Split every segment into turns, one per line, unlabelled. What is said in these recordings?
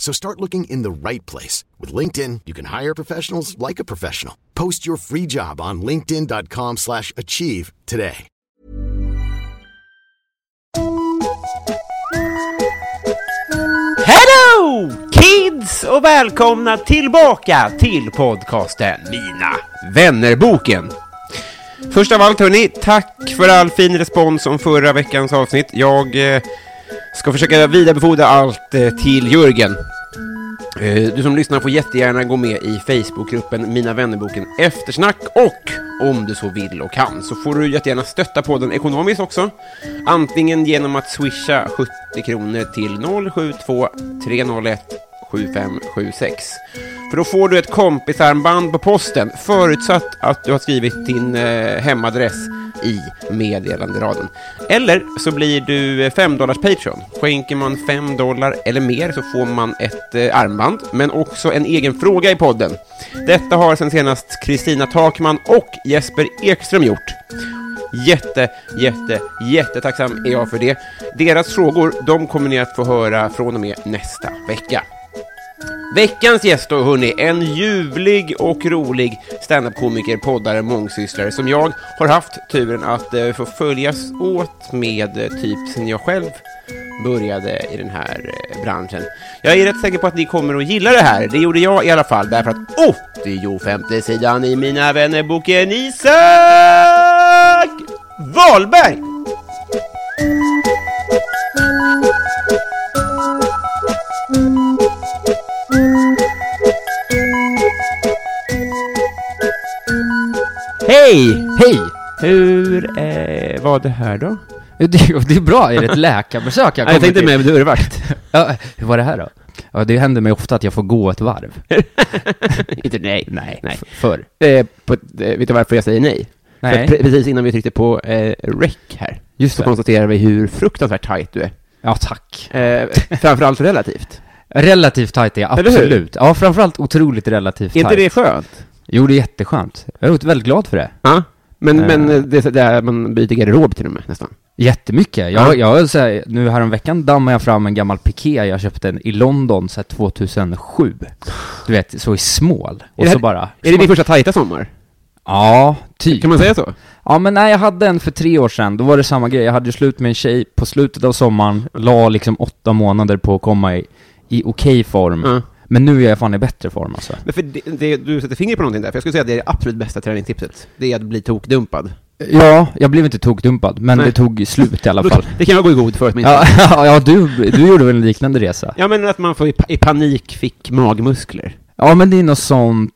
So start looking in the right place. With LinkedIn, you can hire professionals like a professional. Post your free job on linkedin.com slash achieve today.
Hello kids och välkomna tillbaka till podcasten Mina vännerboken. Först av allt hörni, tack för all fin respons om förra veckans avsnitt. Jag eh, ska försöka vidarebefordra allt eh, till Jörgen. Eh, du som lyssnar får jättegärna gå med i Facebookgruppen Mina vännerboken Eftersnack och om du så vill och kan så får du jättegärna stötta podden ekonomiskt också. Antingen genom att swisha 70 kronor till 072 301 7576. För då får du ett kompisarmband på posten förutsatt att du har skrivit din eh, hemadress i meddelanderaden. Eller så blir du 5 dollars Patreon. Skänker man 5 dollar eller mer så får man ett eh, armband, men också en egen fråga i podden. Detta har sen senast Kristina Takman och Jesper Ekström gjort. Jätte, jätte, jättetacksam är jag för det. Deras frågor, de kommer ni att få höra från och med nästa vecka. Veckans gäst då, hörni, en ljuvlig och rolig standup-komiker, poddare, mångsysslare som jag har haft turen att eh, få följas åt med eh, typ sen jag själv började i den här eh, branschen. Jag är rätt säker på att ni kommer att gilla det här. Det gjorde jag i alla fall, därför att åh, det är ju femte sidan i Mina vänner-boken Isak Wahlberg! Hej! Hej! Hur eh, var det här då?
Det, är- det är bra, är det ett läkarbesök jag
Jag, jag
kommer
tänkte
till?
med dörrvakt.
Ja, hur var det här då? Ja, det händer mig ofta att jag får gå ett varv.
Inte nej, nej, nej.
F- Förr.
Eh, på, eh, vet du varför jag säger nej?
Nej.
För pre- precis innan vi tryckte på eh, rec här,
Just
så
det.
konstaterar vi hur fruktansvärt tajt du är.
Ja, tack.
Eh, framförallt relativt.
Relativt tajt är jag,
Eller hur?
absolut. Ja, framförallt otroligt relativt
Är inte
tajt.
det skönt?
Jo, det är jätteskönt. Jag är väldigt glad för det.
Ja. Men,
Eh.
men eh, det är så där man byter garderob till och med, nästan.
Jättemycket.
Ja.
Jag, jag, så här, nu häromveckan dammade jag fram en gammal piké jag köpte en, i London så här, 2007. Du vet, så i small.
Är
Och
det
så
här-
bara...
Är det din första tajta sommar?
Ja, typ.
Kan man säga så?
Ja men nej, jag hade en för tre år sedan, då var det samma grej. Jag hade ju slut med en tjej på slutet av sommaren, la liksom åtta månader på att komma i, i okej form.
Ja.
Men nu är jag fan i bättre form alltså.
Men för det, det, du sätter fingret på någonting där, för jag skulle säga att det är det absolut bästa träningstipset. Det är att bli tokdumpad.
Ja, jag blev inte tokdumpad, men
Nej.
det tog slut i alla
Då-
fall.
Det kan jag gå i god för åtminstone.
Ja, ja du, du gjorde väl en liknande resa?
Ja, men att man får i, pa- i panik fick magmuskler.
Ja men det är något sånt...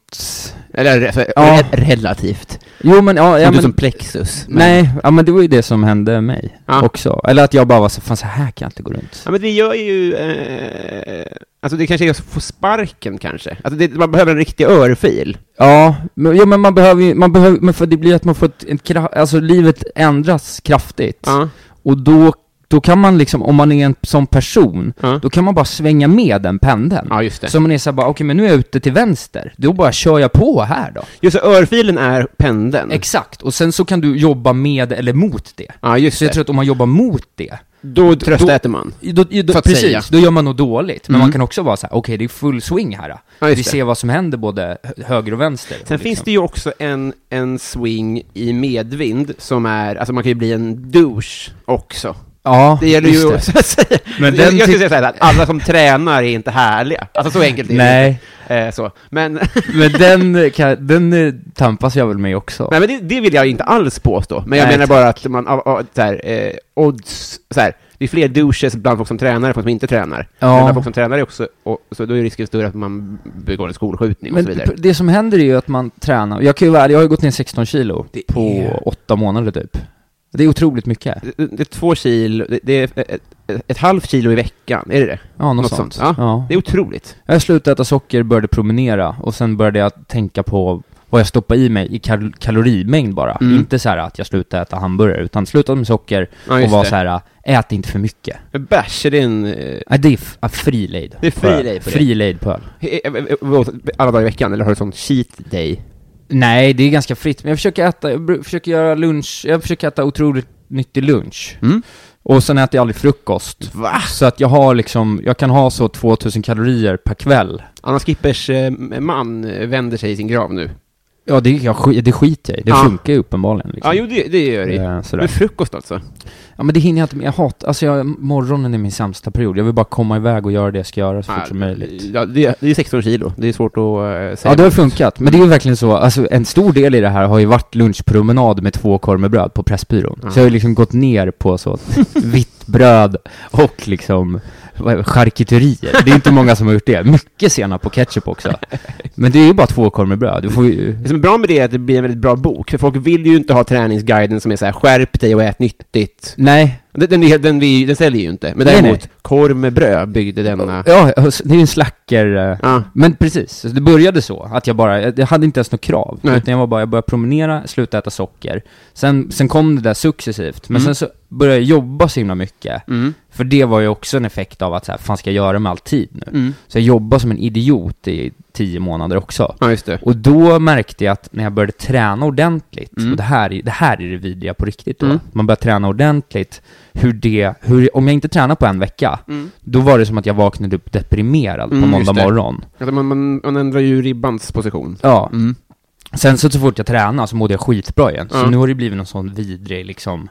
Eller så,
Ja.
re- relativt.
Jo men, ja, ja
inte
men...
som plexus. men-
Nej, ja men det var ju det som hände mig
Ja.
också. Eller att jag bara var så, fan så här kan jag inte gå runt.
Ja, men vi gör ju... Eh, alltså, det kanske är att få sparken, kanske. Alltså, det, man behöver en riktig örfil.
Ja, men, ja, men man behöver ju, man behöver, men för det blir att man får ett, en kraft, alltså livet ändras kraftigt.
Ja.
Och då, då kan man liksom, om man är en sån person,
Ja.
då kan man bara svänga med den pendeln.
Ja, just det.
Så man är såhär bara, okej men nu är jag ute till vänster, då bara kör jag på här då.
Just det, örfilen är pendeln.
Exakt, och sen så kan du jobba med eller mot det.
ja, Mm. just
Så jag
det.
tror att om man jobbar mot det,
Då tröstäter man.
då, då,
Så att
precis,
säga.
då gör man nog dåligt. Men
Mm.
man kan också vara så här: okej det är full swing här. då.
Ja, just
Vi
det.
ser vad som händer både hö- höger och vänster. liksom.
Sen finns det ju också en, en swing i medvind som är, alltså man kan ju bli en douche också.
Ja,
Det gäller
just
ju
det.
så att säga.
Men
jag,
den
jag skulle
tyck-
säga så här, att alla som tränar är inte härliga. Alltså så enkelt är det
Nej.
inte. Eh, så. Men,
Men den, kan, den eh, tampas jag väl med också.
nej, men det, det vill jag inte alls påstå. Men jag
Nej,
menar bara att man, av, av, så här, eh, odds, så här, det är fler douches bland folk som tränar än folk som inte tränar.
Ja.
Men bland folk som tränar är också, och, så då är risken större att man begår en skolskjutning och
Men
så vidare.
p- det som händer är ju att man tränar. Jag kan ju vara ärlig, jag har ju gått ner 16 kilo
Det
på
är-
åtta månader typ. Det är otroligt mycket.
Det, det är två kilo, det, det är ett, ett, ett halvt kilo i veckan, är det det?
Ja, något,
Något
sånt.
sånt,
Ja.
Det är otroligt.
Jag slutade äta socker, började promenera och sen började jag tänka på vad jag stoppar i mig i kal- kalorimängd bara.
Mm.
Inte så här att jag slutade äta hamburgare, utan slutade med socker
Ja,
och
just
var
det.
så här, ät inte för mycket.
Men Bärs, är det en... eh,
Nej, det är f- ja, fri lejd.
Det är fri
på öl.
lejd på det.
Fri lejd på öl.
eh, eh, eh, vad- Alla dagar i veckan, eller har du sån cheat day?
Nej, det är ganska fritt, men jag försöker äta, jag bru- försöker göra lunch, jag försöker äta otroligt nyttig lunch.
Mm.
Och sen äter jag aldrig frukost.
Va?
Så att jag har liksom, jag kan ha så 2000 kalorier per kväll.
Anna Skippers eh, man eh, vänder sig i sin grav nu.
Ja, det, jag, sk- det skiter jag i. Det
Ja.
funkar ju uppenbarligen liksom.
Ja, jo, det, det gör det.
Eh, sådär.
Men frukost alltså?
Ja men det hinner jag inte med, jag hatar, alltså jag, morgonen är min sämsta period, jag vill bara komma iväg och göra det jag ska göra så fort som möjligt.
Ja, det, det är 16 kilo. Det är svårt att eh, säga.
Ja det har funkat, men det är ju verkligen så, alltså en stor del i det här har ju varit lunchpromenad med två korv med bröd på Pressbyrån.
Ja.
Så jag har ju liksom gått ner på så vitt bröd och liksom vad- charkuterier. Det är inte många som har gjort det. Mycket senap och ketchup också. Men det är ju bara två korv med bröd, du får ju...
Det som är bra med det är att det blir en väldigt bra bok, för folk vill ju inte ha träningsguiden som är så här skärp dig och ät nyttigt.
Nej,
Den, den, är- den, vi- den säljer ju inte. Men
Nej,
däremot, korv med bröd byggde denna...
ja, det är ju en slacker... eh,
Ja.
Men precis, så det började så, att jag bara, jag jag hade inte ens något krav.
Nej.
Utan jag var bara, jag började promenera, slutade äta socker. Sen, sen kom det där successivt, men sen så började jag jobba så himla mycket.
Mm.
För det var ju också en effekt av att så här, fan ska jag göra med all tid nu?
Mm.
Så jag jobbade som en idiot i tio månader också.
Ja, just det.
Och då märkte jag att när jag började träna ordentligt,
Mm.
och det här, är- det här är det vidriga på riktigt då,
Mm.
man börjar träna ordentligt, hur det, hur, om jag inte tränar på en vecka, då var det som att jag vaknade upp deprimerad
Mm,
på
just
måndag
det.
morgon.
Alltså, man, man, man ändrar ju ribbans position.
Ja. Sen så, så fort jag tränade så mådde jag skitbra igen. Så
Ja.
nu har det blivit någon sån vidrig liksom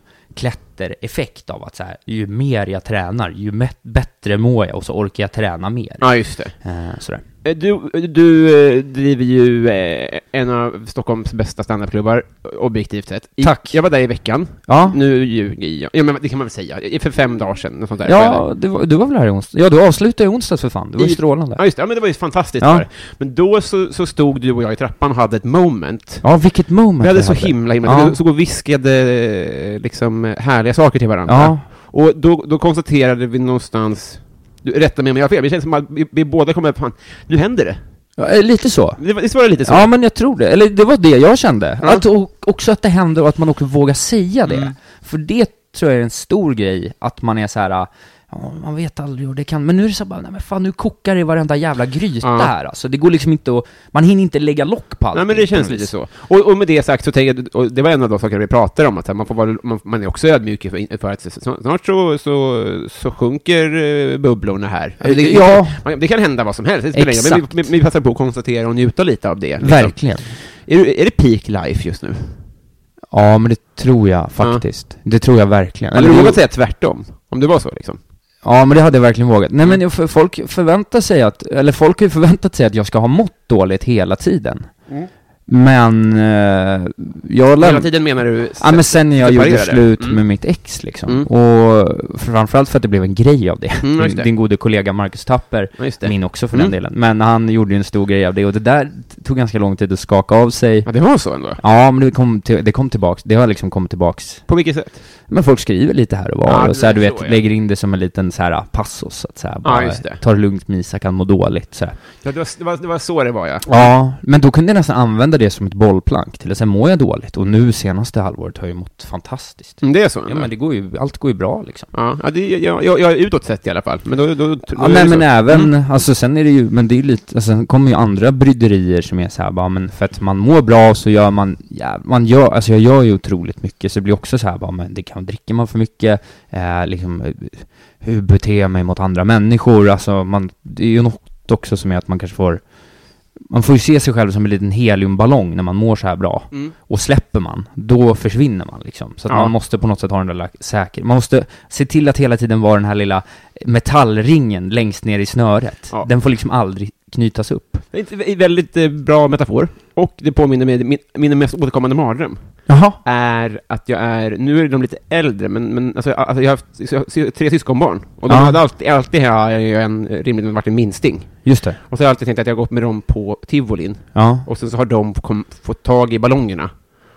klättereffekt av att så här, ju mer jag tränar, ju mä- bättre mår jag och så orkar jag träna mer.
Ja, just det.
Eh, sådär.
Eh, Du, du eh, driver ju eh, en av Stockholms bästa standupklubbar, objektivt sett. I,
Tack.
Jag var där i veckan.
Ja,
Nu ljuger jag. Ja, men det kan man väl säga. I- För fem dagar sedan, något sånt där. var jag där.
ja du, var, du var väl här i onsdag? Ja, du avslutade i onsdags för fan. Det var ju
I-
strålande.
Ja, just det. Ja, men det var ju fantastiskt.
Ja.
Där. Men då så, så stod du och jag i trappan och hade ett moment.
Ja, vilket moment
Vi hade
vi
så himla, himla...
Ja.
Vi stod och viskade eh, liksom eh, härliga saker till varandra.
Ja,
Och då, då konstaterade vi någonstans... Du, rätta mig om jag har fel, men det känns som att vi, vi båda kommer fan, nu händer det.
Ja, eh, lite så.
Det var- Visst var det lite så?
Ja, men jag tror det. Eller det var det jag kände.
Ja. Mm.
Att, och, också att det händer och att man också vågar säga det. För det tror jag är en stor grej, att man är så här. Ja, man vet aldrig och det kan, men nu är det så bara, nej men fan nu kokar det i varenda jävla gryta
Ja.
här alltså. Det går liksom inte att, man hinner inte lägga lock på
Nej,
allting
men det
på
känns
något
lite
vis.
så. Och, och med det sagt så tänker jag, och det var en av de saker vi pratade om, att så här, man, får vara, man, man är också ödmjuk för, för att så- snart så, så, så sjunker eh, bubblorna här. Alltså, det,
Ja.
man, det kan hända vad som helst, det spelar ingen roll, men vi, vi, vi passar på att konstatera och njuta lite av det. liksom.
Verkligen.
Är, du- är det peak life just nu?
Ja, men det tror jag faktiskt. Det tror jag verkligen.
Eller du
Eller
vågar
det-
säga tvärtom, om det var så liksom.
Ja, men det hade jag verkligen vågat. Nej,
Mm.
men jag- för folk förväntar sig att, eller folk har ju förväntat sig att jag ska ha mått dåligt hela tiden.
Mm.
Men, eh, jag läm-
Hela tiden menar du...
Ja men sen när jag gjorde
separerade.
slut
Mm.
med mitt ex liksom.
Mm.
Och framförallt för att det blev en grej av det.
Mm, just
Min,
det.
din gode kollega Marcus Tapper,
Ja, just det.
min också för
Mm.
den delen. Men han gjorde ju en stor grej av det och det där t- tog ganska lång tid att skaka av sig.
Ja, det var så ändå.
Ja, men det kom, till, det kom tillbaks, det har liksom kommit tillbaks.
På vilket sätt?
Men folk skriver lite här och var
Ja, det
och så här,
är
du
så,
vet,
ja.
lägger in det som en liten så här passus, att så här, bara,
just det.
ta det lugnt med Isak, han mår dåligt så här.
Ja, det, var, det, var, det var så det var, ja.
Ja, men då kunde jag nästan använda det som ett bollplank till att säga, mår jag dåligt? Och nu senaste halvåret har jag ju mått fantastiskt.
Mm, Det är så? ändå.
Ja men det går ju, allt går ju bra liksom.
Ja, ja, det, jag, jag, jag är utåt sett i alla fall. Men då... då, då
Ja,
är Typ, det
nej men
så. Mm.
även, alltså sen är det ju, men det är ju lite, alltså, sen kommer ju andra bryderier som är så här, bara men för att man mår bra så gör man, ja, man gör, alltså jag gör ju otroligt mycket så det blir också så här bara men det kan, dricker man för mycket, eh, liksom eh, hur beter jag mig mot andra människor, alltså man, det är ju något också som är att man kanske får man får ju se sig själv som en liten heliumballong när man mår så här bra.
Mm.
Och släpper man, då försvinner man liksom. Så att
Ja.
man måste på något sätt ha den där la- säker... Man måste se till att hela tiden vara den här lilla metallringen längst ner i snöret.
Ja.
Den får liksom aldrig knytas upp.
Det är inte- en väldigt eh, bra metafor. Och det påminner mig, min, min mest återkommande mardröm
Jaha.
är att jag är, nu är de lite äldre, men, men alltså, jag- alltså, jag har haft så jag har tre syskonbarn. Och de
Ja.
hade alltid, alltid har jag ju en, rimligen varit en minsting.
Just det.
Och så har jag alltid tänkt att jag har gått med dem på tivolin.
Ja.
Och sen så har de kom, fått tag i ballongerna.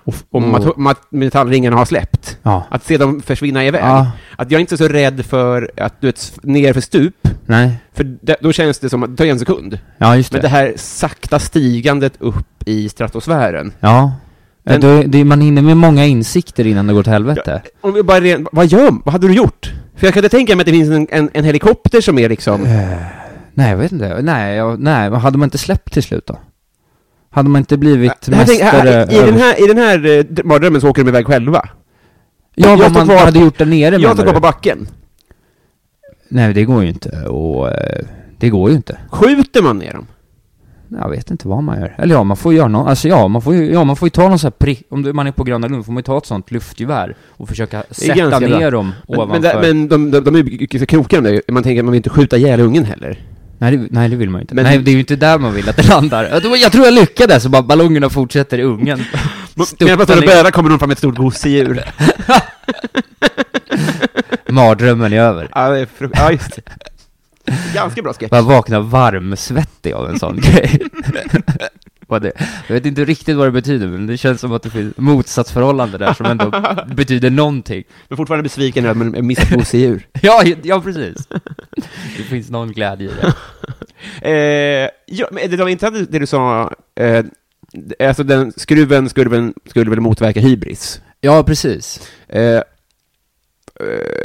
Och,
Och mat- mat- metallringarna har släppt.
Ja.
Att se dem försvinna iväg.
Ja.
Att jag är inte så rädd för att du vet, ner för stup.
Nej.
För det, då känns det som att det tar ju en sekund.
Ja, just det.
Men det här sakta stigandet upp i stratosfären.
Ja.
Den-
ja då, är- det, är- man är inne med många insikter innan det går till helvete.
Om jag bara ren, vad gör Vad hade du gjort? För jag kunde tänka mig att det finns en, en, en helikopter som är liksom...
Nej, jag vet inte. Nej, jag, nej, vad hade man inte släppt till slut då? Hade man inte blivit
Det här tänk-
mästare?
här, i,
över-
den här, I den här eh, d- mardrömmen så åker de iväg själva.
ja,
jag
vad
står
man
kvar-
hade gjort där nere
Jag tar
menar
kvar på
du?
backen.
Nej, det går ju inte. Och, eh, det går ju inte.
Skjuter man ner dem?
Jag vet inte vad man gör. Eller ja, man får göra något. Alltså ja, man får ju, ja, man får ju ta någon sån här prick. Om du- man är på Gröna Lund får man ju ta ett sånt luftgevär och försöka sätta
ganska bra.
ner dem
Men,
ovanför.
men, där, men de, de, de är ju ganska krokiga de där. Man tänker att man vill inte skjuta ihjäl ungen heller.
Nej, det, nej, det vill man ju inte.
Men-
nej, det är ju inte där man vill att det landar. Jag tror- Jag tror jag lyckades och bara ballongerna fortsätter i ungen.
Men jag
Stupar
pratar och
ner.
bävar kommer någon fram med ett stort gosedjur.
Mardrömmen är över.
ja, det är fru- ja, just det. Ganska bra sketch.
Bara vakna varmsvettig av en sån grej. Vad det, jag vet inte riktigt vad det betyder, men det känns som att det finns motsatsförhållande där som ändå betyder någonting.
Men fortfarande besviken över att man missat gosedjur.
Ja, ja precis. Det finns någon glädje i det.
eh, ja, men det var inte att det du sa, eh, alltså den skruven skulle väl, skulle väl motverka hybris.
Ja, precis.
Eh, eh,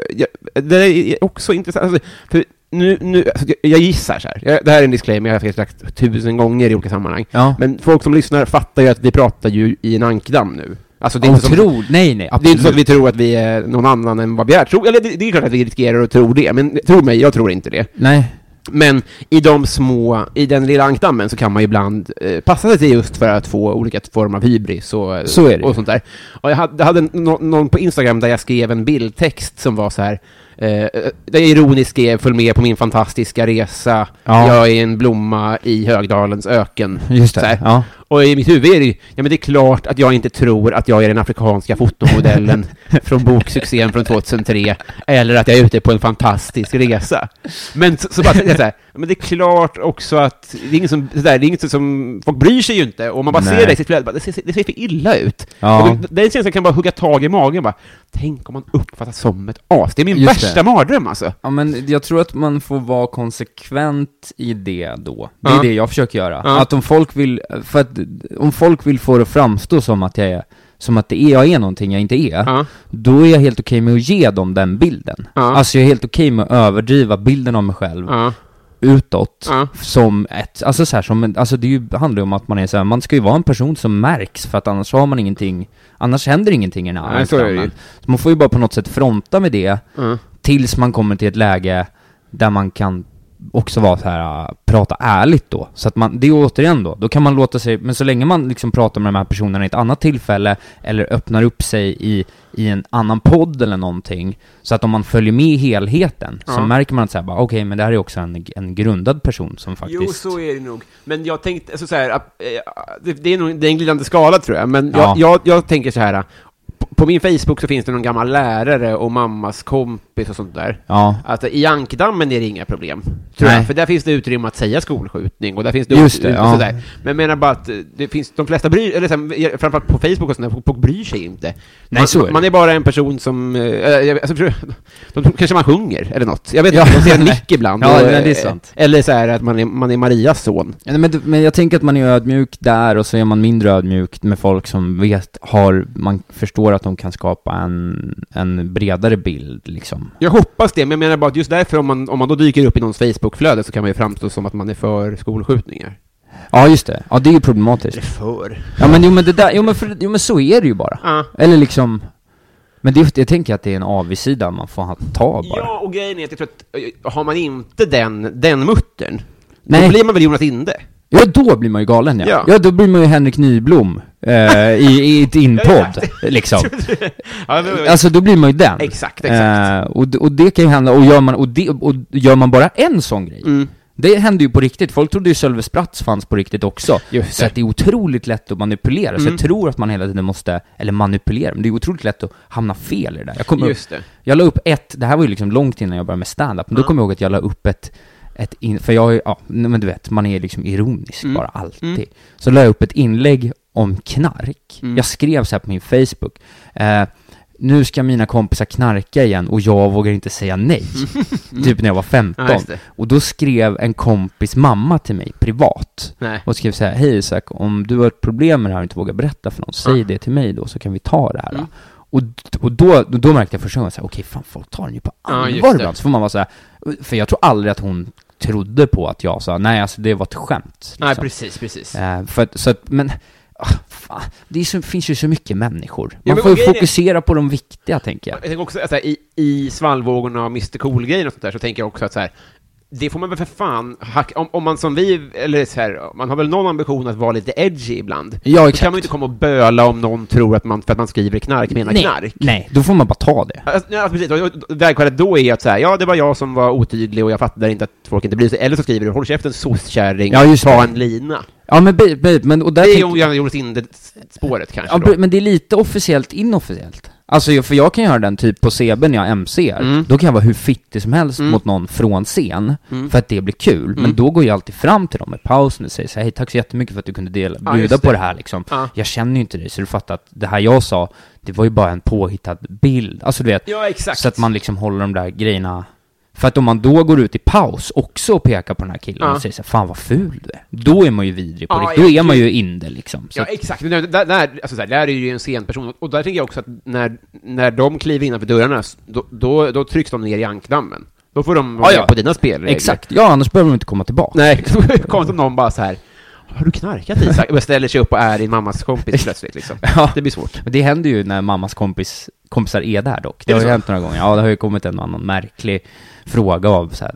ja, det är också intressant, alltså, för nu, nu alltså, jag, jag gissar så här, jag, det här är en disclaimer, jag har säkert sagt tusen gånger i olika sammanhang,
Ja.
men folk som lyssnar fattar ju att vi pratar ju i en ankdamm nu. Alltså, det är inte som-
Otroligt. Nej, nej,
Det är inte så
absolut.
att vi tror att vi är någon annan än vad vi är. Tror, eller det, det är klart att vi riskerar att tro det, men tro mig, jag tror inte det.
Nej.
Men i de små, i den lilla ankdammen så kan man ju ibland eh, passa sig just för att få olika former av hybris och,
Så är det.
och sånt där. Och jag hade, jag hade nå- någon på Instagram där jag skrev en bildtext som var så här, eh, eh, där jag ironiskt skrev följ med på min fantastiska resa,
Ja.
jag är en blomma i Högdalens öken.
Just
Så här.
det. Ja.
Och i mitt huvud är det ju, ja men det är klart att jag inte tror att jag är den afrikanska fotomodellen från boksuccén från 2003, eller att jag är ute på en fantastisk resa. Men så, så bara tänkte jag så här, ja, men det är klart också att, det är inget som, det där, det är inget som, folk bryr sig ju inte, och om man bara
Nej.
ser det i sitt flöde, bara, det, ser, det ser för illa ut.
Ja.
Och då- den känslan kan bara hugga tag i magen bara, tänk om man uppfattas som ett as, det är min
Just
värsta
det.
mardröm alltså.
Ja men jag tror att man får vara konsekvent i det då. Det är
Ja.
det jag försöker göra.
Ja.
Att om folk vill, för att om folk vill få det att framstå som att jag är, som att det är, jag är någonting jag inte är,
Ja.
då är jag helt okej med att ge dem den bilden.
Ja.
Alltså jag är helt okej med att överdriva bilden av mig själv
Ja.
utåt
Ja.
som ett, alltså så här som, en- alltså det är ju, handlar ju om att man är så här, man ska ju vara en person som märks för att annars har man ingenting, annars händer ingenting i den här
Nej, så är det ju.
ankdammen. Så man får ju bara på något sätt fronta med det tills man kommer till ett läge där man kan också vara så här, äh, prata ärligt då. Så att man, det är återigen då, då kan man låta sig, men så länge man liksom pratar med de här personerna i ett annat tillfälle eller öppnar upp sig i, i en annan podd eller någonting, så att om man följer med i helheten så märker man att säga bara okej, men det här är också en, en grundad person som faktiskt...
Jo, så är det nog. Men jag tänkte, alltså, så här, att, eh, det, det, är nog, det är en glidande skala tror jag, men jag,
Ja.
jag, jag tänker så här, eh, på, på min Facebook så finns det någon gammal lärare och mammas kompis och sånt där.
Ja.
Att Alltså, i ankdammen är det inga problem, tror
Nej.
jag, för där finns det utrymme att säga skolskjutning och där finns det...
Just det, ja.
sådär. Men jag menar bara att eh, det finns, de flesta bryr, eller så här, framförallt på Facebook och sånt där, folk- folk bryr sig inte. man,
så är det.
man är bara en person som, eh, jag, alltså, tror jag- de, tror kanske man sjunger eller något. Jag vet
Ja.
inte, de ser en nick ibland.
Ja,
och,
nej, det är
eh,
sant.
Eller så här att man är, man är Marias son.
Ja, Men, det- men jag tänker att man är ödmjuk där och så är man mindre ödmjuk med folk som vet, har, man förstår att de kan skapa en, en bredare bild liksom.
Jag hoppas det, men jag menar bara att just därför om man, om man då dyker upp i någons Facebookflöde så kan man ju framstå som att man är för skolskjutningar.
Ja, just det. Ja, det är ju problematiskt.
För?
Ja, men jo men det där, jo men, för, jo, men så är det ju bara.
Ja.
Eller liksom, men det, jag tänker att det är en avigsida man får ta bara.
Ja, och grejen är att jag tror att eh, har man inte den, den muttern,
Nej.
då blir man väl Jonas Inde?
Ja, då blir man ju galen ja.
Ja.
Ja, då blir man ju Henrik Nyblom eh, i, i ett inpodd, liksom.
Ja, men-
Alltså då blir man ju den.
Exakt, exakt. Mm.
Eh, och, d- och det kan ju hända, och gör man, och det, och gör man bara en sån grej, Det hände ju på riktigt. Folk trodde ju Sölve Spratts fanns på riktigt också.
Just det.
så
Mm.
att det är otroligt lätt att manipulera. Så jag tror att man hela tiden måste, eller manipulera, men det är otroligt lätt att hamna fel i det där. Jag, kommer
Just det.
jag la upp ett, det här var ju liksom långt innan jag började med stand-up, men då kommer jag ihåg att jag la upp ett, ett in, för jag är, ja, nej, men du vet, man är liksom ironisk
Mm.
bara alltid. Så la jag upp ett inlägg om knark.
Mm.
Jag skrev så här på min Facebook, eh, nu ska mina kompisar knarka igen och jag vågar inte säga nej. Typ när jag var 15.
Mm. Ja, just det.
och då skrev en kompis mamma till mig privat
Nej.
och skrev så här, hej Isak, om du har ett problem med det här och inte vågar berätta för någon, säg det till mig då så kan vi ta det här.
Mm.
då." Och, och då, då, då märkte jag första gången, så här, okej fan folk tar den ju på
Ja, just
allvar
det.
ibland. Så får man vara så här, för jag tror aldrig att hon trodde på att jag sa, nej alltså det var ett skämt.
Nej,
liksom.
precis, precis.
Eh, för att, så att, men, ah, fan, det är så, finns ju så mycket människor. Man
men
får ju
grejen är-
fokusera på de viktiga tänker jag.
Jag tänker också att så här, i, i svallvågorna av Mr Cool-grejen och sånt där så tänker jag också att så här, det får man väl för fan hacka, om, om man som vi, eller så här, man har väl någon ambition att vara lite edgy ibland.
Ja,
Då
exakt.
kan man ju inte komma och böla om någon tror att man, för att man skriver knark, menar
nej,
knark.
nej, då får man bara ta det.
Alltså, nej, alltså, precis, Och- och- och vägskälet då är att så här, ja, det var jag som var otydlig och jag fattade inte att folk inte bryr sig. Eller så skriver du, håll käften sosskärring,
Ja, just
ta
det.
en lina.
Ja men, be, be, men och där
Det är
tänker-
ju Johan- Jonas Inde-spåret kanske.
Ja,
då.
pre- men det är lite officiellt inofficiellt. Alltså, jag- för jag kan göra den typ på CB när jag MCar.
Mm.
Då kan jag vara hur fittig som helst mot någon från scen,
Mm.
för att det blir kul. Men då går jag alltid fram till dem i pausen och säger så här, hej, tack så jättemycket för att du kunde dela,
Ja,
bjuda
just
på
det.
det här liksom.
Ja.
Jag känner ju inte dig, så du fattar att det här jag sa, det var ju bara en påhittad bild. Alltså, du vet,
Ja, exakt.
så att man liksom håller de där grejerna. För att om man då går ut i paus också och pekar på den här killen
Ja.
och säger så här, fan vad ful du är. Då är man ju vidrig på
Ja,
riktigt. Då
ja,
är man
gud.
ju inde liksom. Så
Ja, exakt. Men Där, där, där, alltså så här, där är det ju en scenperson, och där tänker jag också att när, när de kliver innanför dörrarna, s- då, då, då trycks de ner i ankdammen. Då får de vara
Ja,
med
ja.
på dina spelregler.
Exakt, ja annars behöver de inte komma tillbaka.
Nej, konstigt om någon bara så här, har du knarkat Isak? Och ställer sig upp och är din mammas kompis plötsligt liksom.
Ja.
Det blir svårt.
Men det händer ju när mammas kompis, kompisar är där dock. Det
Är det
har ju
så?
hänt några gånger. Ja, det har ju kommit en och annan märklig fråga av så här,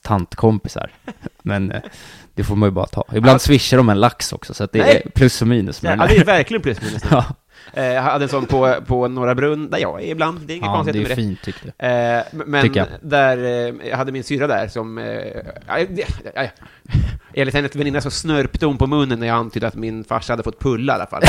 tantkompisar. Men eh, det får man ju bara ta. Ibland swishar de en lax också, så att det
Alltså- Nej.
är plus och minus med
Ja,
den
det är
där.
verkligen plus minus.
Ja,
Eh, jag hade en sån på, på Norra Brunn, där jag är ibland. Det är inget
ja det
konstigt
är
med det.
fint tyckte jag.
Eh, m- men
Tycker jag.
där, eh, jag hade min syrra där som, eh, aj, det- aj, enligt hennes väninna så snörpte hon på munnen när jag antydde att min farsa hade fått pulla i alla fall.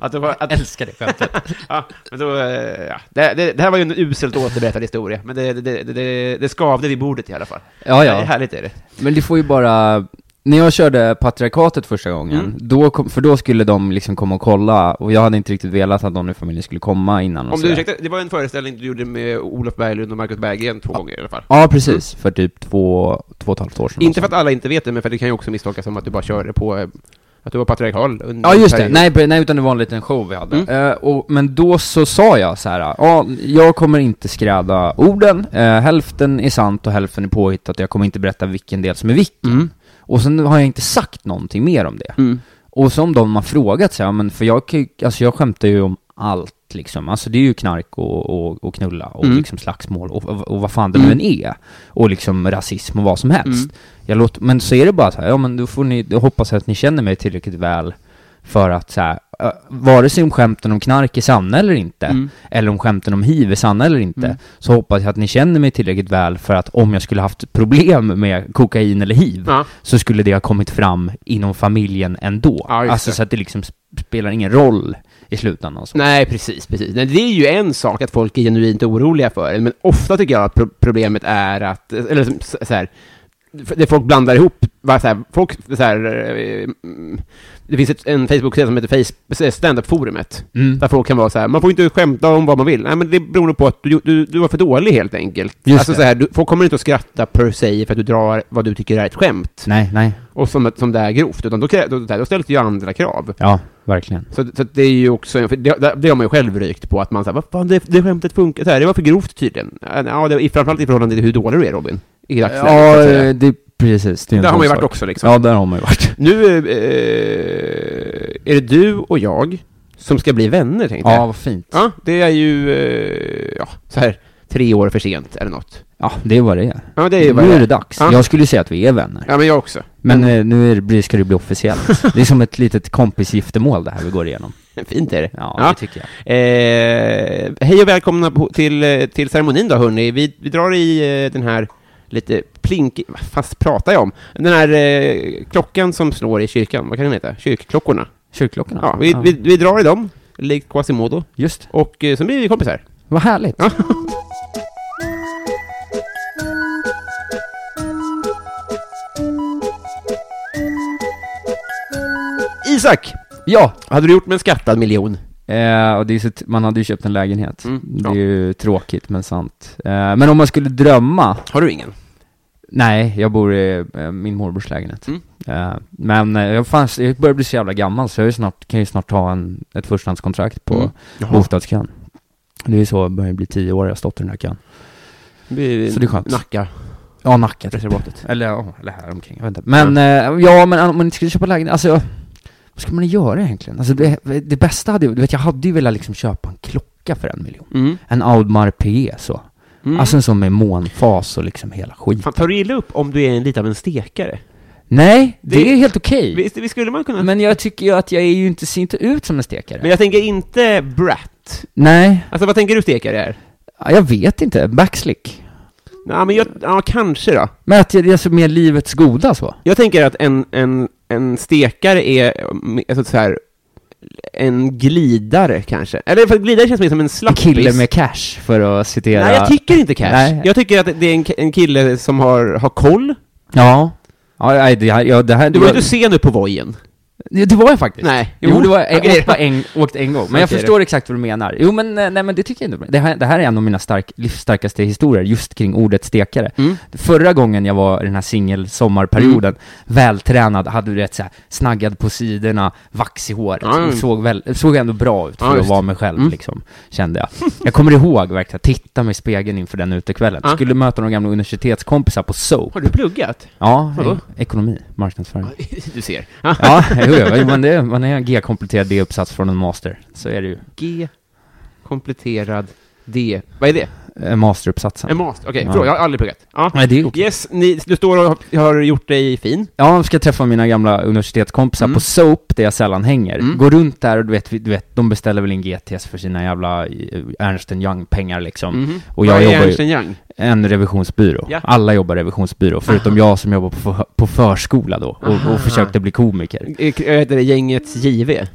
att det var, att,
Älskar det skämtet.
ja, men då, eh, ja, det, det, det här var ju en uselt återberättad historia, men det, det, det, det, det skavde vid bordet i alla fall.
Ja, Mm,
Det är
ja.
härligt är det.
Men det får ju bara... När jag körde patriarkatet första gången,
Mm.
då kom, för då skulle de liksom komma och kolla, och jag hade inte riktigt velat att någon i familjen skulle komma innan och
Om
så
du
där.
ursäktar, det var en föreställning du gjorde med Olof Berglund och Marcus Berggren två gånger i alla fall.
Ja, precis. För typ två, två och ett halvt år sedan.
Inte för
någonstans.
att alla inte vet det, men för det kan ju också misstolkas som att du bara körde på, eh, att du var patriarkal. under
Ja
en
just det,
period.
nej, pre- nej utan det var en liten show vi hade. Eh, och, men då så sa jag så här, ja, jag kommer inte skräda orden, eh, hälften är sant och hälften är påhittat, jag kommer inte berätta vilken del som är vilken. Och sen har jag inte sagt någonting mer om det. Och som de har frågat så här, men för jag, kan ju- alltså jag skämtar ju om allt liksom, alltså det är ju knark och, och, och knulla och liksom slagsmål och, och, och vad fan det nu än är. Och liksom rasism och vad som helst. Jag låter, men så är det bara så här, ja men då får ni, då hoppas jag att ni känner mig tillräckligt väl för att så här, eh, vare sig om skämten om knark är sanna eller inte,
Mm.
eller om skämten om hiv är sanna eller inte, så hoppas jag att ni känner mig tillräckligt väl för att om jag skulle haft problem med kokain eller hiv,
Ja.
så skulle det ha kommit fram inom familjen ändå.
Ja, just
alltså
det.
så att det liksom sp- spelar ingen roll i slutändan och så.
Nej, precis, precis. Nej, det är ju en sak att folk är genuint oroliga för en, men ofta tycker jag att pro- problemet är att, eh, eller som- så, så här, det folk blandar ihop, va, så här, folk, så här, eh, mm, det finns ett, en Facebook-sida som heter face, Standup-forumet,
Mm.
där folk kan vara så här, man får inte skämta om vad man vill, nej men det beror nog på att du, du, du var för dålig helt enkelt.
Just
alltså
det.
så här, du, folk kommer inte att skratta per se för att du drar vad du tycker är ett skämt,
Nej, nej.
och som, som det är grovt, utan då, krä- då, då ställs det ju andra krav.
Ja, verkligen.
Så, så att det är ju också, en- för det, det- det har man ju själv rykt på, att man säger vad fan, det, det skämtet funkar, så här, det var för grovt tydligen. Ja, det, i- framförallt i förhållande till hur dålig du är Robin, i dagsläget. så
Ja,
att säga.
eh, det, precis. Det är en
Där har
sån
man ju
sak.
varit också liksom.
Ja, där har man ju varit.
Nu eh, är det du och jag som ska bli vänner, tänkte
Ja,
jag.
vad fint.
Ja, det är ju, eh, ja, så här, tre år för sent eller något.
Ja, det är vad det är.
Ja, det är ju vad
nu
det
är
är.
det dags.
Ja.
Jag skulle säga att vi är vänner.
Ja, men jag också.
Men eh, nu är det, blir- ska det bli officiellt. Det är som ett litet kompisgiftermål det här vi går igenom.
Men Fint är det.
Ja, det tycker jag.
Eh, hej och välkomna på, till, eh, till ceremonin då hörni. Vi, vi drar i eh, den här lite plink... Vad fast pratar jag om? Den här eh, klockan som slår i kyrkan, vad kan den heta? Kyrkklockorna.
Kyrkklockorna?
Ja, vi, vi, vi drar i dem, likt Quasimodo,
Just
och eh, så blir vi kompisar.
Vad härligt.
Ja. Isak!
Ja!
Vad hade du gjort med en skattad miljon?
Eh, och det är så t- man hade ju köpt en lägenhet.
Mm,
det
ja.
är ju tråkigt men sant. Eh, men om man skulle drömma
Har du ingen?
Nej, jag bor i eh, min morbrors lägenhet.
Mm.
Eh, men eh, jag, fanns, jag börjar bli så jävla gammal så jag är snart, kan ju snart ta en, ett förstahandskontrakt på
Mm. Jaha.
bostadskön. Det är ju så, jag börjar bli tio år, jag har stått i den här kön. Så det är skönt.
Nacka.
Ja, Nacka typ.
Reservatet.
Eller, ja, eller här omkring, jag vet inte. Men, eh, ja, men om man inte skulle köpa lägenhet, alltså, jag- vad ska man göra egentligen? Alltså det, det bästa hade ju, du vet jag hade ju velat liksom köpa en klocka för en miljon.
Mm.
En Audemars Piguet så.
Mm.
eh, Alltså en sån med månfas och liksom hela skiten.
Fan, tar du illa upp om du är en, lite av en stekare?
Mm. Nej, det,
Det-
är helt okej.
Visst, visst skulle man kunna? Men,
Men jag tycker ju att jag är ju inte, ser inte ut som en stekare.
jag tänker inte brat.
Nej,
Alltså vad tänker du stekare är?
ja, jag vet inte. Backslick.
Ja, men jag, ja, kanske då.
Men att jag, det är så mer livets goda så.
Jag tänker att en, en, en stekare är mm, alltså, så här, en glidare kanske. Eller för glidare känns mer som en
En
slappis.
kille med cash, för att citera...
Nej, jag tycker inte cash.
Nej.
Jag tycker att det är en, en kille som har, har koll.
Ja. Ja, nej, det, här- ja, det här...
Du var ju
jag-
inte sen nu på vojen.
Jo, det var jag faktiskt.
Nej.
Jo,
Jo,
det var jag.
okej.
åkte, bara en, åkte en gång. Men jag
Okej,
förstår exakt vad du menar. Jo, men eh, nej, men det tycker jag inte. Det här, det här är en av mina stark, livsstarkaste historier, just kring ordet stekare.
Mm.
Förra gången jag var i den här singelsommarperioden, vältränad, hade du rätt så här, snaggad på sidorna, vax i håret,
Ja, mm.
och såg, väl, såg ändå bra ut
Ja,
för att
just.
vara mig själv,
Mm.
liksom, kände jag. Jag kommer ihåg verkligen, titta mig i spegeln inför den utekvällen.
Ja.
Skulle möta några gamla universitetskompisar på SOAP.
Har du pluggat?
Ja,
Vadå?
e- ekonomi, marknadsföring.
Du ser.
Ja, jo, jo, men det, man är en G-kompletterad D-uppsats från en master. Så är det ju.
G kompletterad D. Vad är det?
Eh, Masteruppsatsen.
En master? Okej,
Ja.
förlåt, jag har aldrig pluggat. Ja.
Nej, det är okej.
Yes, ni, du står och har- har gjort dig fin.
Ja, jag ska träffa mina gamla universitetskompisar
Mm.
på SOAP, där jag sällan hänger.
Mm.
Gå runt där och du vet, vi- du vet, de beställer väl in GTS för sina jävla eh, Ernst Young-pengar liksom.
Mhm.
Och jag
Vad är
jobbar ju-
Ernst Young?
En revisionsbyrå.
Ja.
Alla jobbar revisionsbyrå, förutom jag som jobbar på, för, på förskola då och,
Aha.
och försökte bli komiker.
Eh, Jag heter det gängets JV.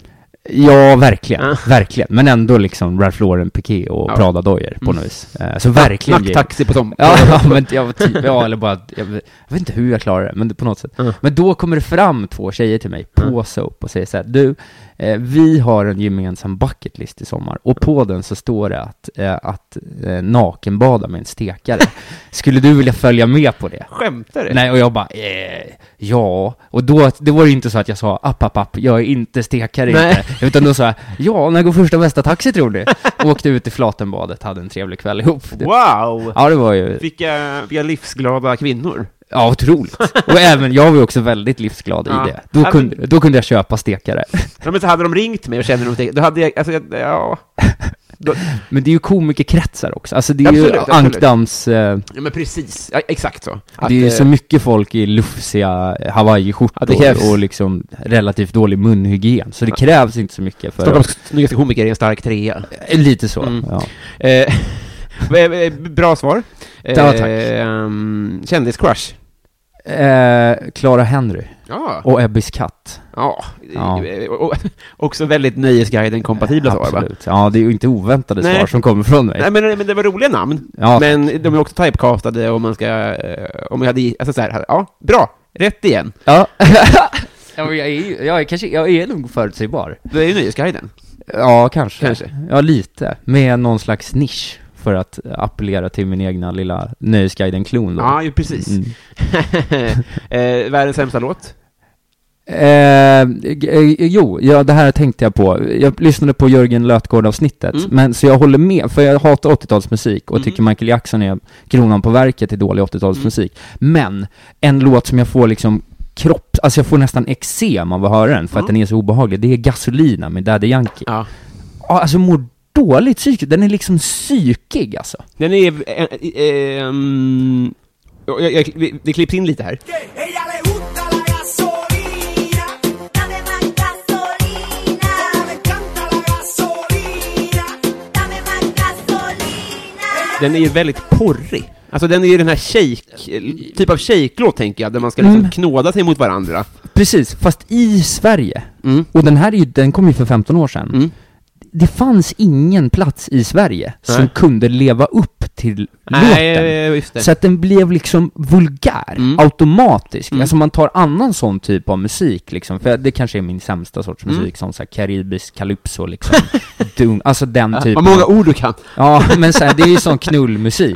Ja, verkligen.
Ah.
Verkligen. Men ändå liksom Ralph Lauren Piqué och
Ja.
Prada Doyer på
Mm.
något vis. Eh, Så verkligen.
Nack- Taxi på tom.
Ja, ja, men jag, typ, ja, eller bara, jag, vet- jag vet inte hur jag klarar det, men det- på något sätt.
Mm.
Men då kommer det fram två tjejer till mig på
Mm.
Soap och säger så här, du, eh, vi har en gemensam bucketlist i sommar, och på den så står det att, eh, att eh, nakenbada med en stekare. Skulle du vilja följa med på det?
Skämtar du?
Nej, och jag bara, eh, ja. Och då, det var ju inte så att jag sa, app, app, app, jag är inte stekare
Nej.
inte. Utan då sa jag, ja, när går första bästa taxi tror du? Åkte ut i Flatenbadet, hade en trevlig kväll ihop. Det,
Wow!
ja, det var ju...
Vilka, vilka livsglada kvinnor.
Ja, otroligt. Och även, jag var ju också väldigt livsglad
Ja.
i det. Då
Ja,
kunde, då kunde jag köpa stekare.
Ja, men så hade de ringt mig och kände de tänkt, då hade jag, alltså, jag- ja.
Men det är ju komikerkretsar också. Alltså det är
Absolut,
ju
absolut.
ankdams... Eh,
ja men precis, ja, exakt så. Att,
det är ju
eh,
så mycket folk i lufsiga
Ja,
hawaiiskjortor
det krävs.
och liksom relativt dålig munhygien. Så det krävs inte så mycket för...
Stockholms snyggaste komiker är en stark trea.
Eh, Lite så,
Mm.
ja.
Eh, eh, Bra svar. Eh,
Ja, tack.
ehm, Kändiscrush.
Eh, Clara Henry
Ja.
och Ebbes katt.
ja.
Ja.
Eh, och- och- Också väldigt Nöjesguiden-kompatibla svar, va?
Absolut. Ja, det är ju inte oväntade
Nej.
svar som kommer från mig.
Nej, men, men det var roliga namn.
ja,
Men de är också typecastade om man ska, eh, om jag hade, i- alltså så här, ja, bra. Rätt igen.
ja. ja, men jag är ju, jag är kanske, jag är nog förutsägbar.
Det är ju Nöjesguiden.
Ja, kanske.
Kanske.
Ja, lite. Med någon slags nisch för att appellera till min egna lilla Nöjesguiden-klon då.
Ja, ju precis.
Mm.
eh, världens sämsta låt?
Eh, g- eh, jo, ja, det här tänkte jag på. Jag lyssnade på Jörgen Lötgård-avsnittet,
Mm.
men så jag håller med, för jag hatar 80-talsmusik och
Mm.
tycker Michael Jackson är kronan på verket i dålig 80-talsmusik.
Mm.
Men, en låt som jag får liksom kropp, alltså jag får nästan eksem av att höra den, för att
Mm.
den är så obehaglig, det är Gasolina med Daddy Yankee.
Ja.
Ja, alltså mår dåligt psykiskt, den är liksom psykig alltså.
Den är... Eh, eh, ehm, jag, jag, det klipps in lite här.
Ella le gusta la gasolina.
Dame más gasolina,
Como me encanta la gasolina.
dame más gasolina.
Den är ju väldigt porrig. Alltså den är ju den här shake, typ av shake-låt tänker jag, där man ska liksom
Mm.
knåda sig mot varandra.
Precis, fast i Sverige.
Mm.
Och den här är ju, den kom ju för 15 år sedan.
Mm.
Det fanns ingen plats i Sverige som
Nej.
kunde leva upp till låten.
Nej, just det.
Så att den blev liksom vulgär,
Mm.
automatisk.
Mm.
Alltså man tar annan sån typ av musik liksom, för det kanske är min sämsta sorts musik,
Mm.
sån så här karibisk calypso liksom. Dung, alltså den
Vad
typen.
många ord du kan.
Ja, men så här, det är ju sån knullmusik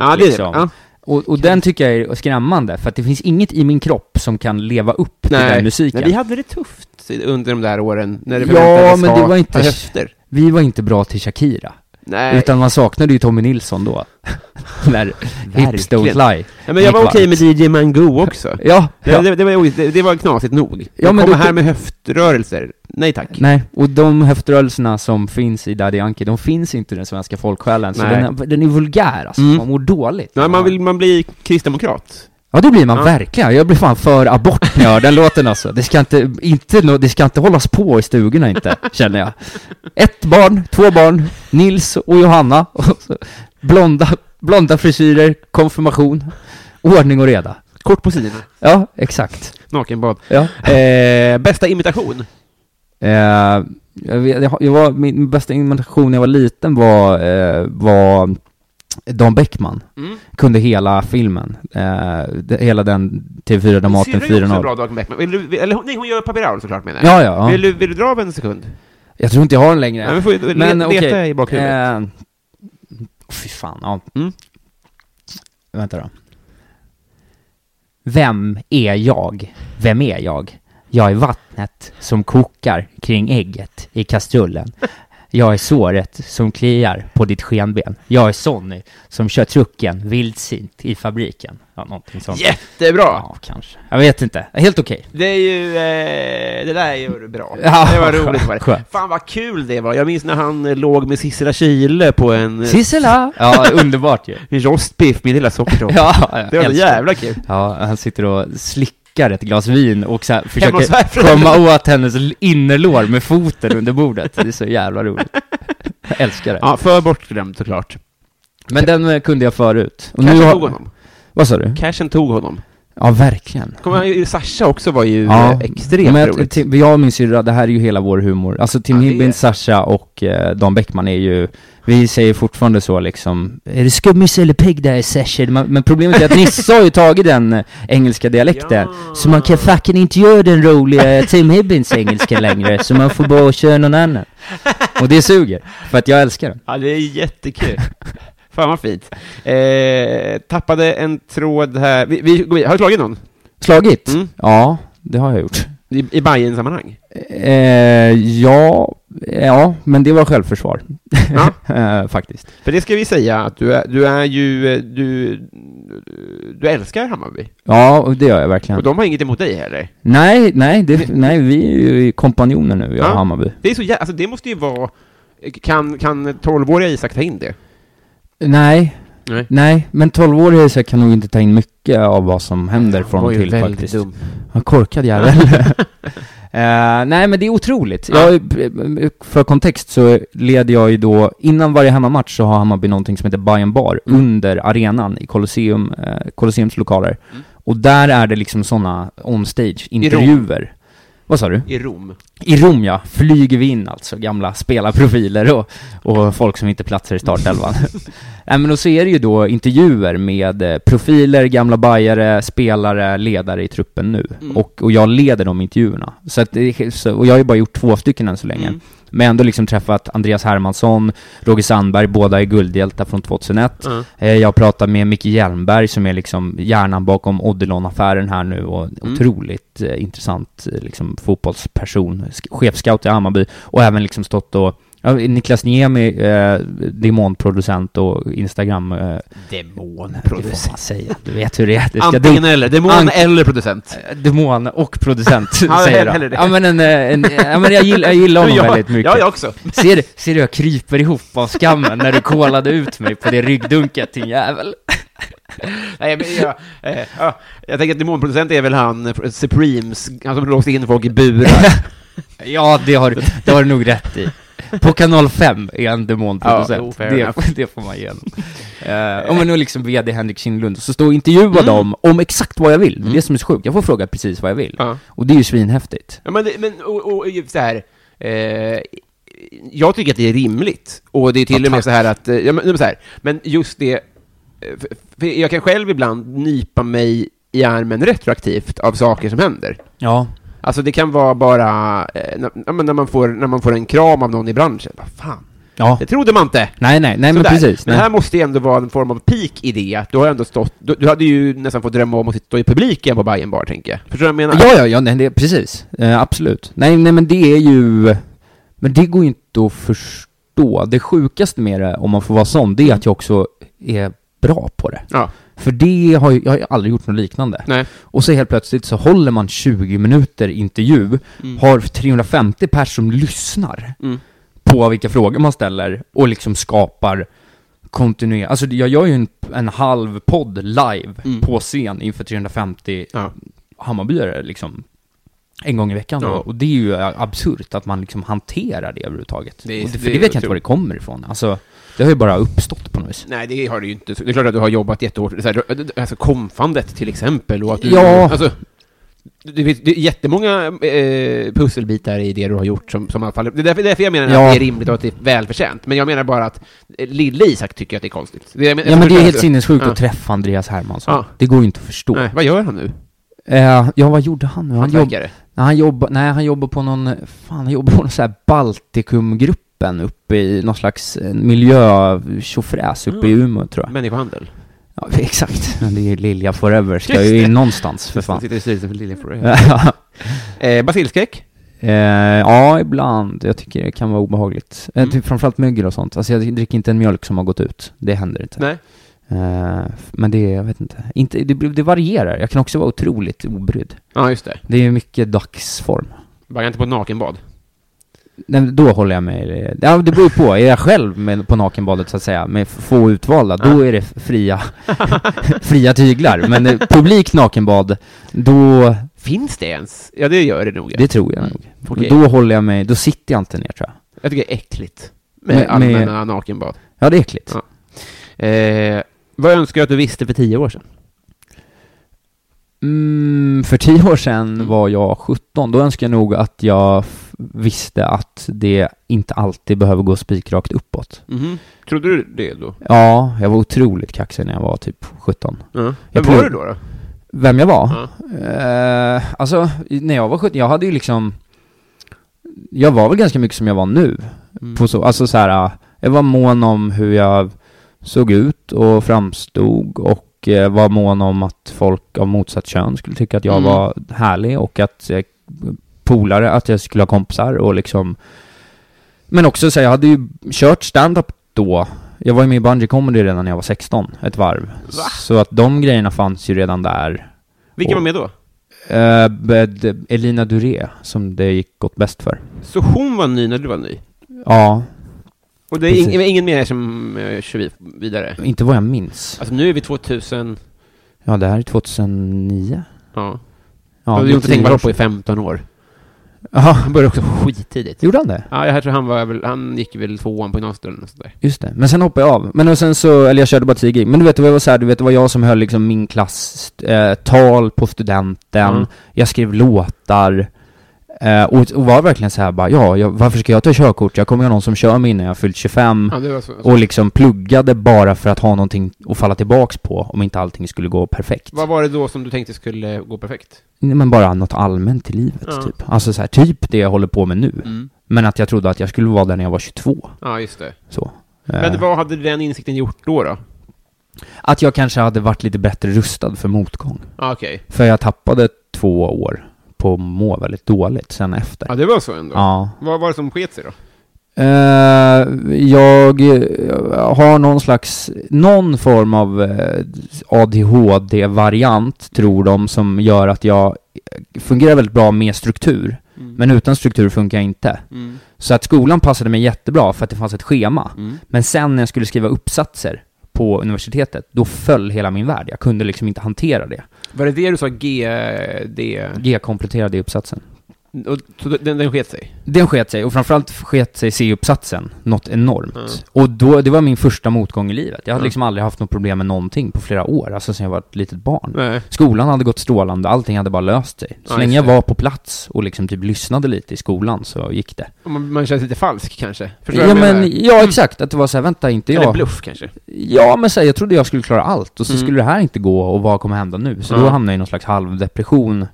Ja, det är det.
liksom.
Ja.
Och, och den tycker jag är skrämmande, för att det finns inget i min kropp som kan leva upp till
Nej.
den musiken.
Nej, vi hade det tufft under de där åren, när det
Ja,
förväntades
men
ha
det var inte-
höfter.
vi var inte bra till Shakira,
Nej.
utan man saknade ju Tommy Nilsson då. När Hips Don't Lie
Ja, men jag var
gick
okej
varmt.
med DJ Mango också.
Ja,
Nej,
ja.
Det, det, var, ju- det, det var knasigt nog.
Ja,
jag
men
kommer
då-
här med höftrörelser. Nej tack.
Nej, och de höftrörelserna som finns i Daddy Yankee, de finns inte i den svenska folksjälen, så
Nej.
den, är- den är vulgär alltså,
Mm.
man mår dåligt.
Nej, man vill man blir kristdemokrat.
Ja, det blir man
Ja.
verkligen. Jag blir fan för abort när jag hör den låten alltså. Det ska inte, inte, nå- det ska inte hållas på i stugorna inte, känner jag. Ett barn, två barn, Nils och Johanna, och så, blonda, blonda frisyrer, konfirmation, ordning och reda.
Kort på sidorna.
Ja, exakt.
Nakenbad.
Ja.
Eh, bästa imitation?
Eh, jag vet, jag, har- jag var, min bästa imitation när jag var liten var, eh, var Dan Bäckman.
Mm.
Kunde hela filmen. Eh, de, hela den TV4 Dramaten
Syrran gör också en
4.0.
bra Dag Beckman. Vill du, vill, eller, nej, hon gör Papi Raul såklart menar jag.
Ja, ja. ja.
Äh, Vill, du, vill du dra av en sekund?
Jag tror inte jag har den längre.
Nej, men får ju le-
Men
leta
okej.
i bakhuvudet.
Eh, fy fan, ja.
Mm.
Vänta då. Vem är jag? Vem är jag? Jag är vattnet som kokar kring ägget i kastrullen. Jag är såret som kliar på ditt skenben. Jag är Sonny som kör trucken vildsint i fabriken. Ja, någonting sånt.
Jättebra!
Ja, kanske. Jag vet inte. Helt okej.
Det är ju, eh, det där gör du bra.
Ja.
Det var roligt var det.
Skönt.
Fan vad kul det var. Jag minns när han eh, låg med Sissela Kyle på en eh,
Sissela! Ja, underbart ju.
rostbiff, min lilla sockertopp.
Ja, jag
Det var
älskar
jävla kul.
Ja, han sitter och slickar ett glas vin och så här
hos
försöker
farfrun.
komma åt hennes l- innerlår med foten under bordet. Det är så jävla roligt. Jag älskar det.
Ja, för bortglömd såklart.
Men den eh, kunde jag förut. Och
Cashen
har-
tog honom.
Vad sa du?
Cashen tog honom.
Ja, verkligen.
Kommer han ju- Sasha också var ju eh, extremt
men jag,
roligt.
Tim, jag och min syrra, det här är ju hela vår humor. Alltså Tim
Ja, det är-
Hibbins, Sasha och eh, Dan Bäckman är ju, vi säger fortfarande så liksom, är det skummis eller pigg där i session? Man, men problemet är att Nisse har ju tagit den eh, engelska dialekten,
Ja.
så man kan fucking inte göra den roliga Tim Hibbins engelska längre, så man får bara köra någon annan. Och det suger, för att jag älskar den.
Ja, det är jättekul. Fan vad fint. Eh, tappade en tråd här. Vi, vi, går vidare. har du slagit någon?
Slagit?
Mm.
Ja, det har jag gjort.
I, i bayern sammanhang
Eh, ja, ja, men det var självförsvar. eh, faktiskt.
För det ska vi säga, att du är, du är ju, eh, du, du älskar Hammarby.
Ja, och det gör jag verkligen.
Och de har inget emot dig heller.
Nej, nej, det, nej, vi är ju kompanjoner nu, jag
Ja.
och Hammarby.
Det är så jä- alltså det måste ju vara, kan, kan 12-åriga Isak ta in det?
Nej,
Nej.
nej, men 12-åriga Isak kan nog inte ta in mycket av vad som händer från och till faktiskt. Ja, korkad jävel. Eh, nej, men det är otroligt. Jag, för kontext så leder jag ju då, innan varje hemmamatch så har Hammarby någonting som heter Bayern Bar under arenan i Colosseum, eh, Colosseums lokaler. Och där är det liksom sådana onstage-intervjuer. Vad sa du?
I Rom.
I Rom ja, flyger vi in alltså, gamla spelarprofiler och, och folk som inte platsar i startelvan. Nej men och så är det ju då intervjuer med eh, profiler, gamla bajare, spelare, ledare i truppen nu. Och, och jag leder de intervjuerna. Så att det, så, och jag har ju bara gjort två stycken än så länge. Men ändå liksom träffat Andreas Hermansson, Roger Sandberg, båda är guldhjältar från 2001.
Mm.
Eh, Jag pratar med Micke Hjelmberg som är liksom hjärnan bakom Odilon-affären här nu och
Mm.
otroligt eh, intressant eh, liksom, fotbollsperson, sk- chefscout i Hammarby och även liksom stått och ja, Niklas Niemi, eh, demonproducent och Instagram... Eh, det
Demonproducent.
får man säga. Du vet hur det är. Det ska
Antingen eller. Demon
Ant-
eller producent.
Eh, Demon och producent,
Ja,
säger
hellre
jag.
det.
Ja men, en, eh, en, ja, men jag gillar, jag gillar honom
Ja,
väldigt mycket.
Ja, jag också.
Ser, du- ser du jag kryper ihop av skammen när du kolade ut mig på det ryggdunket din jävel?
Nej, men jag, eh, ja, jag tänker att demonproducent är väl han, eh, Supremes, han som låste in folk i burar.
Ja, det har, du- det har du nog rätt i. På kanal 5 är en demonproducent.
Ja, jo, fair
det,
enough.
det får man igenom. Eh, om man nu liksom VD Henrik Kindlund, så står och intervjuar
Mm.
dem om exakt vad jag vill. Det är det som är så sjukt. Jag får fråga precis vad jag vill.
Ja.
Och det är ju svinhäftigt.
Ja, men, det- men och, och ju så här, eh, jag tycker att det är rimligt. Och det är till och med så här att, eh, ja, men, men så här, men just det, eh, för, för jag kan själv ibland nypa mig i armen retroaktivt av saker som händer.
Ja.
Alltså det kan vara bara, eh, när, ja, men när, man får, när man får en kram av någon i branschen, vad fan,
Ja.
det trodde man inte!
Nej, nej, nej men
Sådär.
precis.
Men
nej.
här måste ju ändå vara en form av peak i det, att du har ändå stått, du, du hade ju nästan fått drömma om att sitta i publiken på Bajen Bar, tänker jag. Förstår du vad jag menar?
Ja, ja, ja, nej, det, precis. Eh, absolut. Nej, nej, men det är ju... Men det går ju inte att förstå. Det sjukaste med det, om man får vara sån, det är att jag också är bra på det.
Ja.
För det har ju, jag har ju aldrig gjort något liknande.
Nej.
Och så helt plötsligt så håller man 20 minuter intervju, har 350 personer som lyssnar
Mm.
på vilka frågor man ställer och liksom skapar kontinuerligt. Alltså jag gör ju en, en halv podd live
Mm.
på scen inför 350
Ja.
Hammarbyare liksom en gång i veckan
Ja.
då. och det är ju eh, absurt att man liksom hanterar det överhuvudtaget.
Det är-
och det, för
det
det,
är
vet jag inte
otroligt.
var det kommer ifrån. Alltså, det har ju bara uppstått på något vis.
Nej, det har du ju inte. Det är klart att du har jobbat jättehårt. Så här, alltså konfandet till exempel. Och att du,
Ja.
Alltså, det finns det är jättemånga eh, pusselbitar i det du har gjort som, som i alla fall... Det är därför, därför jag menar
Ja.
att det är rimligt och att det är välförtjänt. Men jag menar bara att eh, lille Isak tycker att det är konstigt. Det, jag menar-
Ja men det är
förstår
helt
du?
sinnessjukt
Ja.
att träffa Andreas Hermansson.
Ja.
Det går ju inte att förstå.
Nej, vad gör han nu?
Eh, ja, vad gjorde han nu? Han, jobb,
Hantverkare?
nej, han jobbar, nej, han jobbar på någon, fan, han jobbar på någon sån här Baltikumgruppen uppe i någon slags eh, miljö tjofräs uppe i Umeå tror jag.
Människohandel?
Ja, exakt. Mm. Men det är Lilja Forever, ska
Just
ju
det.
in någonstans för
Han
fan.
sitter i styrelsen för Liljeforever. Eh, Basilskräck?
Eh, ja, ibland. Jag tycker det kan vara obehagligt. Eh,
Mm.
typ framförallt mögel och sånt. Alltså jag dricker inte en mjölk som har gått ut. Det händer inte.
Nej.
Eh, f- men det, jag vet inte. inte det, det varierar. Jag kan också vara otroligt obrydd.
Ja, just det.
Det är mycket dagsform.
Baggar inte på nakenbad?
Nej, men då håller jag mig... Ja, det beror ju på. Är jag själv med, på nakenbadet så att säga, med f- få utvalda, då är det f- fria, fria tyglar. Men eh, publikt nakenbad, då...
Finns det ens? Ja, det gör det nog. ja. Mm,
Det tror jag nog.
Okej.
Då håller jag mig... Då sitter jag inte ner tror jag.
Jag tycker det är äckligt. Med,
Med- med-
allmänna nakenbad.
Ja, det är äckligt.
Ja. Eh, vad önskar jag att du visste för tio år sedan?
Mm, för tio år
Mm.
sedan var jag 17. Då önskar jag nog att jag f- visste att det inte alltid behöver gå spikrakt uppåt.
Mhm. Trodde du det då?
Ja, jag var otroligt kaxig när jag var typ 17.
Ja. Vem
Jag
var
tror-
du då? då?
Vem jag var?
Ja.
Eh, alltså, i- när jag var 17, jag hade ju liksom... Jag var väl ganska mycket som jag var nu.
Mm.
På så, alltså så här, eh, jag var mån om hur jag såg ut och framstod och eh, var mån om att folk av motsatt kön skulle tycka att jag
Mm.
var härlig och att jag polare, att jag skulle ha kompisar och liksom... Men också så här, jag hade ju kört stand-up då. Jag var ju med i Bungee Comedy redan när jag var 16, ett varv. Så att de grejerna fanns ju redan där.
Vilka
Och-
var med då?
Eh, bed- Elina Duré, som det gick gått bäst för.
Så hon var ny när du var ny?
Ja,
Och det är ing-
Precis.
ingen mer som eh, kör vi- vidare?
inte vad jag minns.
Alltså nu är vi 2000...
Ja, det här är 2009.
Ja.
Ja,
och du har gjort
tio år
Tengvall på i
sedan.
15 år.
Ja,
Han började också skittidigt.
gjorde han det?
Ja, jag tror han var väl, han gick väl tvåan på gymnasiet eller något sånt där.
Just det. Men sen hoppade jag av. Men och sen så, eller jag körde bara tio gig. Men du vet, det var så här, du vet, det var jag som höll liksom min klass eh, tal på studenten.
Mm.
Jag skrev låtar. Eh, och, och var verkligen så här bara, ja, jag, varför ska jag ta körkort? Jag kommer ju ha någon som kör mig innan jag har fyllt 25.
Ja, det var så.
Och liksom pluggade bara för att ha någonting att falla tillbaks på om inte allting skulle gå perfekt.
Vad var det då som du tänkte skulle gå perfekt?
Nej, Men bara något allmänt i livet,
Ja.
typ. Alltså så här, typ det jag håller på med nu.
Mm.
Men att jag trodde att jag skulle vara där när jag var 22.
Ja, just det.
Så.
Men
Eh,
vad hade den insikten gjort då? då?
Att jag kanske hade varit lite bättre rustad för motgång.
Ja, okej.
För jag tappade två år på att må väldigt dåligt sen efter.
Ja, det var så ändå.
Ja.
Vad var det som sket sig då?
Eh, jag eh, har någon slags, någon form av eh, ADHD-variant tror de som gör att jag fungerar väldigt bra med struktur.
Mm.
Men utan struktur funkar jag inte. Så att skolan passade mig jättebra för att det fanns ett schema.
Mm.
Men sen när jag skulle skriva uppsatser på universitetet, då föll hela min värld. Jag kunde liksom inte hantera det.
Var det det du sa? G... D...
G-kompletterade i uppsatsen.
Och, så den, den sket sig?
Den sket sig, och framförallt sket sig C-uppsatsen något enormt.
Mm.
Och då, det var min första motgång i livet. Jag hade liksom aldrig haft något problem med någonting på flera år, alltså sen jag var ett litet barn.
Nej.
Skolan hade gått strålande, allting hade bara löst sig. Så
Mm. Ja,
länge
just
jag
det.
var på plats och liksom typ lyssnade lite i skolan så gick det.
Man, man känns lite falsk kanske? Förstår du
Ja
vad jag menar?
men, ja exakt, att Mm. det var såhär, vänta inte
Eller
jag.
bluff kanske?
Ja men säg, jag trodde jag skulle klara allt och så skulle det här inte gå och vad kommer hända nu? Så då
Ja.
hamnade jag i någon slags halvdepression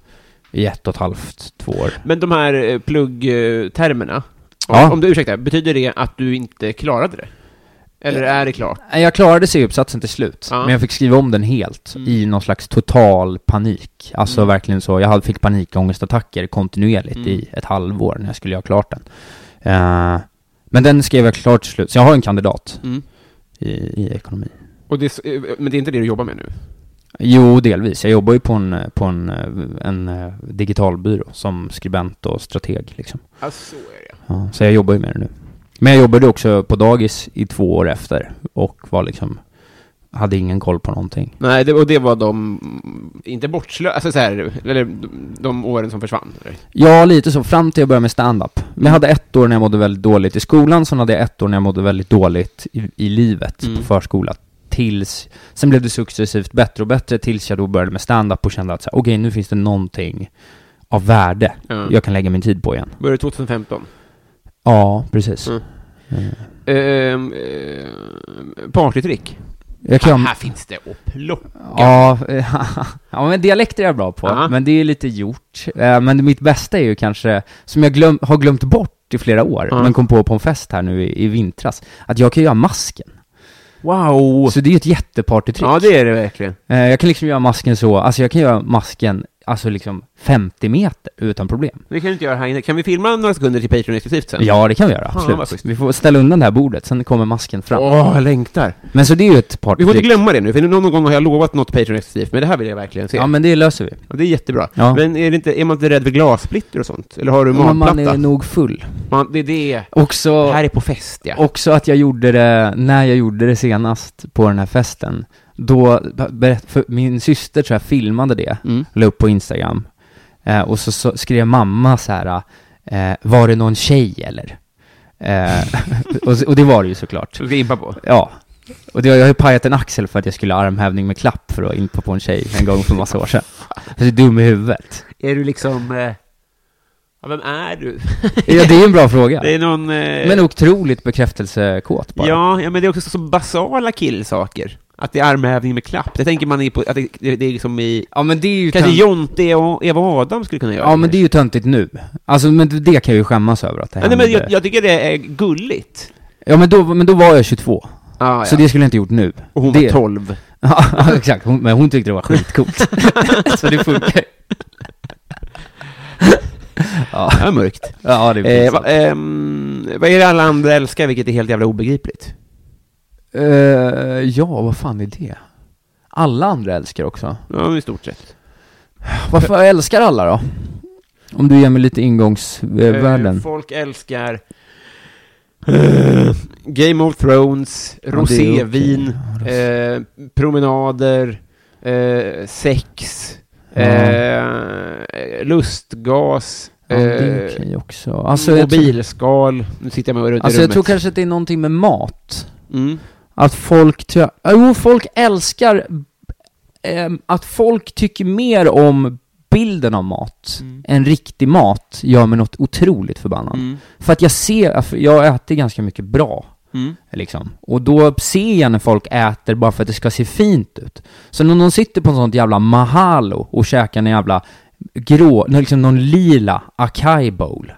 i ett och ett halvt, två år.
Men de här eh, pluggtermerna,
Ja.
om du ursäktar, betyder det att du inte klarade det? Eller är det klart?
Nej, Jag klarade C-uppsatsen till slut,
Ja.
men jag fick skriva om den helt i någon slags total panik. Alltså verkligen så, jag hade- fick panikångestattacker kontinuerligt i ett halvår när jag skulle göra klart den. Eh, men den skrev jag klart till slut, så jag har en kandidat
Mm.
i, i ekonomi.
Och det, är s- eh, men det är inte det du jobbar med nu?
Jo, delvis. Jag jobbar ju på en, på en, eh, en eh, digital byrå som skribent och strateg liksom.
Ja, så är det.
Ja, så jag jobbar ju med det nu. Men jag jobbade också på dagis i två år efter och var liksom, hade ingen koll på någonting.
Nej, det, och det var de, mm, inte bortslösa, alltså så här, eller de, de åren som försvann? Eller?
Ja, lite så. Fram till jag började med stand-up. Men jag hade ett år när jag mådde väldigt dåligt i skolan, sen hade jag ett år när jag mådde väldigt dåligt i, i livet på förskola. Tills, sen blev det successivt bättre och bättre tills jag då började med stand-up och kände att så här, okej, nu finns det någonting av värde
Ja.
jag kan lägga min tid på igen.
Började 2015?
Ja, precis.
Mm. Ehm, eh, partytrick?
Jag kan,
Här, här finns det att plocka.
ja, ja, men dialekter är jag bra på,
Ja.
men det är lite gjort. Eh, Men mitt bästa är ju kanske, som jag glöm, har glömt bort i flera år,
Ja.
men kom på på en fest här nu i, i vintras, att jag kan göra masken.
Wow!
Så det är ju ett jättepartytrick.
Oh. Ja, det är det verkligen.
Eh, Jag kan liksom göra masken så, alltså jag kan göra masken, alltså liksom 50 meter utan problem.
Det kan du inte göra här inne. Kan vi filma några sekunder till Patreon exklusivt sen?
Ja, det kan vi göra,
Fan, Mm. Ah, vad
absolut.
schysst.
Vi får ställa undan det här bordet, sen kommer masken fram.
Åh, jag längtar.
Men så det är ju ett
Vi
partytrick.
får inte glömma det nu, för någon gång har jag lovat något Patreon exklusivt, men det här vill jag verkligen se.
Ja, men det löser vi.
Och det är jättebra.
Ja.
Men är, det inte, är man inte rädd för glassplitter och sånt? Eller har du
Men
magplatta?
man är nog full.
Man- det är det. Det
Också,
här är på fest, ja.
också att jag gjorde det, när jag gjorde det senast på den här festen, då, berätt, för min syster tror jag filmade det,
Mm.
la upp på Instagram. Eh, och så, så skrev mamma så här, eh, var det någon tjej eller? Eh, och, och det var det ju såklart.
Så ska jag impa på.
Ja. Och det, jag har ju pajat en axel för att jag skulle ha armhävning med klapp för att impa på en tjej en gång för massa år sedan. Jag är dum i huvudet.
Är du liksom... Eh... Ja, vem är du?
Ja, det är en bra fråga.
Det är någon... Eh...
Men otroligt bekräftelsekåt bara.
ja, ja, men det är också så basala killsaker. Att det är armhävning med klapp. Det tänker man i på, att det, det, det är liksom i...
ja men det är ju
Kanske
tönt-
Jonte och Eva Adam skulle kunna göra
Ja men det är ju töntigt nu. Alltså men det kan jag ju skämmas över att
Ja,
det hände.
nej, men jag, jag tycker det är gulligt.
Ja men då, men då var jag 22.
Ah,
Så det skulle jag inte gjort nu.
Och hon
det...
var 12.
Ja exakt, hon, men hon tyckte det var skitcoolt. så det funkar Ja,
Det var mörkt.
ja det är
Eh, va, ehm, vad är det alla andra älskar, vilket är helt jävla obegripligt?
Eh, ja, vad fan är det? Alla andra älskar också.
Ja, i stort sett.
Varför älskar alla då? Om du ger mig lite
Eh,
ingångsvärden.
folk älskar eh, Game of Thrones,
det är
rosévin,
okej. Ja,
eh, promenader, eh, sex, eh, lustgas,
ja, det är
eh,
okej också. Alltså, jag, tror,
mobilskal. Nu sitter jag med runt
alltså
i
jag
rummet.
tror kanske att det är någonting med mat.
mm.
Att folk... tror jag- Jo, folk älskar... ehm, att folk tycker mer om bilden av mat än riktig mat gör mig något otroligt förbannat.
Mm.
För att jag ser... för Jag äter ganska mycket bra.
Mm.
Liksom. Och då ser jag när folk äter bara för att det ska se fint ut. Så när någon sitter på en sån jävla mahalo och käkar en jävla grå, nå- liksom någon lila acai bowl.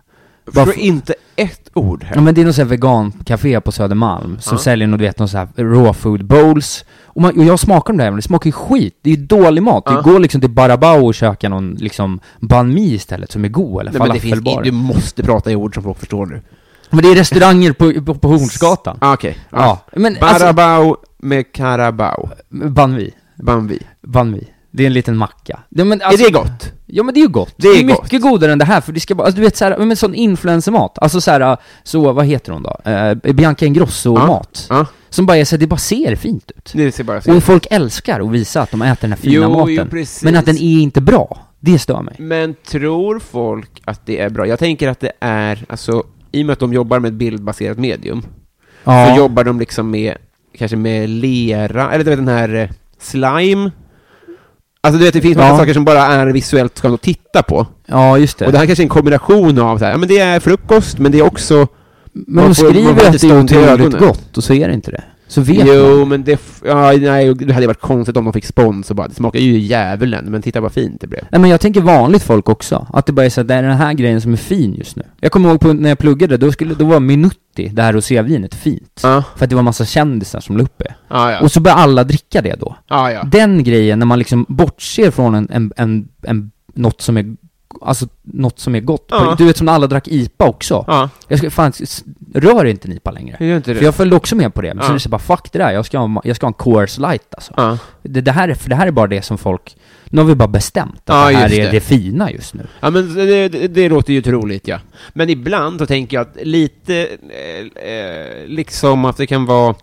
Bara
Förstår
för-
inte ett ord
Ja
här.
men det är någon sån här vegancafé på Södermalm som
Ja.
säljer någon, du vet, någon sån här raw food bowls. Och, man, och jag smakar de där jävlarna, det smakar ju skit. Det är ju dålig mat.
Ja.
Det går liksom till Barabao och käka någon liksom banh mi istället som är god eller
Nej, men det finns,
falafelbar.
du måste prata i ord som folk förstår nu.
men det är restauranger på, på, på Hornsgatan.
Ah, Okej.
Ja. Men alltså,
Barabao med Karabao.
banh mi.
Bambi.
Banh mi. Det är en liten macka. Ja, men
är
alltså-
det gott?
Ja men det är ju gott.
Det
Det
är
är, mycket godare än det här, för det ska bara, alltså, du vet såhär, men sån influencermat. Alltså såhär, så vad heter hon då? Eh, Bianca Ingrosso-mat.
Ja.
Som bara är så här, det bara ser fint ut.
Det ser bara så
Och folk älskar att visa att de äter den här fina
Jo, jo,
maten.
precis.
men att den är inte bra. Det stör mig.
Men tror folk att det är bra? Jag tänker att det är, alltså, i och med att de jobbar med ett bildbaserat medium, så
Ja,
jobbar de liksom med, kanske med lera, eller du vet den här eh, slime. Alltså du vet, det finns massa
Ja.
saker som bara är visuellt skönt att titta på.
ja just det.
Och det här kanske är en kombination av så här, ja men det är frukost, men det är också...
men
man
de
får- man får
skriver
lite
att det
stånd
är
i
otroligt
ögonen.
gott, och så är det inte det. Så vet
jo,
man.
men det... f- Ja, nej, det hade varit konstigt om de fick spons och bara, det smakar ju djävulen, men titta vad fint det blev.
Nej men jag tänker vanligt folk också, att det bara är så att det är den här grejen som är fin just nu. Jag kommer ihåg på, när jag pluggade, då, skulle, då var Minutti, det här rosévinet, fint.
Ja,
För att det var massa kändisar som la upp det.
ja, ja.
Och så började alla dricka det då.
ja, ja.
Den grejen, när man liksom bortser från en, en, en, en, något som är, alltså något som är gott.
Ja.
Du vet som när alla drack IPA också.
Ja,
Jag ska, fan, s- rör inte en IPA längre.
hur gör inte
För
det?
jag följde också med på det, men
Ja.
sen är det så bara fuck det där, jag ska ha, ma- jag ska ha en Coors light alltså.
Ja.
Det, det här är, för det här är bara det som folk, nu har vi bara bestämt att
Ja,
det här
just
är
det.
det. fina just nu.
Ja, men det, det, det låter ju troligt, ja. Men ibland så tänker jag att lite, eh, eh, liksom att det kan vara...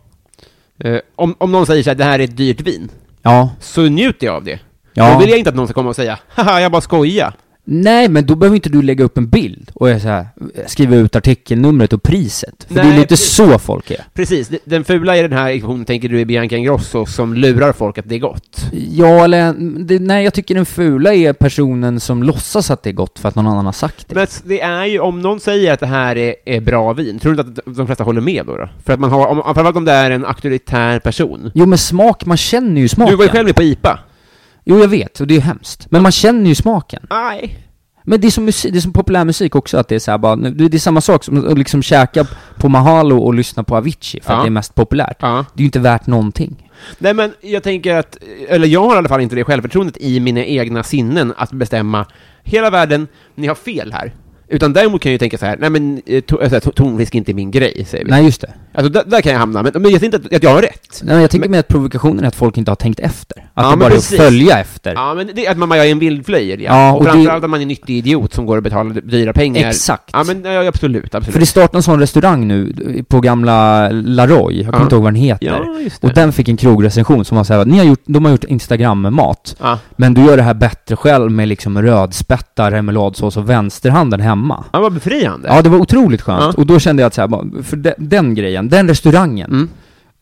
Eh, om, om någon säger så här, det här är ett dyrt vin,
Ja.
så njuter jag av det.
Ja.
Då vill jag inte att någon ska komma och säga, haha, jag bara skojar.
Nej, men då behöver inte du lägga upp en bild och jag så här, skriva ut artikelnumret och priset. För det
Nej,
är lite
precis.
så folk är.
Precis, d- den fula i den här ekvationen tänker du är Bianca Ingrosso som lurar folk att det är gott.
Ja, eller det, nej, jag tycker den fula är personen som låtsas att det är gott för att någon annan har sagt det.
Men s- det är ju, om någon säger att det här är, är bra vin, tror du inte att de flesta håller med då? då? För att man har, om, framförallt om det är en auktoritär person.
Jo, men smak, man känner ju
Du
smaken.
var ju själv med på IPA.
Jo, jag vet, och det är ju hemskt. Men man känner ju smaken.
Nej.
Men det är som, musik, det är som populär musik också, att det är så här bara, det det är samma sak som att liksom käka på Mahalo och lyssna på Avicii för
Ja.
att det är mest populärt.
Ja.
Det är ju inte värt någonting.
Nej men jag tänker att, eller jag har i alla fall inte det självförtroendet i mina egna sinnen att bestämma hela världen, ni har fel här. Utan däremot kan jag ju tänka så här, nej men eh, to- alltså, to- tonfisk är inte min grej, säger vi.
Nej, just det.
Alltså där, där kan jag hamna, men, men jag ser inte att, att jag har rätt.
Nej, jag tänker mer att provokationen är att folk inte har tänkt efter. Att
Ja,
det
men
bara är att
precis.
följa efter.
Ja men det är att man bara är en vildflöjer, ja.
Ja,
och,
och det-
framförallt att man är en nyttig idiot som går och betalar dyra pengar.
Exakt.
Ja men ja, absolut, absolut.
För det startade en sån restaurang nu eh, på gamla Laroy, jag kommer
Ja.
inte ihåg vad den heter.
Ja, just det.
och den fick en krogrecension som var såhär, ni har gjort, de har gjort Instagram-mat,
Ja.
men du gör det här bättre själv med liksom rödspätta, remouladsås och vänsterhanden hemma.
Ja, vad befriande.
Ja, det var otroligt skönt.
Ja.
Och då kände jag att så här, bara, för de, den grejen, den restaurangen,
Mm.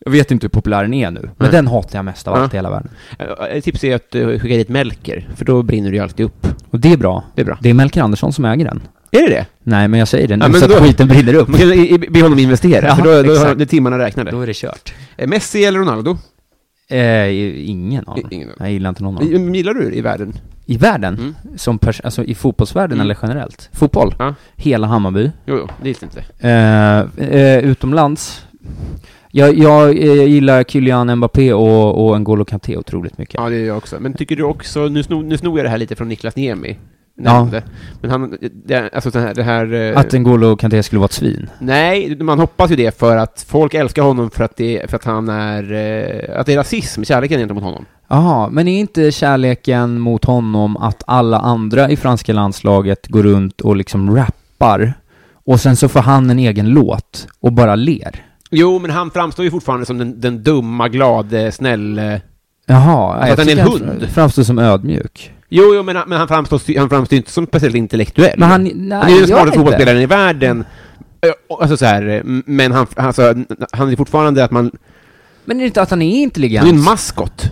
jag vet inte hur populär den är nu, men
Nej.
den hatar jag mest av
Ja.
allt i hela världen.
Eh, Ett tips är att eh, skicka dit Melker, för då brinner du ju alltid upp.
Och det är bra.
Det är bra.
Det är Melker Andersson som äger den.
Är det det?
Nej, men jag säger det nu
Ja, men
så att
då-
skiten brinner upp.
Man kan i- i- be honom investera,
Ja,
för då, då har
exakt.
det timmarna räknade.
Då är det kört.
Eh, Messi eller Ronaldo?
Eh, ingen aning.
I- ingen aning.
Jag gillar inte någon av dem.
Mm. Gillar du det i världen?
I världen?
Mm.
Som pers- alltså i fotbollsvärlden
Mm.
eller generellt? Fotboll?
Ja.
Hela Hammarby.
Jo, jo, det gills inte.
Eh, eh, utomlands? Jag, jag eh, gillar Kylian Mbappé och, och N'Golo Kanté otroligt mycket.
Ja, det gör jag också. Men tycker du också, nu snor, nu snor jag det här lite från Niklas Niemi,
Ja.
nämnde. Men han, det, alltså det här, det här eh,
Att N'Golo Kanté skulle vara ett svin?
nej, man hoppas ju det för att folk älskar honom för att det, för att han är, eh, att det är rasism, kärleken gentemot honom.
Jaha, men är inte kärleken mot honom att alla andra i franska landslaget går runt och liksom rappar och sen så får han en egen låt och bara ler?
Jo, men han framstår ju fortfarande som den, den dumma, glade, snäll... eh,
Jaha,
Att han är
tycker
en
han
hund.
framstår som ödmjuk.
Jo, jo, men, han- men han framstår ju han framstår ju inte som speciellt intellektuell.
Men han, nej,
han är ju den
gör
smartaste
inte.
fotbollsspelaren i världen. Eh, och- Alltså så här, eh, m- men han, alltså, n- han är fortfarande att man...
Men är det inte att han är intelligent?
Han är en maskot.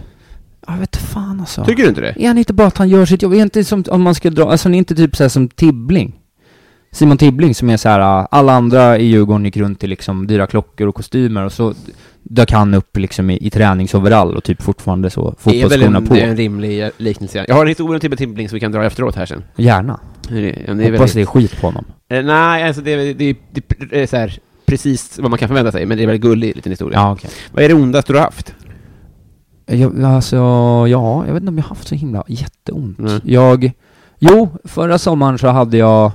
Jag vet fan alltså.
Tycker du inte det?
Är han inte bara att han gör sitt jobb? Är inte som, om man ska dra, alltså han är inte typ såhär som Tibbling? Simon Tibbling som är så här, äh, alla andra i Djurgården gick runt i liksom dyra klockor och kostymer och så dök han upp liksom i, i träningsoverall och typ fortfarande så
Det är väl
fotbollsskorna
en,
på.
det är en rimlig eh, liknelse. Jag har en historia om Tibbe Tibbling som vi kan dra efteråt här sen.
Gärna.
Det är, det är
Hoppas det är
väldigt-
skit på honom.
Eh, Nej, alltså det är, det är, det är, det är så här, precis vad man kan förvänta sig, men det är väldigt gullig liten historia.
Ja, okej.
Vad är det ondaste du har haft?
Jag, alltså, ja, jag vet inte om jag har haft så himla jätteont.
Nej.
Jag, jo, förra sommaren så hade jag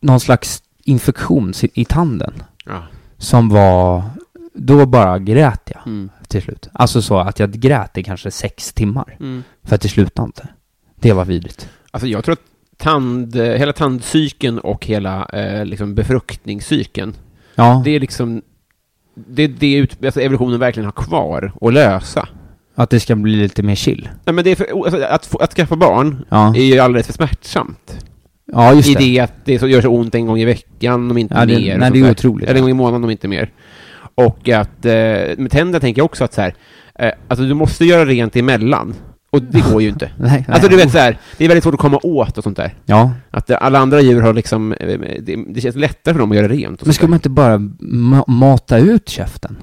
någon slags infektion si- i tanden.
Ja.
Som var, då bara grät jag
Mm.
till slut. Alltså så att jag grät i kanske sex timmar. För att det slutade inte. Det var vidrigt.
Mm. Alltså jag tror att tand, eh, hela tandcykeln och hela eh, liksom befruktningscykeln,
Ja,
det är liksom det, det är ut, alltså evolutionen verkligen har kvar att lösa.
Att det ska bli lite mer chill.
Nej, men det är för, alltså, att, få- att skaffa barn
Ja,
är ju alldeles för smärtsamt.
ja just
I
det.
det att det så, gör så ont en gång i veckan, om inte
Ja, det-
mer. och
nej,
sånt
det är
där.
otroligt.
Eller en gång i månaden, om inte mer. Och att, eh, med tänder tänker jag också att så här, eh, alltså du måste göra rent emellan. Och det går ju inte.
Nej, nej.
Alltså du vet så här, det är väldigt svårt att komma åt och sånt där.
Ja.
Att eh, alla andra djur har liksom, eh, det, det känns lättare för dem att göra rent. och sånt
Men ska
där.
man inte bara ma- mata ut käften?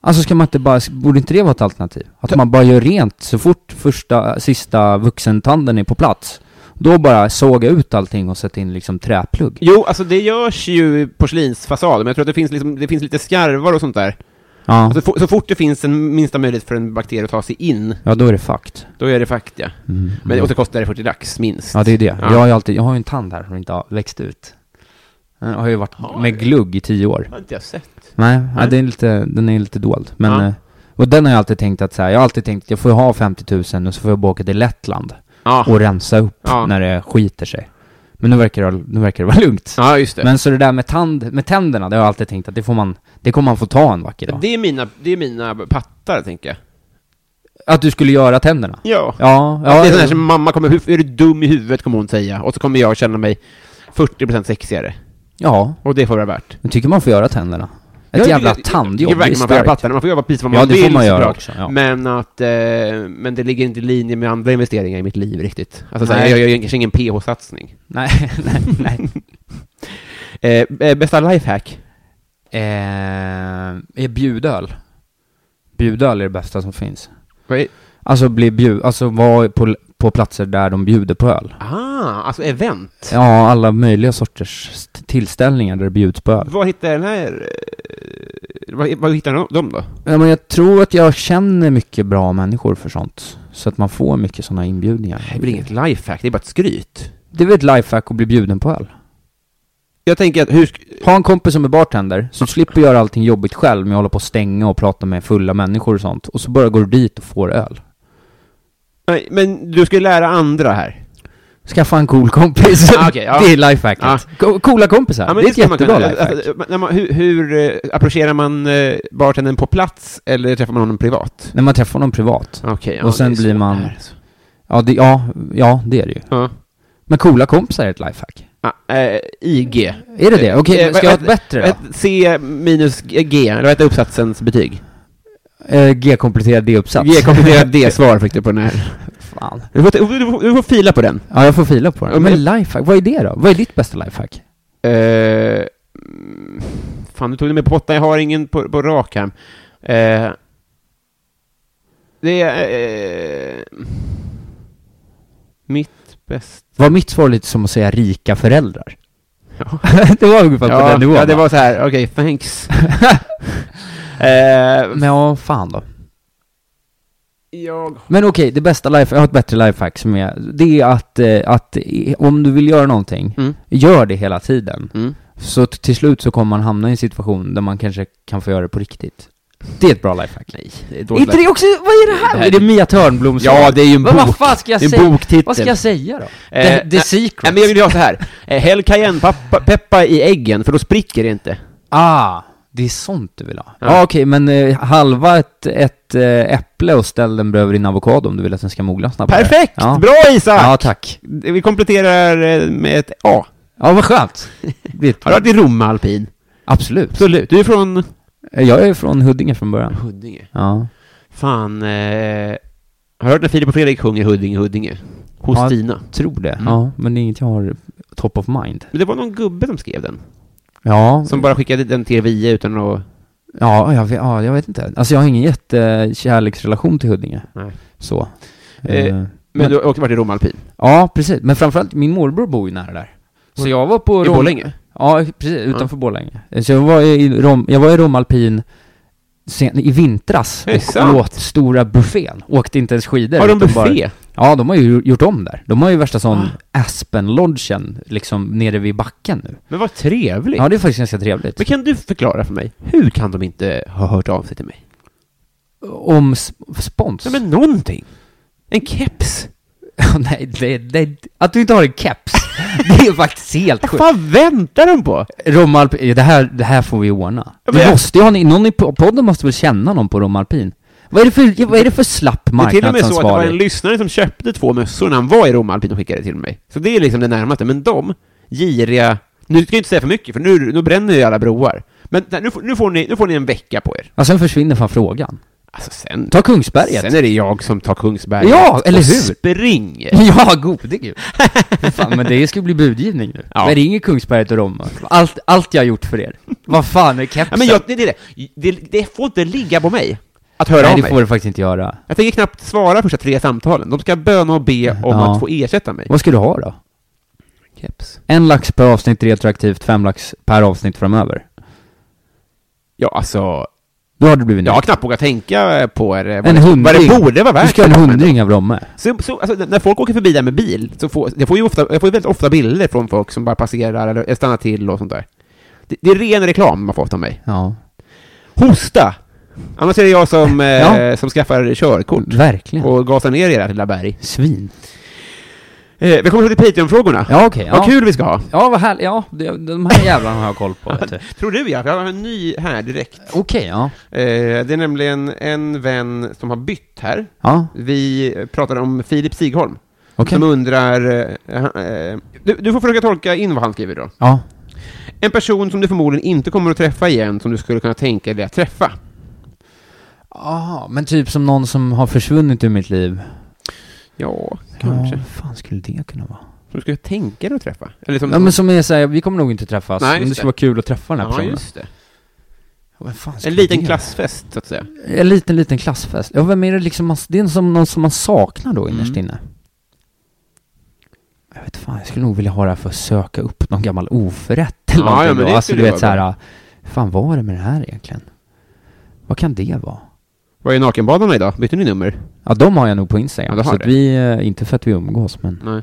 Alltså ska man inte bara, borde inte det vara ett alternativ? Att man bara gör rent så fort första, sista vuxentanden är på plats. Då bara såga ut allting och sätta in liksom träplugg.
Jo, alltså det görs ju porslinsfasader, men jag tror att det finns, liksom, det finns lite skarvar och sånt där.
Ja,
Alltså, fo- så fort det finns en minsta möjlighet för en bakterie att ta sig in,
ja då är det fucked.
då är det fakt, ja.
Mm.
Men, och så kostar det 40 lax, minst.
Ja, det är det.
Ja.
Jag har ju alltid, jag har ju en tand här som inte har växt ut. Den har ju varit
Har du?
med glugg i tio år.
har inte jag sett.
Nej, ja,
Nej.
den, är lite, den är lite dold. Men,
Ja.
eh, och den har jag alltid tänkt att så här, jag har alltid tänkt att jag får ha 50 000 och så får jag bara åka till Lettland
Ja,
och rensa upp
Ah. Ja.
när det skiter sig. Men nu verkar det, nu verkar det vara lugnt.
ja just det.
Men så det där med, tand, med tänderna, det har jag alltid tänkt att det får man, det kommer man få ta en vacker dag.
det, är mina, det är mina pattar, tänker jag.
Att du skulle göra tänderna?
Ja.
Ja, ja.
det är sån här som mamma kommer, hur, är du dum i huvudet, kommer hon säga. Och så kommer jag känna mig 40% sexigare.
ja.
Och det får vara värt.
Jag tycker man får göra tänderna. Ett
Ja,
jävla
det- det-
tandjobb,
det är
det är
verkligen man får göra
starkt.
pattarna. Man får göra precis vad man
Ja, det
vill
får man göra
såklart.
också. Ja.
Men att, eh, men det ligger inte i linje med andra investeringar i mitt liv riktigt. Alltså såhär,
Nej.
jag jag gör kanske ingen PH-satsning.
Nej, nej, nej.
Eh, eh, bästa lifehack?
Eh, är bjudöl? Bjudöl är det bästa som finns.
Vad är-
Alltså bli bjud, alltså vara på, på platser där de bjuder på öl.
Ah, alltså event.
Ja, alla möjliga sorters st- tillställningar där det bjuds på öl.
Vad hittar den här... eh, Vad, vad hittar de- de då?
Ja, men jag tror att jag känner mycket bra människor för sånt. Så att man får mycket sådana inbjudningar.
Det är väl inget lifehack, det är bara ett skryt.
Det är väl ett lifehack att bli bjuden på öl.
Jag tänker att hur... sk-
Ha en kompis som är bartender, så du slipper göra allting jobbigt själv med att hålla på och stänga och prata med fulla människor och sånt. Och så bara går du dit och får öl.
Nej, men du ska ju lära andra här.
Skaffa en cool kompis.
Ah, okej, ja.
Det är lifehacket.
Ja.
Co- Coola kompisar.
Ja, men
det är ett
ska man
jättebra
kunna-
lifehack.
alltså, när man- Hur, hur eh, approcherar man eh, bartendern på plats eller träffar man honom privat?
När man träffar någon privat.
Okej, ja,
Och sen
det är
blir
så
man-
här, alltså.
Ja, det, ja, ja, det är det ju.
Ja.
Men coola kompisar är ett lifehack.
Ah, eh, IG.
Är det det? Okej,
Eh,
men ska jag ha ett
vad-
bättre då?
Ett C minus G, eller vad heter uppsatsens betyg?
Eh, G-kompletterad D-uppsats.
G kompletterat D-svar fick du på den här.
Fan.
Du får, du får, du får fila på den.
Ja, jag får fila på
Ja,
den.
men-
Men lifehack, vad är det då? Vad är ditt bästa lifehack?
Eh, mm, fan, du tog det med på pottan. Jag har ingen på, på rak arm. Eh, det är... Eh, mitt bäst...
Var mitt svar lite som att säga rika föräldrar?
Ja.
det var ungefär på den nivån.
ja, det
va?
var så här. Okej, thanks. eh,
Men ja, fan då.
jag...
Men okej, det bästa life, jag har ett bättre lifehack som är, det är att, eh, att eh, om du vill göra någonting,
Mm.
gör det hela tiden.
Mm.
Så t- till slut så kommer man hamna i en situation där man kanske kan få göra det på riktigt. Det är ett bra lifehack.
Nej, det är
Är
dåligt.
inte det också, vad är det här?
Det här-
är det Mia Törnbloms
Ja, det är ju en
Vad-
bok.
Vad fan ska jag
Det är en
säga?
boktitel.
Vad ska jag säga då?
Eh,
the, the
nej,
Secret?
Nej, men jag vill ju ha så här. Eh, Häll cayennepeppar i äggen, för då spricker det inte.
Ah, det är sånt du vill ha. Ja,
Ja.
okej, men eh, halva ett, ett eh, äpple och ställ den bredvid din avokado om du vill att den ska mogla snabbare.
Perfekt!
Ja.
Bra Isak!
Ja, tack.
Vi kompletterar eh, med ett A.
Ja, vad skönt. Det är ett-
Har du varit i Rom alpin?
Absolut. Eh,
Absolut. Du är från...
Jag är från Huddinge från början.
Huddinge.
Ja.
Fan, eh... Har du hört när Filip och Fredrik sjunger Huddinge, Huddinge? Hos
Ja.
Tina.
Tror det.
Mm.
Ja, men det är inget jag har top of mind.
Men det var någon gubbe som skrev den.
Ja,
Som bara skickade den till er via utan att...
ja, jag vet, ja, jag vet inte. Alltså jag har ingen jättekärleksrelation till Huddinge.
Nej.
Så.
Eh,
Eh,
Men du har också varit i Rom alpin?
Ja, precis. Men framförallt, min morbror bor ju nära där. Så jag var på...
I
Rom-
Borlänge?
Ja, precis. Utanför Borlänge. Så jag var i Rom, jag var i Rom Alpin sen, i vintras
Är det
och
sant?
åt stora buffén. Åkte inte ens skidor.
Har de
utan bara-
buffé? Ah.
Ja, de har ju gjort om där. De har ju värsta sån Aspen-lodgen, liksom nere vid backen nu.
Men vad trevligt!
Ja, det är faktiskt ganska trevligt.
Men kan du förklara för mig, hur kan de inte ha hört av sig till mig?
Om sp- spons?
Nej, men någonting. En keps.
nej, det, det, att du inte har en keps, det är faktiskt helt
Vad
sjukt.
fan väntar de på?
Romalpin, det här, det här får vi ordna.
Ja, men
Det
jag-
måste ju ha, ni- någon i po- podden måste väl känna någon på Romalpin? Vad är det för, vad är det för slapp
Det är till och med så att det var en
marknadsansvarig?
lyssnare som köpte två mössor när han var i Romalpin och skickade till mig. Så det är liksom det närmaste. Men de, giriga... Nu ska jag inte säga för mycket, för nu, nu bränner ju alla broar. Men nej, nu, får- nu, får ni, nu får ni en vecka på er.
Ja, sen försvinner fan frågan.
Alltså sen...
Ta Kungsberget.
Sen är det jag som tar Kungsberget.
Ja, eller
och
hur?
springer.
Ja, gode gud. Fy fan, men det ska bli budgivning nu.
Ja.
Men ringer Kungsberget och Roma. Allt, allt jag har gjort för er. Vad fan är kepsen?
Ja, men jag, det, det, är det. det, det får inte ligga på mig att höra
Nej,
av
det
mig.
får du faktiskt inte göra.
Jag tänker knappt svara första tre samtalen. De ska böna och be om
Ja.
att få ersätta mig.
Vad ska du ha då?
Keps.
En lax per avsnitt retroaktivt, fem lax per avsnitt framöver.
Ja, alltså...
Då har du blivit
Jag har
nöjd.
knappt vågat tänka på eh, vad,
En
det,
hundring.
vad det borde vara värt.
Du ska ha en hundring av Romme.
Så, så, alltså, när folk åker förbi där med bil, så får, jag, får ju ofta, jag får ju väldigt ofta bilder från folk som bara passerar eller eh, stannar till och sånt där. Det, det är ren reklam man får fått av mig.
Ja,
Hosta! Annars är det jag som, eh,
Ja.
som skaffar körkort
verkligen.
och gasar ner i det här lilla berg.
Svin.
Eh, vi kommer till Patreon-frågorna.
Ja, okej.
Vad
ja.
kul vi ska ha!
Ja, vad härligt. Ja, det- de här jävlarna har jag koll på. vet du.
Tror du ja, för jag har en ny här direkt.
Okej, ja.
Eh, det är nämligen en vän som har bytt här.
Ja,
Vi pratade om Filip Sigholm,
okej.
som undrar... Eh, han- eh, du, du får försöka tolka in vad han skriver då.
Ja.
En person som du förmodligen inte kommer att träffa igen, som du skulle kunna tänka dig att träffa.
Aha, men typ som någon som har försvunnit ur mitt liv.
Ja, kanske.
Ja, vad fan skulle det kunna vara?
Som du skulle tänka dig att träffa. Eller som
Ja, men som är såhär, vi kommer nog inte träffas,
Nej,
men
just
det skulle
det.
vara kul att träffa den här
ja,
personen.
just det.
Ja, vem fan skulle
En liten
det-
klassfest, så att säga.
En liten, liten klassfest. Ja, vem är det liksom man, det är som någon som man saknar då innerst
Mm.
inne. Jag vet fan, jag skulle nog vilja ha det här för att söka upp någon gammal oförrätt eller
Ja,
någonting
ja, men
då.
det
Alltså
skulle
du
ju
vet
vara
såhär, fan vad är det med det här egentligen? Vad kan det vara?
Var är nakenbadarna idag? Bytte ni nummer?
Ja, de har jag nog på
Ja,
Instagram.
du har
så att
det.
vi, eh, inte för att vi umgås men.
Nej.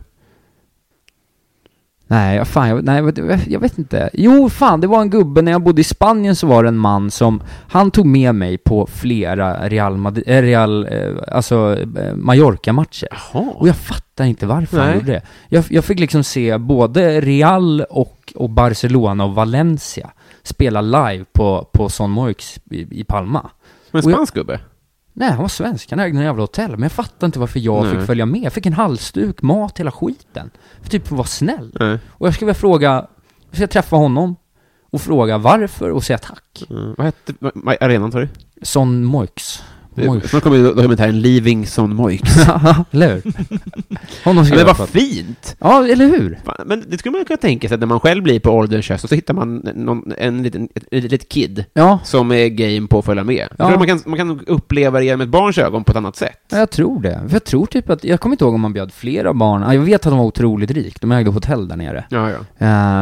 Nej, jag- fan, jag, nej, jag vet- jag vet inte. Jo, fan, det var en gubbe, när jag bodde i Spanien så var det en man som, han tog med mig på flera Real, Madrid, eh, Real eh, alltså eh, Mallorca-matcher. Och
Jaha.
jag fattar inte varför han
Nej.
gjorde det. Jag, jag fick liksom se både Real och, och Barcelona och Valencia spela live på, på Son Moix i, i Palma.
Men
och jag-
spansk gubbe?
Nej, han var svensk, han ägde en jävla hotell, men jag fattar inte varför jag
Nej.
fick följa med. Jag fick en halsduk, mat, hela skiten. För typ för att vara snäll.
Nej.
Och jag skulle vilja fråga, jag ska träffa honom och fråga varför och säga tack.
Mm. Vad hette vad- vad- arenan, sa du?
Son Moix.
Det-
Moix.
Snart kommer ju dokumentären Leaving Son Moix.
eller hur? Honom ska
Men
jag
vad
prata-
fint!
Ja, eller hur?
Fan, Men det skulle man ju kunna tänka sig, att när man själv blir på ålderns höst, och så hittar man någon, en liten, ett, ett litet kid
Ja,
som är game på att följa med. Jag
Ja.
tror att Man, kan, man kan uppleva det genom ett barns ögon på ett annat sätt.
ja, jag tror det. För jag tror typ att, jag kommer inte ihåg om man bjöd flera barn. Ja, Jag vet att de var otroligt rik, de ägde hotell där nere.
Ja, ja.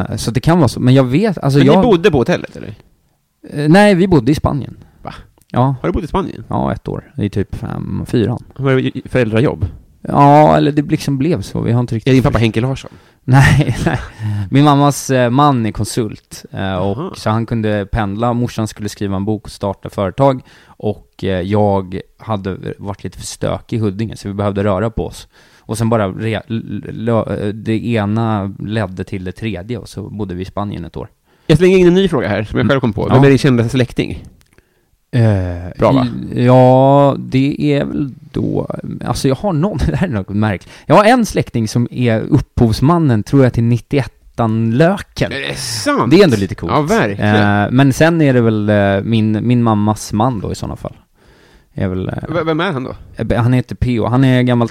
Eh, så det kan vara så, men jag vet, alltså
Men
jag...
ni bodde på hotellet, eller?
Eh, nej, vi bodde i Spanien.
Va?
Ja.
Har du bott i Spanien?
Ja, ett år. I typ fem, fyran.
Har du föräldrajobb?
Ja, eller det liksom blev så. Vi har inte riktigt...
Är din pappa Henke Larsson?
Nej, nej. Min mammas eh, man är konsult, eh, och
Aha.
så han kunde pendla, morsan skulle skriva en bok och starta företag, och eh, jag hade varit lite för stökig i Huddinge, så vi behövde röra på oss. Och sen bara, re, l- lö- eh, det ena ledde till det tredje, och så bodde vi i Spanien ett år.
Jag slänger in en ny fråga här, som jag själv kom på. Vem
Ja.
är din kändaste släkting? Bra, va?
Eh, i- Ja, det är väl då, alltså jag har någon, det här är något märkligt. Jag har en släkting som är upphovsmannen, tror jag, till 91an Löken.
Är det sant?
Det är ändå lite coolt.
Ja, verkligen.
Eh, men sen är det väl eh, min, min mammas man då i sådana fall. Är väl,
V-
eh,
Vem är han då?
eh, han heter P.O. Han är en gammal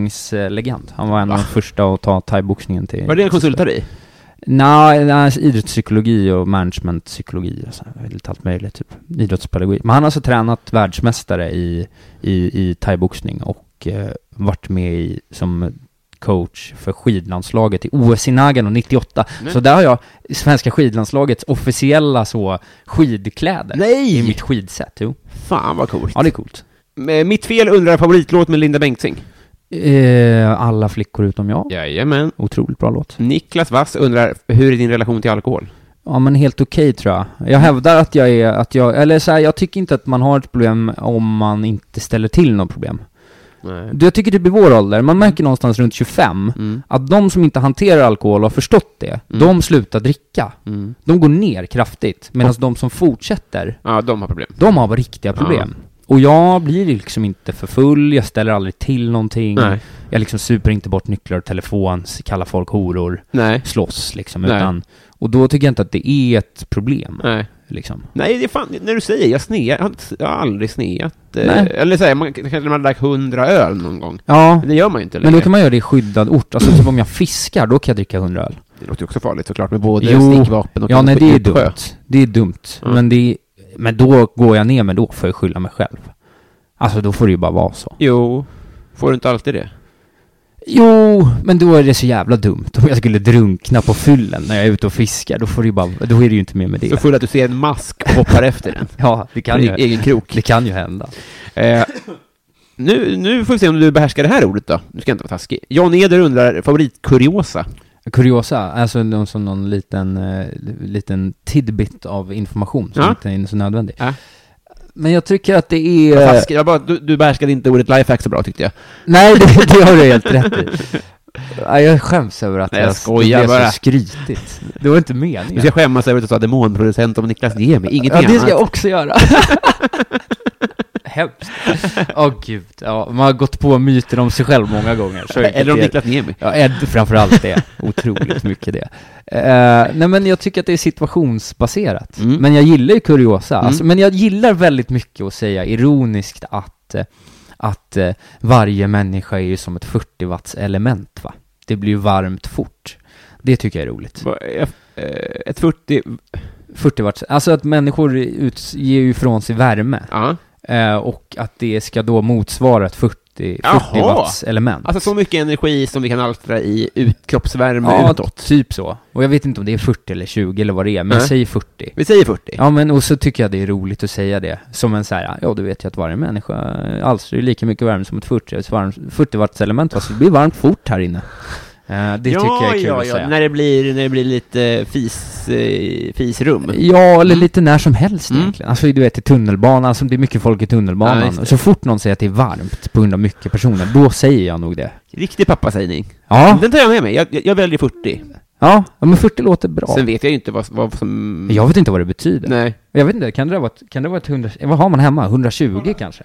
thaiboxningslegend. Han var en av de första att ta thaiboxningen till...
Var det en konsult där i?
Nej, nej, idrottspsykologi och managementpsykologi och så, här, lite allt möjligt, typ idrottspedagogik. Men han har alltså tränat världsmästare i, i, i thaiboxning och eh, varit med i, som coach för skidlandslaget i OS i Nagano 98.
Nej.
Så där har jag svenska skidlandslagets officiella så skidkläder
Nej!
i mitt skidset. Jo.
Fan vad coolt.
Ja, det är coolt.
M- Mitt fel undrar favoritlåt med Linda Bengtzing.
Eh, alla flickor utom jag.
Jajamän.
Otroligt bra låt.
Niklas Wass undrar, hur är din relation till alkohol?
Ja men helt okej tror jag.
Mm.
Jag hävdar att jag är, att jag, eller så här, jag tycker inte att man har ett problem om man inte ställer till något problem.
Nej.
Du, Jag tycker typ i vår ålder, man märker någonstans runt 25,
Mm.
att de som inte hanterar alkohol och har förstått det, de slutar dricka.
Mm.
De går ner kraftigt, medan de som fortsätter,
Ja, de har problem.
de har riktiga problem. och jag blir liksom inte för full, jag ställer aldrig till någonting.
Nej.
Jag liksom super inte bort nycklar och telefon, s- kallar folk horor,
Nej.
slåss liksom.
Nej.
Utan, och då tycker jag inte att det är ett problem.
Nej.
Liksom.
Nej, det är fan, när du säger jag snear, jag har inte- jag har aldrig sneat. Eh,
Nej.
Eller såhär, man kanske när man har lagt hundra öl någon gång.
Ja,
Men det gör man ju inte
men då kan man göra det i skyddad ort. Alltså typ om jag fiskar, då kan jag dricka 100 öl.
Det låter ju också farligt såklart, med både
Jo.
stickvapen och
Ja, nej det är
djup sjö.
dumt. Det är dumt.
Mm.
Men, det är, men då går jag ner men då får jag skylla mig själv. Alltså då får det ju bara vara så.
Jo. Får du inte alltid det?
Jo, men då är det så jävla dumt. Om jag skulle drunkna på fyllen när jag är ute och fiskar, då får det ju bara, då är det ju inte mer med
Så
det.
full att du ser en mask och hoppar efter den.
Ja,
Från
det kan
e-
ju,
egen krok.
det kan ju hända.
Eh, nu, nu får vi se om du behärskar det här ordet då. Nu ska jag inte vara taskig. Jan Eder undrar, favoritkuriosa?
Kuriosa, alltså någon, som någon liten, eh, liten tidbit av information som
Ja.
inte är så nödvändig.
Ja.
Men jag tycker att det är...
Vad taskig. Jag bara, du, du behärskade inte ordet lifehack så bra tyckte jag.
Nej, det, det har du helt rätt i. Ja, Jag skäms över att
Nej, jag
jag
skojar
det blev
bara.
så skrytigt. Det var inte meningen.
Nu ska jag skämmas över att du sa demonproducent om Niklas Niemi, ingenting
ja, det ska jag
annat.
också göra. Hemskt. Åh gud, ja, man har gått på myten om sig själv många gånger. Så enkelt
Eller om
är det.
Niklas Niemi.
Ja, Ed framförallt det. Otroligt mycket det. Eh, nej men jag tycker att det är situationsbaserat.
Mm.
Men jag gillar ju kuriosa.
Mm.
Alltså, men jag gillar väldigt mycket att säga ironiskt att, eh, att eh, varje människa är ju som ett 40 watts element va. Det blir ju varmt fort. Det tycker jag är roligt.
Vad är- eh, Ett 40...
40 watts, alltså att människor ut, ger ju ifrån sig värme.
Ja.
Eh, och att det ska då motsvara ett 40, 40
Jaha.
watts element.
Alltså så mycket energi som vi kan alstra i ut, kroppsvärme
ja,
utåt.
typ så. Och jag vet inte om det är 40 eller 20 eller vad det är, men
Nej.
säg 40.
Vi säger 40.
Ja men och så tycker jag det är roligt att säga det, som en så här, ja du vet ju att varje människa eh, alstrar ju lika mycket värme som ett 40, ett varmt- 40 watts element va, så det blir varmt fort här inne. Eh, det
ja,
tycker jag är kul
ja,
att
ja.
säga.
När det blir, när det blir lite fis, eh, fisrum.
Ja, eller lite när som helst
Mm.
egentligen. Alltså du vet i tunnelbanan, alltså, det är mycket folk i
Ja,
tunnelbanan.
just det.
så fort någon säger att det är varmt på grund av mycket personer, då säger jag nog det.
Riktig pappasägning.
Ja,
Den tar jag med mig. Jag, jag, jag väljer 40.
ja, ja, men 40 låter bra.
Sen vet jag ju inte vad, vad som...
Jag vet inte vad det betyder.
Nej.
Jag vet inte, kan det vara ett, kan det vara ett 100, vad har man hemma? 120 kanske?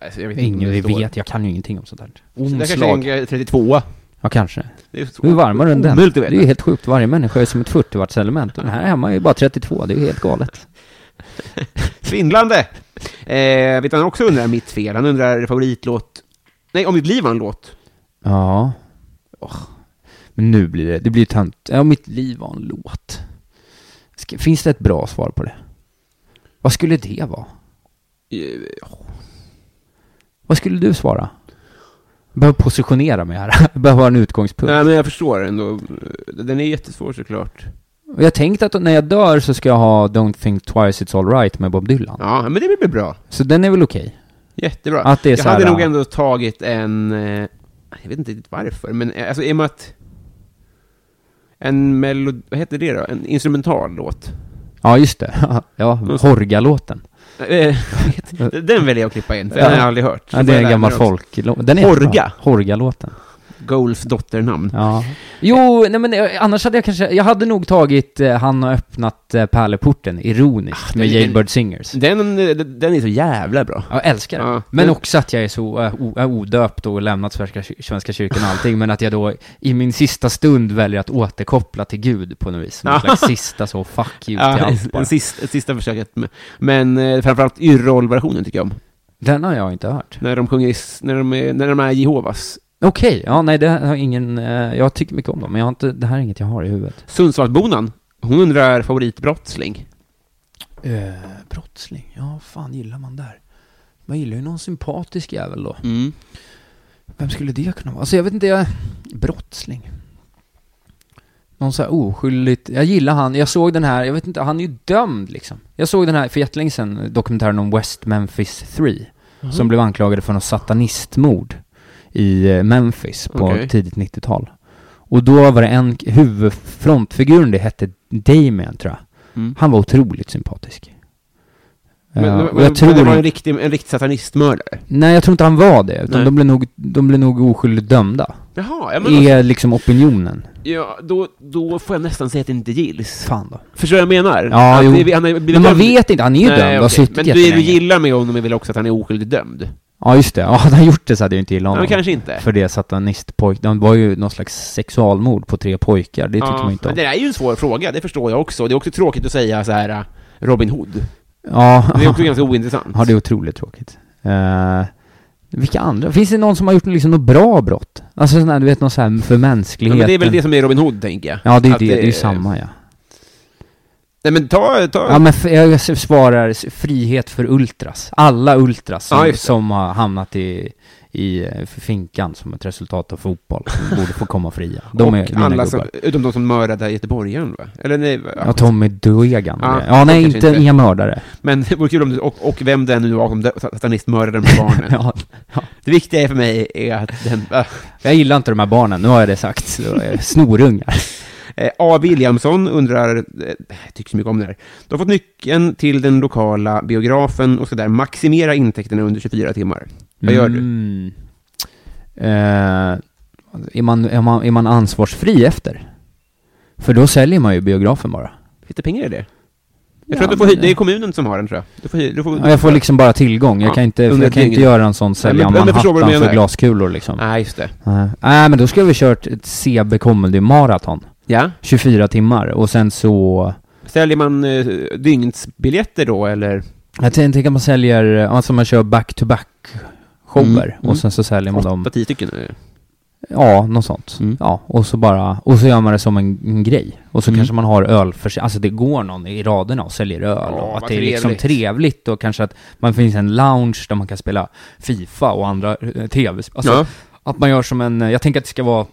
Alltså, jag vet inte
Ingen
om det
vi
står.
vet, jag kan ju ingenting om sånt här.
Så Det kanske
Omslag.
är en 32.
Ja, kanske.
Det är så-
Hur varmare än den?
Omöjligt
Det
att
är
veta.
ju helt sjukt, varje människa är som ett 40 watts element. Den här hemma är ju bara 32, det är ju helt galet.
Svindlande! Eh, vet du, han också undrar mitt fel. Han undrar favoritlåt... Nej, om mitt liv var en låt.
Ja. Åh. Men nu blir det, det blir tönt. Ja, mitt liv var en låt. Ska, finns det ett bra svar på det? Vad skulle det vara?
Eh,
Vad skulle du svara? Jag behöver positionera mig här. Jag behöver ha en utgångspunkt.
Nej, men jag förstår ändå. Den är jättesvår såklart.
Och jag tänkte att när jag dör så ska jag ha Don't think twice it's alright med Bob Dylan.
Ja, men det blir bra.
Så den är väl okej?
Jättebra.
Att det är
jag
så
hade
här,
nog
äh,
ändå tagit en... eh, Jag vet inte riktigt varför, men eh, alltså i och med att... En melod... Vad heter det då? En instrumental låt.
Ja, just det. ja, Horga-låten.
Eh, den väljer jag att klippa in, för den
Ja.
har jag aldrig hört.
Ja, det är en gammal
folk.
folklåt. Den är
Horga.
jättebra. Horga-låten.
Golfs dotternamn.
Ja. Jo, nej men eh, annars hade jag kanske, jag hade nog tagit eh, Han har öppnat eh, pärleporten, ironiskt, med
den-
Jailbird Singers.
Den, eh, den är så jävla bra.
Jag älskar det.
Ja.
Men
Den-
också att jag är så eh, o- odöpt och lämnat Svenska, kyr- svenska kyrkan och allting, men att jag då i min sista stund väljer att återkoppla till Gud på något vis. Någon
Ja.
slags sista så, fuck you till
Ja,
allt bara.
en sista, sista försöket. med- Men eh, framförallt Yrrol-versionen tycker jag om.
Den har jag inte hört.
När de sjunger, i s- när de är, när de är Jehovas.
Okej, ja nej det har ingen, eh, jag tycker mycket om dem, men jag har inte, det här är inget jag har i huvudet.
Sundsvallsbonan, hon undrar favoritbrottsling.
Eh, brottsling, ja fan gillar man där? Man gillar ju någon sympatisk jävel då.
Mm.
Vem skulle det kunna vara? Alltså jag vet inte, jag... Brottsling. Någon så här oskyldigt... Jag gillar han, jag såg den här, jag vet inte, han är ju dömd liksom. Jag såg den här för jättelänge sedan, dokumentären om West Memphis 3. Som blev anklagade för något satanistmord i eh, Memphis på
Okej.
tidigt 90-tal. Och då var det en k- huvudfrontfiguren, det hette Damien tror jag.
Mm.
Han var otroligt sympatisk.
Men,
Eh,
men,
och jag tror
men det var
inte-
en riktig, en riktig satanistmördare.
Nej, jag tror inte han var det. Utan
Nej.
de blev, nog, de blev nog oskyldigt dömda.
Jaha, ja, men alltså,
Är liksom opinionen.
ja, då, då får jag nästan säga att det inte gills.
Fan då.
Förstår du vad jag menar?
Ja,
Att
jo.
det- han har blivit
Men man
dömd. Alltså,
vet inte, han är ju
Nej,
dömd och har
okej.
suttit
Men det du
jättelänge.
gillar med honom är väl också att han är oskyldigt dömd?
Ja just det, ja, hade han gjort det så hade jag inte gillat
Ja,
honom.
men kanske inte.
För det satanistpojk, de var ju någon slags sexualmord på tre pojkar, det tycker man inte
men
om.
det där är ju en svår fråga, det förstår jag också. Det är också tråkigt att säga så här äh, Robin Hood.
Ja,
Det är också ganska ointressant.
ja, det är otroligt tråkigt. Eh, vilka andra? Finns det någon som har gjort liksom något bra brott? Alltså sån här, du vet, någon sån här för
Ja,
mänskligheten.
men det är väl det som är Robin Hood, tänker jag.
Ja, det är
Att
det, det är ju samma ja.
Nej men ta, ta...
Ja men f- jag svarar s- frihet för ultras. Alla ultras som,
Ja, just det.
som har hamnat i, i eh, finkan som ett resultat av fotboll. som borde få komma fria. De är
och
mina
alla
gubbar.
som, utom de som mördade göteborgaren va? Eller nej, va?
Ja, Tommy Duegan.
Ja,
Ja, ja nej,
kanske
inte,
inte.
inga mördare.
Men det vore kul om du, och, och vem det än nu var som dö- satanistmördade de här barnen.
Ja,
Det viktiga för mig är att den, äh,
jag gillar inte de här barnen, nu har jag det sagt. Då är jag Snorungar.
Eh, A. Williamson undrar, eh, jag tycker så mycket om det här. Du har fått nyckeln till den lokala biografen och ska där maximera intäkterna under 24 timmar. Vad gör du?
Mm. Eh, är, man, är, man, är man ansvarsfri efter? För då säljer man ju biografen bara.
Finns det pengar i det? Jag
Ja,
tror att du får
men
hy- det är
det-
kommunen som har den tror jag. Du får, hy- du får,
Ja, jag får liksom bara tillgång,
Ja,
jag kan inte,
under
jag kan
dygnet.
inte göra en sån
Nej,
sälja
men- men jag förstår vad du
Manhattan för
menar.
glaskulor liksom.
Nej, Ah, just det.
Nej, Nej, men då skulle vi kört ett CB comedy maraton.
Ja.
24 timmar och sen så
Säljer man eh, dygnsbiljetter då, eller?
Jag tän- tänker att man säljer, alltså man kör back-to-back shower
Mm, mm.
och sen så säljer man dem,
8-10 stycken? eh.
ja, något sånt.
Mm.
Ja, och så bara, och så gör man det som en, en grej. Och så
Mm.
kanske man har öl för sig, alltså det går någon i raderna och säljer öl
Ja,
och
vad
att det är liksom
trevligt.
trevligt och kanske att man finns en lounge där man kan spela Fifa och andra eh, tv alltså,
Ja.
att man gör som en, eh, jag tänker att det ska vara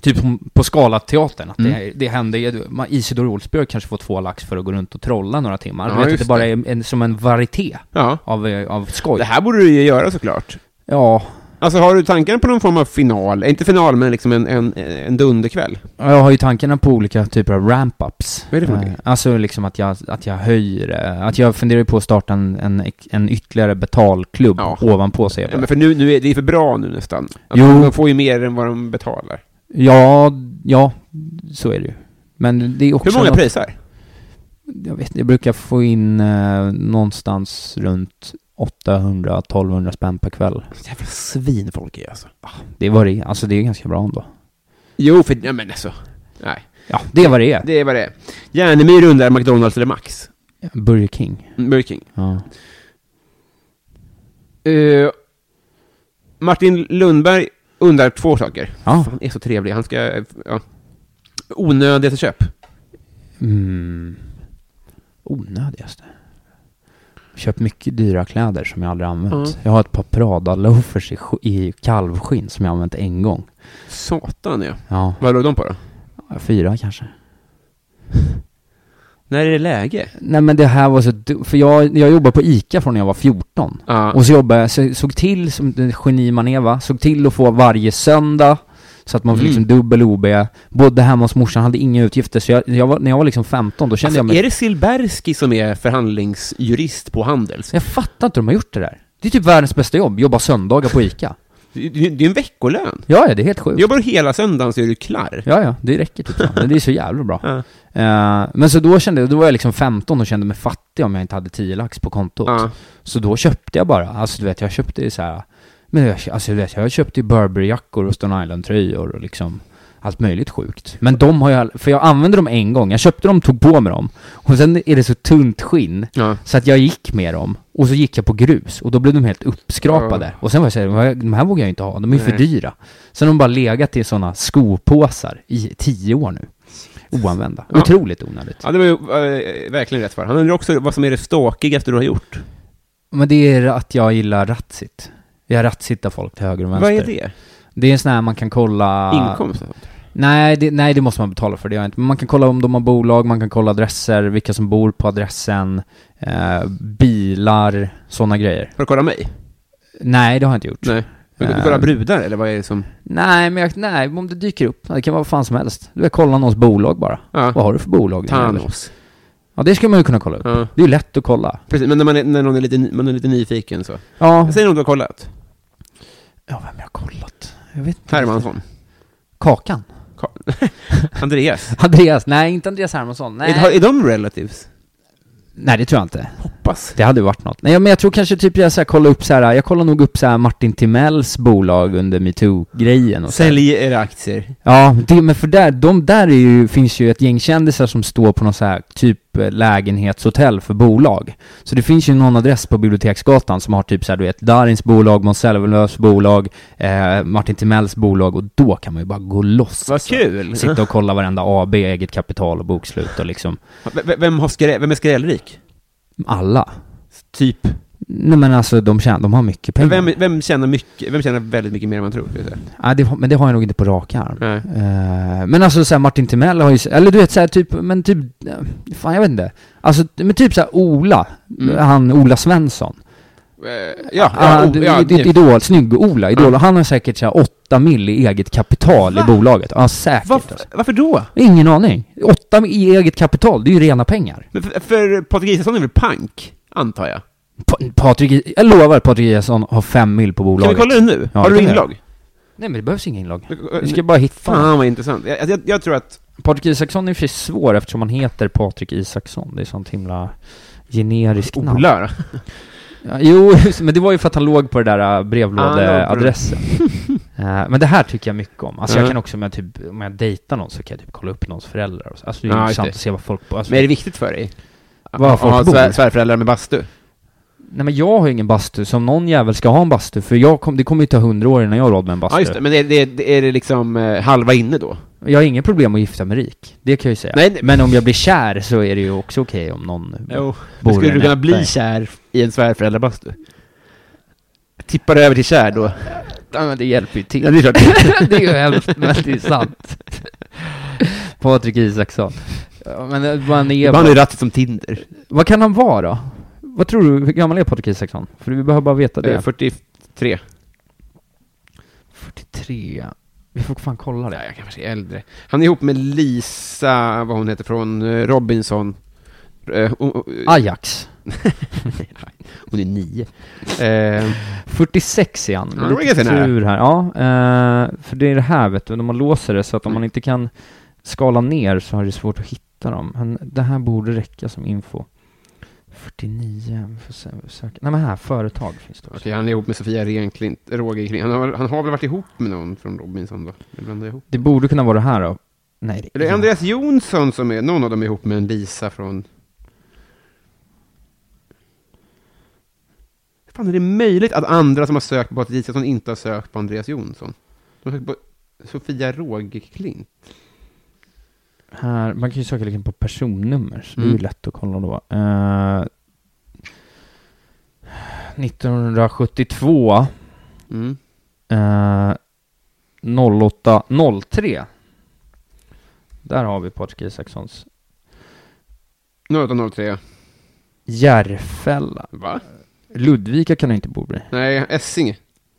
Typ på- på Scalateatern, att
Mm.
det, det händer ju, man- Isidor Olsbjörk kanske får två lax för att gå runt och trolla några timmar.
Ja,
du vet att
just
det bara
det.
är en, som en varieté
ja.
av, eh, av skoj.
Det här borde du ju göra såklart.
Ja,
Alltså har du tankar på någon form av final? Eh, Inte final, men liksom en, en, en dunderkväll?
jag har ju tankarna på olika typer av ramp-ups.
Vad är det för någonting?
Eh, Alltså liksom att jag, att jag höjer, eh, att jag funderar ju på att starta en, en, ex- en ytterligare betalklubb
Ja.
ovanpå CB.
Ja, men för nu, nu är det är för bra nu nästan. Att
Jo.
De får ju mer än vad de betalar.
Ja, ja, så är det ju. Men det är också
Hur många
något-
prisar?
Jag vet jag brukar få in eh, någonstans runt 800-1200 spänn per kväll.
Jävla svin folk är alltså.
Det var det är. alltså det är ganska bra ändå.
Jo, för, ja, men alltså. Nej,
Ja, det var det är.
det är vad det är. Järnemyr undrar McDonalds eller Max?
Burger King.
Mm, Burger King.
Ja.
Eh, Martin Lundberg undrar två saker.
ja.
Han är så trevlig, han ska... eh, Ja. Onödigaste köp.
Mm. Onödigaste. Köpt mycket dyra kläder som jag aldrig använt.
Mm.
Jag har ett par Prada-loafers i, sk- i kalvskinn som jag använt en gång.
Satan ja.
Ja,
Vad låg de på då?
fyra kanske.
När är det läge?
Nej men det här var så du- för jag, jag jobbade på ICA från när jag var 14.
Ja.
Och så jobbade jag, så, såg till, som det geni man är va, såg till att få varje söndag så att man fick
Mm.
liksom dubbel OB, bodde hemma hos morsan, hade inga utgifter. Så jag, jag var, när jag var liksom 15, då kände
Alltså,
jag mig...
Är det Silberski som är förhandlingsjurist på Handels?
Jag fattar inte hur de har gjort det där. Det är typ världens bästa jobb, jobba söndagar på ICA.
Det, det det är en veckolön.
ja, ja, det är helt sjukt.
Jobbar du hela söndagen så är du klar.
Ja, ja, det räcker typ så. Men Det är så jävla bra.
Ja.
Eh, men så då kände jag, då var jag liksom 15 och kände mig fattig om jag inte hade 10 lax på kontot.
Ja.
Så då köpte jag bara, alltså du vet, jag köpte ju så här, men jag, alltså du vet, jag köpte ju Burberry-jackor och Stone Island-tröjor och liksom allt möjligt sjukt. Men de har jag, för jag använde dem en gång, jag köpte dem, tog på mig dem. Och sen är det så tunt skinn,
Ja.
så att jag gick med dem. Och så gick jag på grus, och då blev de helt uppskrapade. Och sen var jag såhär, de här vågar jag inte ha, de är ju för
Nej.
dyra. Sen har de bara legat i sådana skopåsar i tio år nu. Oanvända.
Ja.
Otroligt onödigt.
Ja, det var ju eh, verkligen rätt svar. Han undrar också vad som är det ståkigaste du har gjort.
Men det är att jag gillar Ratsit. Jag rattsittar folk till höger och vänster.
Vad är det?
Det är en sån här man kan kolla...
Inkomst? och sånt.
Nej det, nej, det måste man betala för, det gör jag inte. Men man kan kolla om de har bolag, man kan kolla adresser, vilka som bor på adressen, eh, bilar, sådana grejer.
Har du kollat mig?
Nej, det har jag inte gjort.
Nej. Men du
Eh.
kollar brudar, eller vad är det som...
Nej, men jag, nej, om det dyker upp, det kan vara vad fan som helst. Du vill kolla någons bolag bara. Vad
Ja.
har du för bolag? din jävel?
Thanos.
Ja, det skulle man ju kunna kolla upp.
Ja.
Det är ju lätt att kolla.
Precis, men när man är, när någon är, lite, ny- man är lite nyfiken så.
Ja,
Jag säger något du har kollat.
ja vem jag har kollat? Jag vet inte.
Hermansson.
Kakan.
Ka-
Andreas.
Andreas, nej inte Andreas Hermansson, nej.
Är, har- är de relatives?
Nej det tror jag inte.
Hoppas.
Det hade ju varit något. Nej men jag tror kanske typ jag så här, kollar upp så här, jag kollar nog upp så här Martin Timells bolag under metoo-grejen och så här.
Sälj era aktier.
Ja, det, men för där, de där är ju, finns ju ett gäng kändisar som står på någon så här typ eh, lägenhetshotell för bolag. Så det finns ju någon adress på Biblioteksgatan som har typ så här, du vet, Darins bolag, Måns Zelmerlöws bolag, eh, Martin Timells bolag och då kan man ju bara gå loss.
Vad
alltså.
kul!
Sitta och kolla varenda AB, eget kapital och bokslut och liksom
V- v- Vem, har skrä- vem är skrällrik?
alla.
Typ.
Nej men alltså de, tjän- de har mycket pengar.
Vem, vem, tjänar mycket, vem tjänar väldigt mycket mer än man tror? vill jag säga.
Nej, det, har- men det har jag nog inte på rak arm.
Nej.
Eh, men alltså såhär Martin Timell har ju, s- eller du vet såhär typ, men typ, eh, fan jag vet inte. Alltså, men typ såhär Ola, han Ola Svensson.
Eh, Mm. Ja, ja,
han,
o- ja,
i- i-
typ.
idol, snygg Ola, idol. Han har säkert såhär 8 mil i eget kapital i bolaget. Ja, säkert.
Varför,
Alltså.
varför då?
Ingen aning. 8 mil i eget kapital, det är ju rena pengar.
Men för, för Patrik Isaksson är väl pank, antar jag?
Pa Patrik, jag lovar Patrik Eliasson har 5 mil på
Kan vi
bolaget.
kolla det nu?
Ja,
har
det
du
kan vi
inlogg?
Nej men det behövs ingen inlogg. Vi ska bara hitta.
Fan vad intressant. Jag, jag, jag tror att...
Patrik Isaksson är i och för sig svår eftersom han heter Patrik Isaksson. Det är sånt himla generiskt namn.
Ola
Ja, jo, just- men det var ju för att han låg på det där äh,
Ah, han låg
brevlådeadressen. Eh, men det här tycker jag mycket om. Alltså
Ja.
jag kan också, om jag, typ, om jag dejtar någon så kan jag typ kolla upp någons föräldrar. och så. Alltså det är
Ja,
ju
just
intressant
det.
att se vad folk... Alltså,
Men är det viktigt för dig?
Vad
Att
folk
ha
bor?
svär, svärföräldrar med bastu?
Nej men jag har ju ingen bastu, som någon jävel ska ha en bastu. För jag kom, det kommer ju ta hundra år innan jag har råd med en bastu.
Ja, just det. Men är det, det, är det liksom eh, halva inne då?
Jag har inga problem med att gifta mig rik. Det kan jag ju säga.
Nej, nej.
Men om jag blir kär så är det ju också okej om någon... Bor
Men skulle
i en
du kunna bli
etta.
kär i en svärföräldrabastu? Tippar över till kär då?
Ja, men det hjälper ju till.
Ja, det är klart.
det är ju hemskt, men det är sant. Patrik Isaksson. Ja, Men man är
Han är
bara,
rattet som Tinder.
vad kan han vara då? Vad tror du, hur gammal är Patrik Isaksson? För vi behöver bara veta
Eh,
det.
43.
43. Vi får fan kolla
Nej, jag kanske är äldre. Han är ihop med Lisa, vad hon heter, från eh, Robinson. Eh, hon- hon-
Ajax.
hon är nio. Eh,
46 är han.
Ja, det var
Lite
ganska nära.
tur här. Ja, eh, för det är det här vet du, när man låser det så att om
Mm.
man inte kan skala ner så har det svårt att hitta dem. Men det här borde räcka som info. 49, vi får se, vi söker. Nej men här, företag finns det också.
Okej, han är ihop med Sofia Renklint, Roger Klint. Han har, han har väl varit ihop med någon från Robinson då? Det blandar jag ihop.
Det borde kunna vara det här då. Nej,
Är
det
det Andreas Jonsson som är, någon av dem är ihop med en Lisa från... Hur fan är det möjligt att andra som har sökt på Patrik Isaksson inte har sökt på Andreas Jonsson? De har sökt på Sofia Rogeklint.
Här, man kan ju söka liksom på personnummer, så det är
Mm.
ju lätt att kolla då. Eh, 1972,
Mm.
eh, 08.03. Där har vi Patrik Isakssons
0803.
Järfälla.
Va?
Ludvika kan han inte bo i.
Nej, Essinge.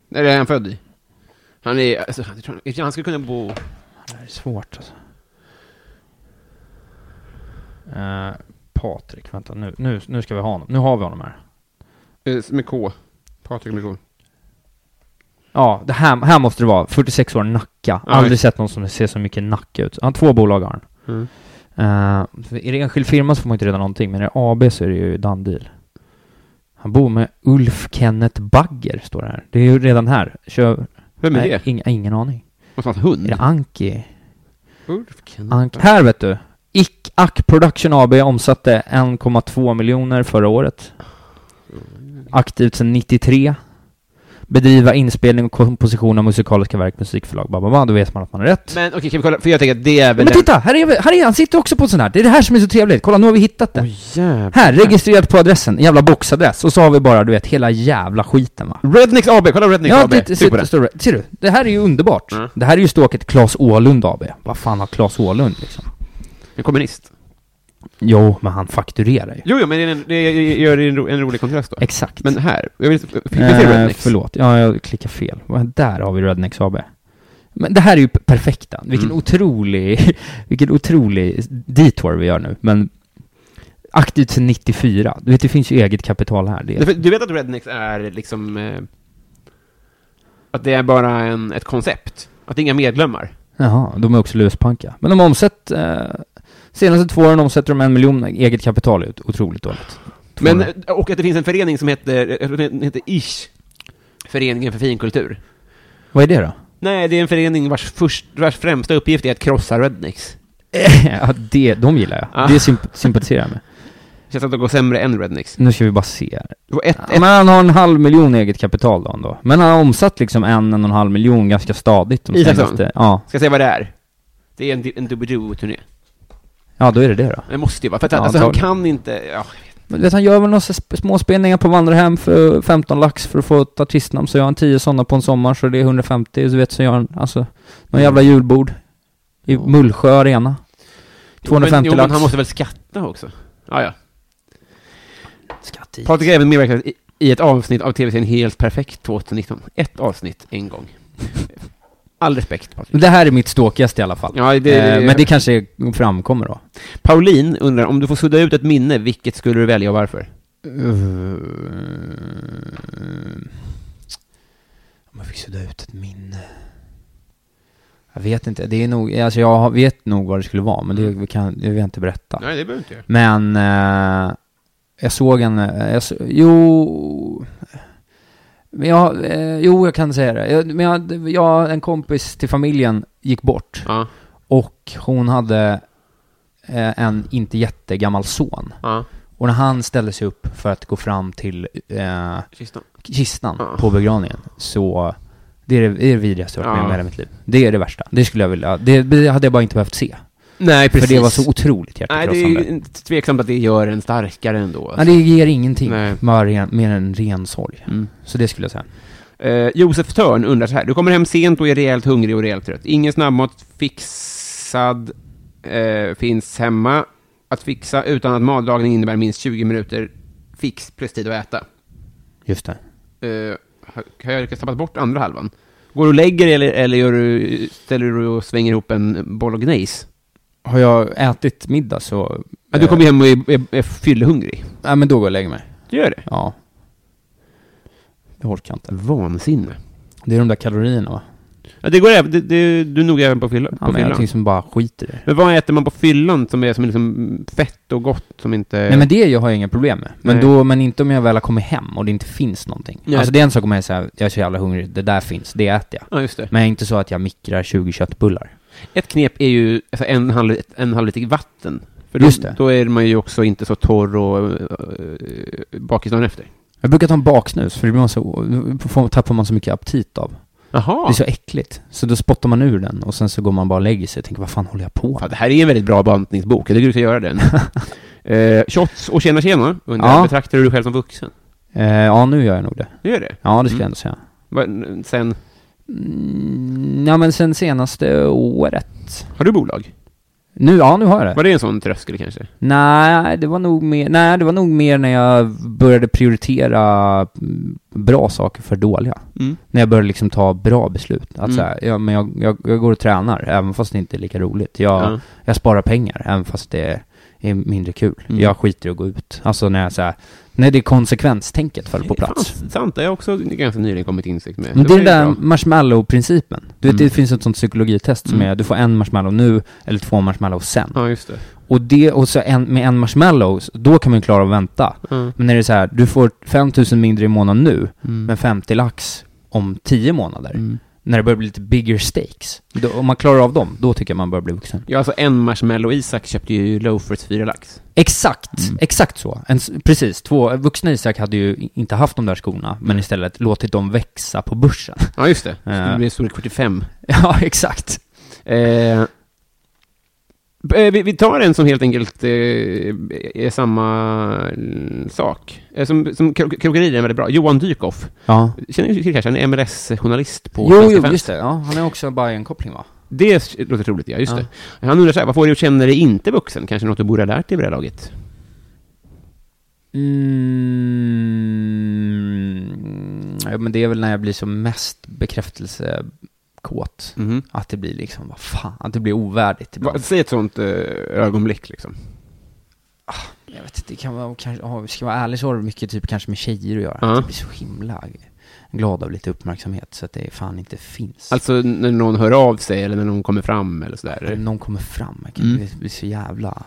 Nej, det är han född i. Han är... Alltså, jag tror han- han skulle kunna bo...
Det här är svårt alltså. Eh, Patrik, vänta nu, nu, nu ska vi ha honom. Nu har vi honom här.
eh, Med K. Patrik med K.
Ja, det här, här måste det vara. 46 år, Nacka.
Ja,
Aldrig
visst.
sett någon som ser så mycket Nacka ut. Han har två bolag har han.
Mm.
Eh, för är det enskild firma så får man inte reda någonting, men är det AB så är det ju Dandil. Han bor med Ulf Kenneth Bagger, står det här. Det är ju redan här. Kör...
Vem är
Nej,
det? Mm.
Ing, ingen aning.
Måste han ha en
Är det
hund?
Anki?
Ulf Kent.
Ank. Här vet du! Ick Ack Production AB omsatte 1,2 miljoner förra året. Aktivt sedan 93. Bedriva inspelning och komposition av musikaliska verk, musikförlag, bla, bla, bla. Då vet man att man har rätt.
Men okej, kan vi kolla? För jag tänker att det är
Ja,
väl...
men titta! Här är, vi- här är han, sitter också på en sån här. Det är det här som är så trevligt. Kolla, nu har vi hittat det.
en... Oj, jävlar.
Här, registrerat på adressen, en jävla boxadress. Och så har vi bara, du vet, hela jävla skiten va.
Rednex AB, kolla Rednex
Ja,
AB.
det,
Tryck
ser-
Typ på det.
står det. Ser du? Det här är ju underbart.
Mm.
Det här är ju ståket Claes Åhlund AB. Vad fan har Claes Åhlund liksom?
En kommunist.
Jo, men han fakturerar ju.
Jo, jo, men det, är en, det gör en, ro, en rolig kontrast då.
Exakt.
Men här, jag vill inte... Fick vi se
Eh,
Rednex?
Förlåt, ja, jag klickar fel. Men Där har vi Rednex AB. Men det här är ju p- perfekta. Vilken
Mm.
otrolig, vilken otrolig detour vi gör nu. Men aktivt sedan 94. Du vet, det finns ju eget kapital här. Det
Du,
är,
du vet att Rednex är liksom... Eh, att det är bara en, ett koncept? Att det är inga medlemmar?
Jaha, de är också luspanka. Men de har omsatt, eh, senaste två åren omsätter de en miljon eget kapital. Det är Otroligt dåligt.
Men, eh, och att det finns en förening som heter, jag tror den heter ISH, Föreningen för finkultur.
Vad är det då?
Nej, det är en förening vars, först, vars främsta uppgift är att krossa rednecks.
ja, det, de gillar jag.
eh, Ah.
Det symp- sympatiserar jag med.
Känns att det går sämre än rednecks.
Nu ska vi bara se här.
Det var ett,
Ja, men han har en halv miljon eget kapital då ändå. Men han har omsatt liksom en, en och en halv miljon ganska stadigt. De
Isaksson?
senaste, ja.
Ska jag säga vad det är? Det är en, en Doobidoo-turné.
ja, då är det det då.
Det måste ju vara, för att
Ja,
alltså, han
antagligen.
kan inte, ja,
Men du vet, han gör väl några så sp- småspelningar på vandrarhem för 15 lax för att få ett artistnamn. Så gör han 10 sådana på en sommar så det är 150. Så vet så gör han alltså någon jävla
Mm.
julbord i Mullsjö arena. 250
jo, men, jo, men
lax.
han måste väl skatta också? Ja, ja.
Skatt i.
Patrik har även medverkat i, i ett avsnitt av tv-serien Helt Perfekt 2019. Ett avsnitt, en gång. All respekt, Patrik.
Men Det här är mitt ståkigaste i alla fall.
Ja, det-
eh, men det kanske är- framkommer då.
Pauline undrar, om du får sudda ut ett minne, vilket skulle du välja och varför?
Eh, Om jag fick sudda ut ett minne. Jag vet inte, det är nog, alltså jag har- vet nog vad det skulle vara, men det kan, det vill jag inte berätta.
Mm. Nej, det behöver inte jag.
Men eh, jag såg en, eh, jag, så- jo, men jag, eh, jo jag kan säga det. Jag, men jag, jag, en kompis till familjen gick bort
Ja,
och hon hade eh, en inte jättegammal son.
ja.
Och när han ställde sig upp för att gå fram till eh,
Kistan.
kistan
Ja.
på begravningen så det är det, det, är det vidrigaste jag har varit med
Ja.
om i hela mitt liv. Det är det värsta. Det skulle jag vilja, det, det hade jag bara inte behövt se.
Nej, precis.
För det var så otroligt
Nej, det är
hjärtekrossande.
ju inte tveksamt att det gör en starkare ändå.
Nej, det ger ingenting
Nej.
bara ren- mer än ren sorg.
Mm.
Så det skulle jag säga.
Eh, Josef Törn undrar så här. Du kommer hem sent och är rejält hungrig och rejält trött. Ingen snabbmat fixad eh, finns hemma att fixa utan att matlagning innebär minst 20 minuter fix plus tid att äta.
Just det.
Eh, har- har jag lyckats tappa bort andra halvan? Går du och lägger eller, eller gör du, ställer du och svänger ihop en bolognese?
Har jag ätit middag så...
Ja, du kommer ju hem och är, är, är fyllehungrig.
Nej, men då går jag och lägger mig.
Du gör det?
Ja. Det orkar jag inte.
Vansinne.
Det är de där kalorierna va?
Ja, det går även, det, det, du är nog även på, fylla,
Ja,
på
men
fyllan.
någonting som bara skiter i det.
Men vad äter man på fyllan som är som är liksom fett och gott som inte...
Nej men det har jag inga problem med. Men,
Eh. Nej.
då, men inte om jag väl har kommit hem och det inte finns någonting.
Nej.
Alltså det är en sak om jag säger jag är så jävla hungrig, det där finns, det äter jag.
Ja, just det.
Men jag är inte så att jag mikrar 20 köttbullar.
Ett knep är ju alltså, en, halv, en halv liter vatten. För då,
Just det.
då är man ju också inte så torr och uh, bakis dagen efter.
Jag brukar ta en baksnus, för det blir man så, får- tappar man så mycket aptit av. Det
Jaha.
är så äckligt. Så då spottar man ur den och sen så går man bara och lägger sig och tänker vad fan håller jag på
Fan,
med?
det här är en väldigt bra bantningsbok. Jag tycker du ska göra den. uh, shots och tjena tjena. Undrar,
Ja.
betraktar du dig själv som vuxen?
Eh, ja, nu gör jag nog det.
Du gör det?
Ja, det skulle
Mm.
jag ändå säga.
Va- Sen,
Mm, ja, men sen senaste året.
har du bolag?
Nu, ja, nu har jag det.
Var det en sån tröskel kanske?
Nej, det var nog mer, nej, det var nog mer när jag började prioritera mm, bra saker för dåliga.
Mm.
När jag började liksom ta bra beslut. Att
Mm.
så här, ja, men jag, jag, jag går och tränar, även fast det inte är lika roligt. Jag,
Ja.
jag sparar pengar, även fast det är mindre kul.
Mm.
Jag skiter i att gå ut. Alltså när jag så här, när det är konsekvenstänket faller på
Det är
plats.
fan sant, det har jag också ganska nyligen kommit till insikt med.
Men det
var
är
ju
den där
bra.
marshmallow-principen. Du vet,
Mm.
det finns ett sånt psykologitest som
Mm.
är, du får en marshmallow nu, eller två marshmallow sen.
Ja, just det.
Och det, och så en, med en marshmallow, så- då kan man ju klara att vänta.
Ja.
Men när det är så här, du får 5000 mindre i månaden nu,
Mm.
men 50 lax om 10 månader.
Mm.
När det börjar bli lite bigger stakes. Då, om man klarar av dem, då tycker jag man börjar bli vuxen.
Ja, alltså en marshmallow Isak köpte ju loafers fyra lax.
Exakt, exakt så. En, s- precis, två, vuxna Isak hade ju i- inte haft de där skorna, men istället låtit dem växa på börsen.
Ja, just det.
Ja.
Det blir storlek 45.
ja, exakt.
Eh, eh, vi, vi tar en som helt enkelt eh, är samma eh, sak. Eh, som som kro- krokodilen är väldigt bra. Johan Dykhoff.
Ja.
Känner du till kanske? Han är MLS-journalist på
Jo,
Svenska
jo,
fans.
just det. Ja, han är också bara en koppling va?
Det låter troligt, ja. Just
Ja.
det. Han undrar så här, vad får du att känna dig inte vuxen? Kanske något du borde ha lärt dig vid det här laget?
Mm, ja, men det är väl när jag blir som mest bekräftelsekåt. Att det blir liksom, vad fan, att det blir ovärdigt
Va,
ibland.
säg ett sånt eh, ögonblick, liksom.
Jag vet inte, det kan vara, kanske, ja, ska jag vara ärlig så har det mycket typ kanske med tjejer att göra.
Ja.
Jag blir så himla glad av lite uppmärksamhet så att det fan inte finns.
Alltså när någon hör av sig eller när någon kommer fram eller sådär.
Om någon kommer fram, jag kan
Mm.
det blir så jävla...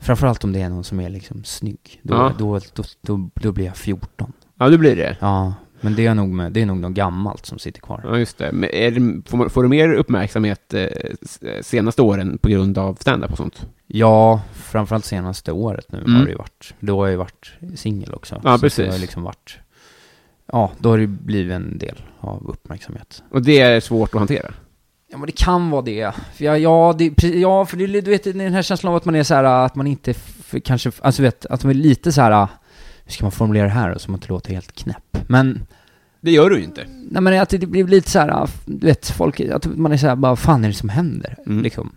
Framförallt om det är någon som är liksom snygg. Då,
Ja.
då, då, då, då blir jag 14.
Ja, det blir det.
Ja, men det är nog, med, det är nog något gammalt som sitter kvar.
Ja, just det. Men är det får, man- får du mer uppmärksamhet eh, s- eh, senaste åren på grund av stand-up och sånt?
Ja, framförallt senaste året nu
Mm.
har det ju varit. Då har jag ju varit singel också.
Ja,
så
precis.
Det har ju liksom varit, ja, då har det ju blivit en del av uppmärksamhet.
Och det är svårt att hantera.
Ja, men det kan vara det. För ja, ja, det, pre- ja, för det, är li- du vet den här känslan av att man är så här, att man inte f- kanske, alltså vet, att man är lite så här, hur ska man formulera det här då, så man inte låter helt knäpp. Men,
Det gör du ju inte.
nej men att det blir lite så här, du vet, folk, att man är så här, bara, vad fan är det som händer?
Mm.
Liksom.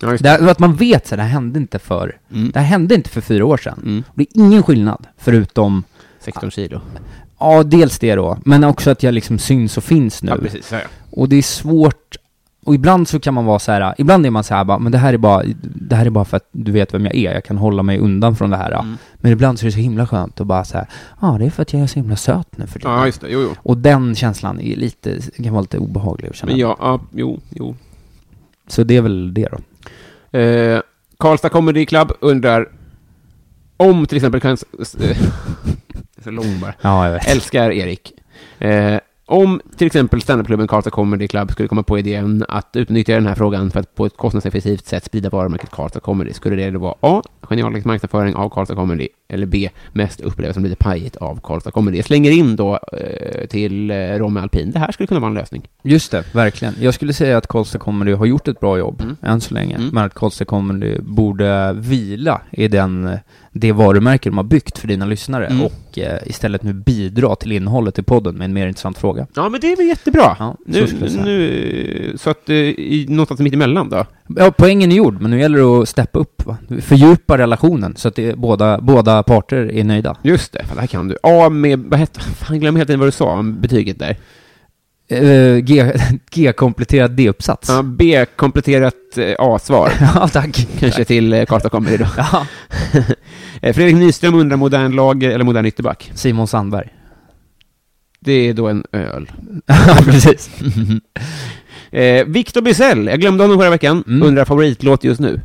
Ja, just
Det, här- att man vet så här, det här hände inte för,
Mm.
det här hände inte för fyra år sedan.
Mm.
Och Det är ingen skillnad, förutom,
16 kilo.
ja dels det då, men också att jag liksom syns och finns nu.
Ja, precis. Ja, ja.
och det är svårt, och ibland så kan man vara så här, ibland är man så här bara, men det här är bara, det här är bara för att du vet vem jag är, jag kan hålla mig undan från det här. ja.
Mm.
Men ibland så är det så himla skönt att bara så här, ja ah, det är för att jag är så himla söt nu för tiden.
ja, just det. Jo, jo.
Och den känslan är lite, kan vara lite obehaglig att känna.
Men ja, ja jo, jo.
Så det är väl det då.
Eh, Karlstad Comedy Club undrar om till exempel kan... så lång bara.
Ja, jag vet.
Älskar Erik. Eh, om till exempel standupklubben Karlstad Comedy Club skulle komma på idén att utnyttja den här frågan för att på ett kostnadseffektivt sätt sprida varumärket Karlstad Comedy, skulle det då vara A. Genialisk marknadsföring av Karlstad Comedy, eller B. Mest upplevas som lite pajigt av Karlstad Comedy. Jag slänger in då eh, till eh, Romme Alpin. Det här skulle kunna vara en lösning.
Just det, verkligen. Jag skulle säga att Karlstad Comedy har gjort ett bra jobb
Mm.
än så länge.
Mm.
Men att Karlstad Comedy borde vila i den, det varumärke de har byggt för dina lyssnare
Mm.
och eh, istället nu bidra till innehållet i podden med en mer intressant fråga.
Ja, men det är väl jättebra.
Ja, så
nu,
skulle jag
så,
säga.
nu, så att eh, i, någonstans mitt emellan då.
Ja, poängen är gjord, men nu gäller det att steppa upp, va? fördjupa relationen så att det, båda, båda parter är nöjda.
Just det, fan, det här kan du. A med, vad hette, fan jag glömmer helt enkelt vad du sa om betyget där.
Eh, G- G-kompletterad D-uppsats.
Ja, B kompletterat eh, A-svar.
Ja, tack.
Kanske till eh, Karlstad Comedy då.
Ja.
Eh, Fredrik Nyström undrar modern lager eller modern ytterback.
Simon Sandberg.
Det är då en öl.
Ja, precis.
Eh, Victor Bysell, jag glömde honom förra veckan,
Mm.
undrar favoritlåt just nu.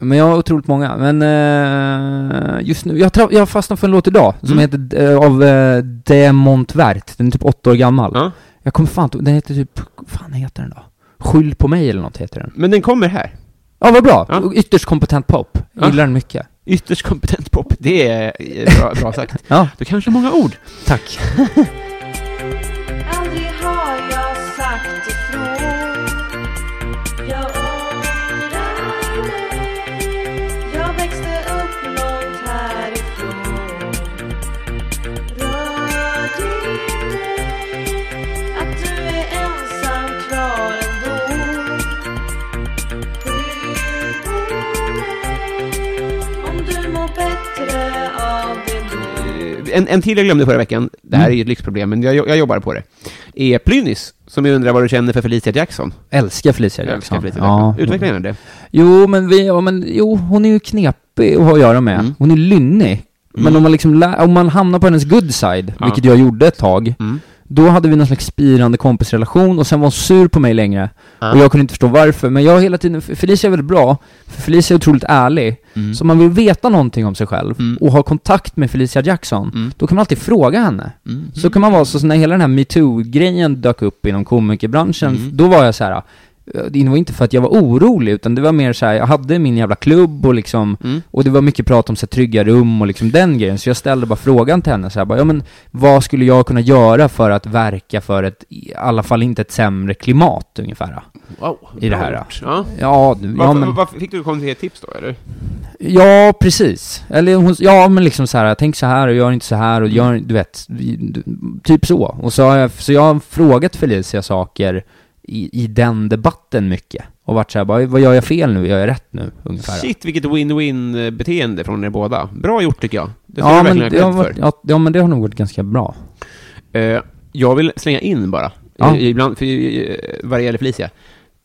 Men jag har otroligt många, men eh, just nu, jag, tra- jag fastnade för en låt idag
Mm.
som heter eh, av eh, De Montvert, den är typ åtta år gammal.
Ja.
Jag kommer fan inte- den heter typ, vad fan heter den då? Skyll på mig eller något heter den.
Men den kommer här.
Ja, vad bra!
Ja.
Ytterst kompetent pop, jag
Ja.
gillar den mycket.
Ytterst kompetent pop, det är eh, bra, bra sagt.
Ja,
Du kanske många ord.
tack.
Aldrig har jag sagt ifrån Jag ångrar mig Jag växte upp långt härifrån Rör dig Att du är ensam kvar ändå Skydda Om du mår bättre av det då
Eh, En, en till jag glömde förra veckan, det här är ju ett lyxproblem, men jag, jo- jag jobbar på det. Är Plynnis, som jag undrar vad du känner för Felicia Jackson.
Älskar Felicia
Jag
Jackson.
älskar Felicia Jackson. Utveckla gärna det.
Jo, men vi, ja, men jo, hon är ju knepig att ha att göra med.
Mm.
Hon är lynnig. Men om man liksom, lä- om man hamnar på hennes good side,
Ja.
vilket jag gjorde ett tag,
Mm.
Då hade vi någon slags spirande kompisrelation och sen var hon sur på mig längre.
Ja.
Och jag kunde inte förstå varför, men jag har hela tiden, Felicia är väldigt bra, för Felicia är otroligt ärlig. Så om man vill veta någonting om sig själv
Mm.
och ha kontakt med Felicia Jackson,
Mm.
då kan man alltid fråga henne. Så kan man vara så, så när hela den här metoo-grejen dök upp inom komikerbranschen,
Mm.
då var jag så här. eh, Det var inte för att jag var orolig, utan det var mer så här, jag hade min jävla klubb och liksom,
Mm.
och det var mycket prat om så här, trygga rum och liksom den grejen, så jag ställde bara frågan till henne så här, bara, ja men vad skulle jag kunna göra för att verka för ett, i alla fall inte ett sämre klimat ungefär?
Wow.
I det här,
bra
ja.
gjort. Ja.
Ja, du- ja
Varför,
men,
varför fick du konkreta tips då, eller?
ja precis. Eller hon, ja men liksom så här, tänk så här och gör inte så här och gör, du vet, du- typ så. Och så har jag, så jag har frågat Felicia saker i, i den debatten mycket. Och varit så här, bara, vad gör jag fel nu? Gör jag rätt nu? Ungefär.
Shit, vilket win-win-beteende från er båda. Bra gjort, tycker jag. Det ska du
ja, men,
verkligen
det
ha
har
cred
varit, ja, ja men det har nog varit ganska bra.
för. Eh, jag vill slänga in bara,
Ja.
eh, ibland, för, eh, vad det gäller Felicia.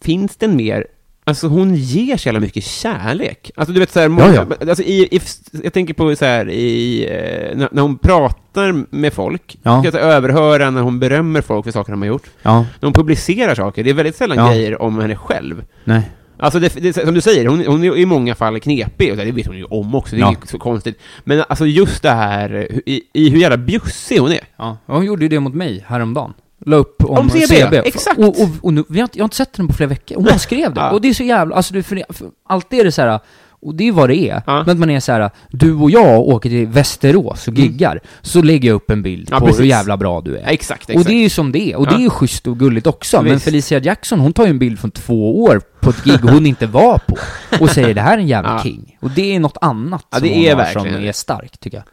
Finns det en mer, alltså Alltså hon ger så jävla mycket kärlek. Alltså du vet så här,
Ja,
Alltså, i, i, jag tänker på så här, i, eh, när, när hon pratar med folk,
Ja.
jag kan alltså överhöra när hon berömmer folk för saker de har gjort.
Ja,
När hon publicerar saker, det är väldigt sällan
Ja.
grejer om henne själv.
nej.
Alltså det, det, som du säger, hon, hon är i många fall knepig, och det vet hon ju om också, det är
Ja.
inget så konstigt. Men alltså just det här, eh, hu- i, i hur jävla bjussig hon är.
Ja, och hon gjorde ju det mot mig häromdagen. La upp om,
Om CB, exakt.
Och, och, och nu, vi har inte, jag har inte sett den på flera veckor. Hon bara skrev det.
Ja.
Och det är så jävla, alltså du, för, för, alltid är det så här, och det är vad det är.
Ja. Mm.
Men att man är så här, du och jag åker till Västerås och giggar, så lägger jag upp en bild
Ja,
på hur
precis.
jävla bra du är.
Ja, exakt, exakt.
Och det är ju som det är, och det är ju schysst och gulligt också. Men
Visst.
Felicia Jackson, hon tar ju en bild från två år på ett gig hon inte var på och säger det här är en jävla
Ja.
king. Och det är något annat
Ja,
som
det
hon
är
har
verkligen
som
det.
är starkt, tycker jag.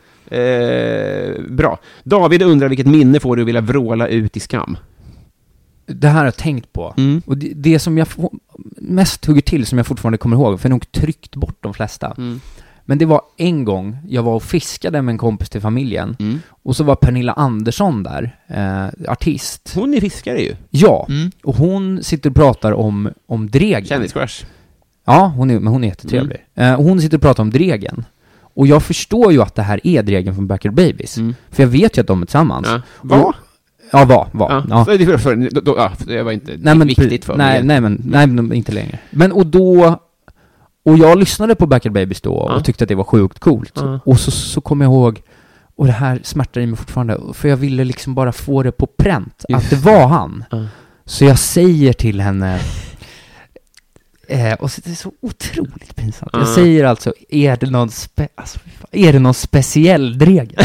Eh, bra. David undrar vilket minne får du att vilja vråla ut i skam?
Det här har jag tänkt på.
Mm.
Och det, det som jag få- mest hugger till, som jag fortfarande kommer ihåg, för jag har nog tryckt bort de flesta.
Mm.
Men det var en gång jag var och fiskade med en kompis till familjen,
Mm.
och så var Pernilla Andersson där, eh, artist.
Hon är fiskare ju.
Ja,
Mm.
och hon sitter och pratar om, om Dregen.
Kändiscrush.
Ja, hon är, men hon är jättetrevlig.
Mm.
Eh, och hon sitter och pratar om Dregen. Och jag förstår ju att det här är Dregen från Backyard Babies. För jag vet ju att de är tillsammans.
Mm. Ja.
Och- Ja, var, var.
Ja.
Ja.
Så det, för, för, då, då, ja, för det var inte
nej, men,
viktigt för
nej,
mig.
Nej, men, nej, men inte längre. Men och då, och jag lyssnade på Backyard Babies då och
Ja.
tyckte att det var sjukt coolt.
Ja.
Och så, så kom jag ihåg, och det här smärtar i mig fortfarande, för jag ville liksom bara få det på pränt, att det var han.
Ja.
Så jag säger till henne, eh, och så, det är så otroligt pinsamt.
Ja.
Jag säger alltså, är det någon, spe, alltså, fy fan, är det någon speciell dregel?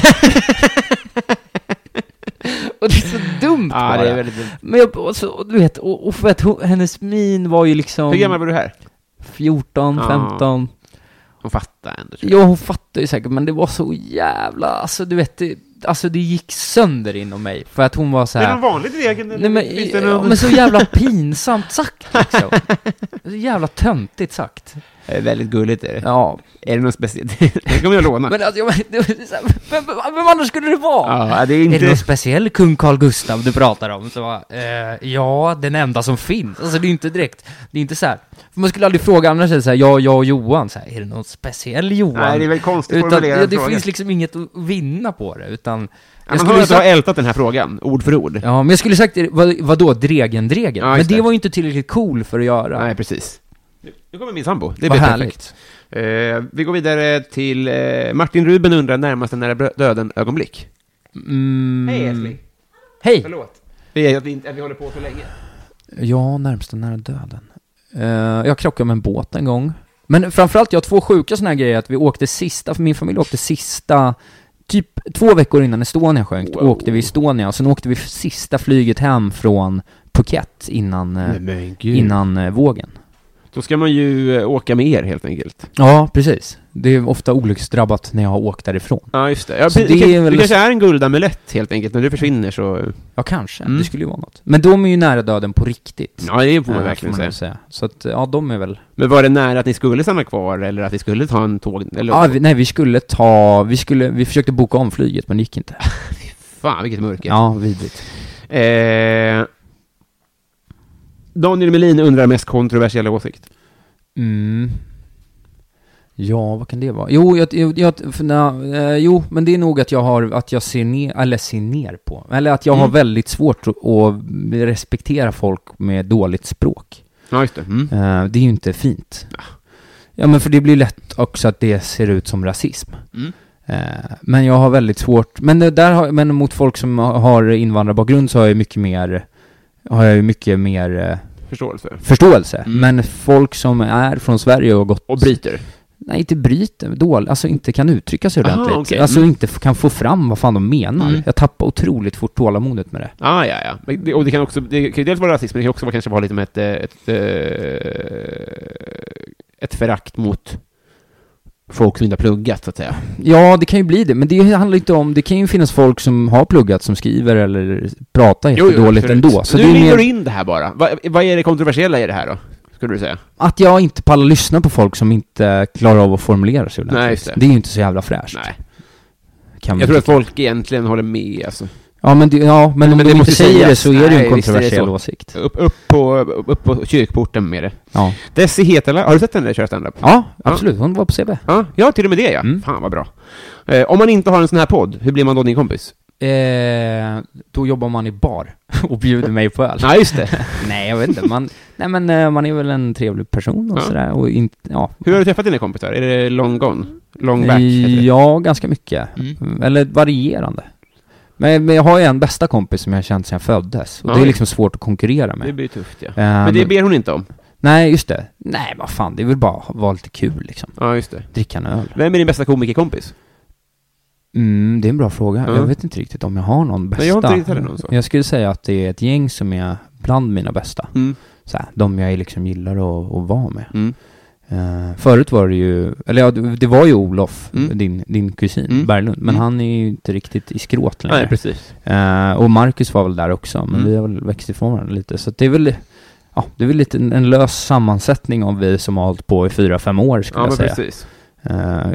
och det är så dumt
Ja,
bara.
det är väldigt dumt.
Men jag, och så, och du vet, och, och för att hon, hennes min var ju liksom
Hur gammal var du här?
14,
Ja.
15.
Hon fattar ändå. tror jag.
Ja, hon fattar ju säkert, men det var så jävla, alltså du vet, det, alltså det gick sönder inom mig. För att hon var så
Är det någon
här.
vanlig regel? eller
Nej men,
finns det
ja,
någon-
men så jävla pinsamt sagt liksom. Så jävla töntigt sagt.
Eh, Väldigt gulligt är det.
Ja.
Är det någon speciell? det kommer jag låna.
Men alltså, jag, det var så här, vem, vem, vem annars skulle det vara?
ja, det är
Är
inte...
det någon speciell kung Carl Gustav du pratar om? Så, bara, eh, ja, den enda som finns. Alltså det är inte direkt, det är inte så här. För man skulle aldrig fråga annars är det så här, ja, jag och Johan, så här, är det någon speciell Johan?
Nej, det är väl konstigt
utan,
formulerad
ja, det
fråga.
finns liksom inget att vinna på det, utan...
Ja, man
skulle
hör att du
sagt-
har ältat den här frågan, ord för ord.
Ja, men jag skulle sagt, vad, vadå, dregen, dregen?
Ja,
men
just
det
det.
var ju inte tillräckligt cool för att göra.
Nej, precis. Nu- Nu kommer min sambo. Det
Vad
blir
härligt.
perfekt. Eh, vi går vidare till eh, Martin Ruben undrar närmaste nära brö- döden-ögonblick.
Mm,
Esli.
Hej!
Förlåt. Vi, är- att, vi inte, att vi håller på så länge.
Ja, närmsta nära döden. Eh, jag krockade med en båt en gång. Men framförallt, jag har två sjuka såna här grejer, att vi åkte sista, för min familj åkte sista, typ två veckor innan Estonia sjönk,
Wow.
åkte vi Estonia, och sen åkte vi sista flyget hem från Phuket innan, eh,
men
innan eh, vågen.
Då ska man ju eh, åka med er helt enkelt.
Ja, precis. Det är ofta olycksdrabbat när jag har åkt därifrån.
Ja, just det. Ja,
Så
det,
det
kanske-
är väl-
Du kanske är en guldamulett helt enkelt. När du försvinner så...
Ja, kanske.
Mm.
Det skulle ju vara något. Men de är ju nära döden på riktigt.
Ja, det får man
eh,
verkligen
får man
säga.
nog Så att, ja, de är väl
Men var det nära att ni skulle stanna kvar eller att ni skulle ta en tåg? Eller...
Ja, vi, nej, vi skulle ta, vi skulle, vi försökte boka om flyget men det gick inte.
Fan, vilket mörker.
Ja, vidrigt.
Eh... Daniel Melin undrar mest kontroversiella åsikt.
Mm. Ja, vad kan det vara? Jo, jag, jag, jag för, na, eh, jo, men det är nog att jag har, att jag ser ner, eller ser ner på, eller att jag har väldigt svårt att, att respektera folk med dåligt språk.
Ja, just det. Mm.
Eh, det är ju inte fint. Ja, men för det blir lätt också att det ser ut som rasism.
Mm.
Eh, Men jag har väldigt svårt, men, det där har, men mot folk som har invandrarbakgrund så har jag ju mycket mer, har jag ju mycket mer eh,
Förståelse.
förståelse.
Mm.
Men folk som är från Sverige och har gått...
Och bryter.
Nej, inte bryter, dåligt, alltså inte kan uttrycka sig
Aha,
ordentligt.
okej.
Alltså
Mm.
inte f- kan få fram vad fan de menar.
Mm.
Jag tappar otroligt fort tålamodet med det.
Ah, ja, ja. Men det- Och det kan också, det kan ju dels vara rasism, men det kan också vara, kanske vara lite med ett, eh, ett, eh, ett förakt mot folk som inte har pluggat, så att säga.
Ja, det kan ju bli det, men det handlar inte om, det kan ju finnas folk som har pluggat som skriver eller pratar jättedåligt
absolut.
ändå. Så
nu
det är
river
mer
du in det här bara. Va- Vad är det kontroversiella i det här då? Skulle du säga?
Att jag inte pallar lyssna på folk som inte klarar av att formulera sig ordentligt.
Nej, just det.
är ju inte så jävla fräscht.
Nej.
Kan man
Jag tror att
tycka.
folk egentligen håller med alltså.
Ja, men, det, ja, men
men
om
det
du inte
måste
säger det
sägas.
så är det ju
Nej,
en
visst är det
kontroversiell
så.
åsikt.
Upp, upp, på, upp på kyrkporten med det.
Ja.
Desi Hetala, har du sett henne köra standup?
ja, absolut. Hon var på CB.
Ja, ja, till och med det ja.
Mm.
Fan vad bra. Eh, om man inte har en sån här podd, hur blir man då din kompis?
Eh, då jobbar man i bar och bjuder mig på öl.
Ja, just det.
nej, jag vet inte. Man, nej, men eh, man är väl en trevlig person och
Ja.
sådär. Och inte, ja.
Hur har du träffat dina kompisar? Är det long gone? Long back? heter det.
ja, ganska mycket.
Mm.
Eller varierande. Men, men jag har ju en bästa kompis som jag har känt sedan jag föddes. Och
Ja,
det är
det-
liksom svårt att konkurrera
Det
med.
blir tufft ja.
Eh,
Men det ber hon inte om.
Nej, just det. Nej, vad fan, det är väl bara att vara lite kul liksom.
Ja, just det.
Dricka en öl.
Vem är din bästa komikerkompis?
Mm, det är en bra fråga.
Ja.
Jag vet inte riktigt om jag har någon bästa.
Nej, jag har inte riktigt heller någon så.
Jag skulle säga att det är ett gäng som är bland mina bästa.
Mm.
Så här, de jag liksom gillar att, att vara med.
Mm.
Eh, förut var det ju, eller ja, det var ju Olof,
Mm.
din, din kusin
Mm.
Berglund, men
Mm.
han är ju inte riktigt i skråt längre.
Nej, precis.
Eh, och Marcus var väl där också, men
Mm.
vi har väl växt ifrån varandra lite. Så att det är väl, ja, det är väl lite en, en lös sammansättning av vi som har hållit på i fyra, fem år skulle
Ja,
jag
men
säga.
precis.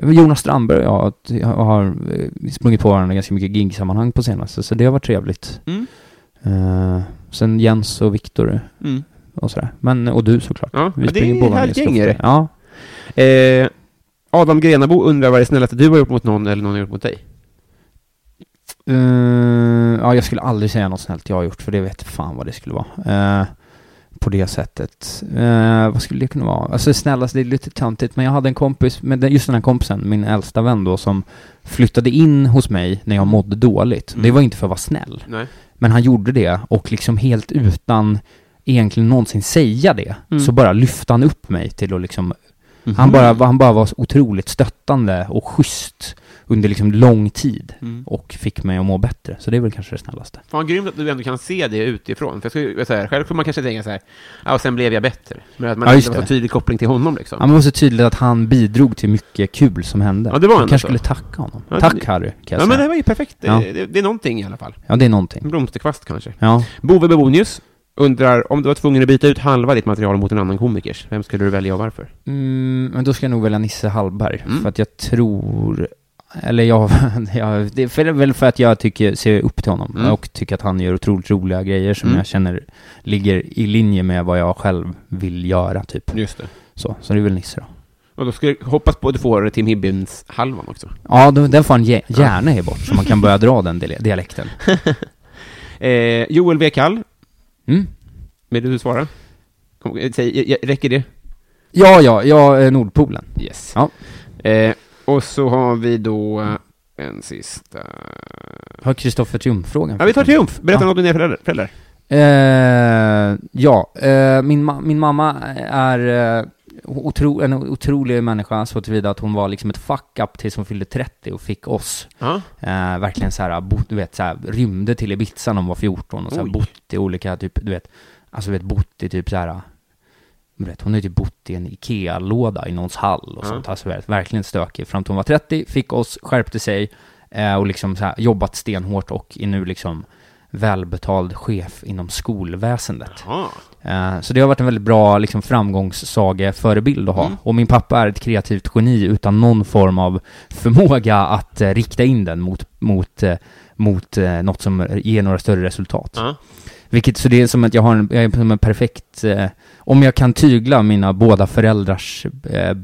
Eh, Jonas Strandberg och jag har- har eh, sprungit på varandra ganska mycket gigsammanhang på senaste, så det har varit trevligt.
Mm.
Eh, sen Jens och Viktor
Mm.
och sådär. Men, och du såklart.
Ja,
Vi
ja, det
springer på
är
varandra
här
ganska
gäng är
ofta. Ja.
det. Eh, Adam Grenabo undrar vad det snällaste du har gjort mot någon eller någon har gjort mot dig?
Eh, ja, jag skulle aldrig säga något snällt jag har gjort, för det vet fan vad det skulle vara. Eh, på det sättet. Eh, vad skulle det kunna vara? Alltså snällast, det är lite töntigt, men jag hade en kompis, men den- just den här kompisen, min äldsta vän då, som flyttade in hos mig när jag mådde dåligt.
Mm.
Det var inte för att vara snäll.
Nej.
Men han gjorde det och liksom helt utan egentligen någonsin säga det,
Mm.
så bara lyfte han upp mig till att liksom, han, bara, han bara var så otroligt stöttande och schysst under liksom lång tid
Mm.
och fick mig att må bättre. Så det är väl kanske det snällaste.
Fan grymt att du ändå kan se det utifrån. För jag ska, ju- så här, själv får man kanske tänka så här, ja, och sen blev jag bättre. Men att man
Ja,
inte
just
har så
det.
tydlig koppling till honom liksom.
Ja, men det var så tydligt att han bidrog till mycket kul som hände.
Ja, det var
jag
ändå
kanske
så.
skulle tacka honom.
Ja,
Tack
det-
Harry, kan jag
Ja, men det
säga.
var ju perfekt. Det-
Ja.
Det, det Mm. är någonting i alla fall.
Ja, det är någonting.
En blomsterkvast kanske.
Ja.
Bove Bebonius undrar om du var tvungen att byta ut halva ditt material mot en annan komikers. Vem skulle du välja och varför?
Mm, men då ska jag nog välja Nisse Hallberg,
Mm.
för att jag tror... Eller jag, jag det är för- väl för att jag tycker, ser upp till honom
Mm.
och tycker att han gör otroligt roliga grejer som
Mm.
jag känner ligger i linje med vad jag själv vill göra, typ.
Just det.
Så, så det är väl Nisse då.
Och då skulle jag hoppas på att du får Tim Hibbins halvan också.
Ja, då- den får han ge, gärna ge bort, så man kan börja dra den dile- dialekten.
Eh, Joel W. Kall,
Mm.
vill du svara? Kom, eh, säg, eh, räcker det?
Ja, ja, ja, eh, Nordpolen.
Yes.
Ja.
Eh, och så har vi då eh, en sista...
Har Kristoffer Triumf-frågan?
Ja, vi tar Triumf. Berätta
Ja.
något om dina föräldrar. föräldrar.
Eh, ja, eh, min, ma- min mamma är eh, otro, en otrolig människa så tillvida att hon var liksom ett fuck-up tills hon fyllde 30 och fick oss.
Ja.
Eh, verkligen så här, bo, du vet, så här, rymde till Ibiza när hon var 14 och så här,
Oj.
bott i olika, typ, du vet, alltså du vet, bott i typ så här, du vet, hon har ju typ bott i en IKEA-låda i någons hall och
Ja.
sånt, alltså du vet, verkligen stökig. Fram till hon var 30, fick oss, skärpte sig eh, och liksom så här, jobbat stenhårt och är nu liksom välbetald chef inom skolväsendet.
Ja.
Eh, Så det har varit en väldigt bra liksom, framgångssaga-förebild att ha.
Mm.
Och min pappa är ett kreativt geni utan någon form av förmåga att eh, rikta in den mot, mot, eh, mot eh, något som ger några större resultat.
Ja.
Vilket, så det är som att jag har en, jag är som en perfekt, eh, om jag kan tygla mina båda föräldrars eh,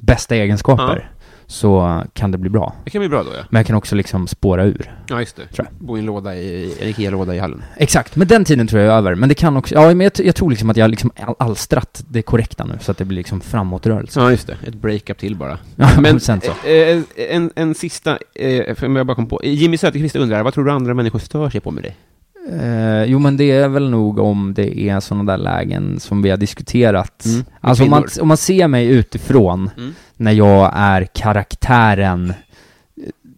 bästa egenskaper så kan det bli bra.
Det kan bli bra då, ja.
Men jag kan också liksom spåra ur.
Ja, just det.
Tror
Bo i en låda i, en IKEA-låda i hallen.
Exakt, men den tiden tror jag är över. Men det kan också, ja men jag, t- jag tror liksom att jag har liksom al- alstrat det korrekta nu så att det blir liksom framåtrörelse.
Ja, just det. Ett breakup till bara.
Ja,
Men-
men sen så.
Eh, en, en sista, eh, för jag bara kom på. Jimmy Söderqvist undrar, vad tror du andra människor stör sig på med dig?
Eh, jo men det är väl nog om det är sådana där lägen som vi har diskuterat.
Mm.
Alltså om man,
Kvinnor.
om man ser mig utifrån
Mm.
när jag är karaktären, eh,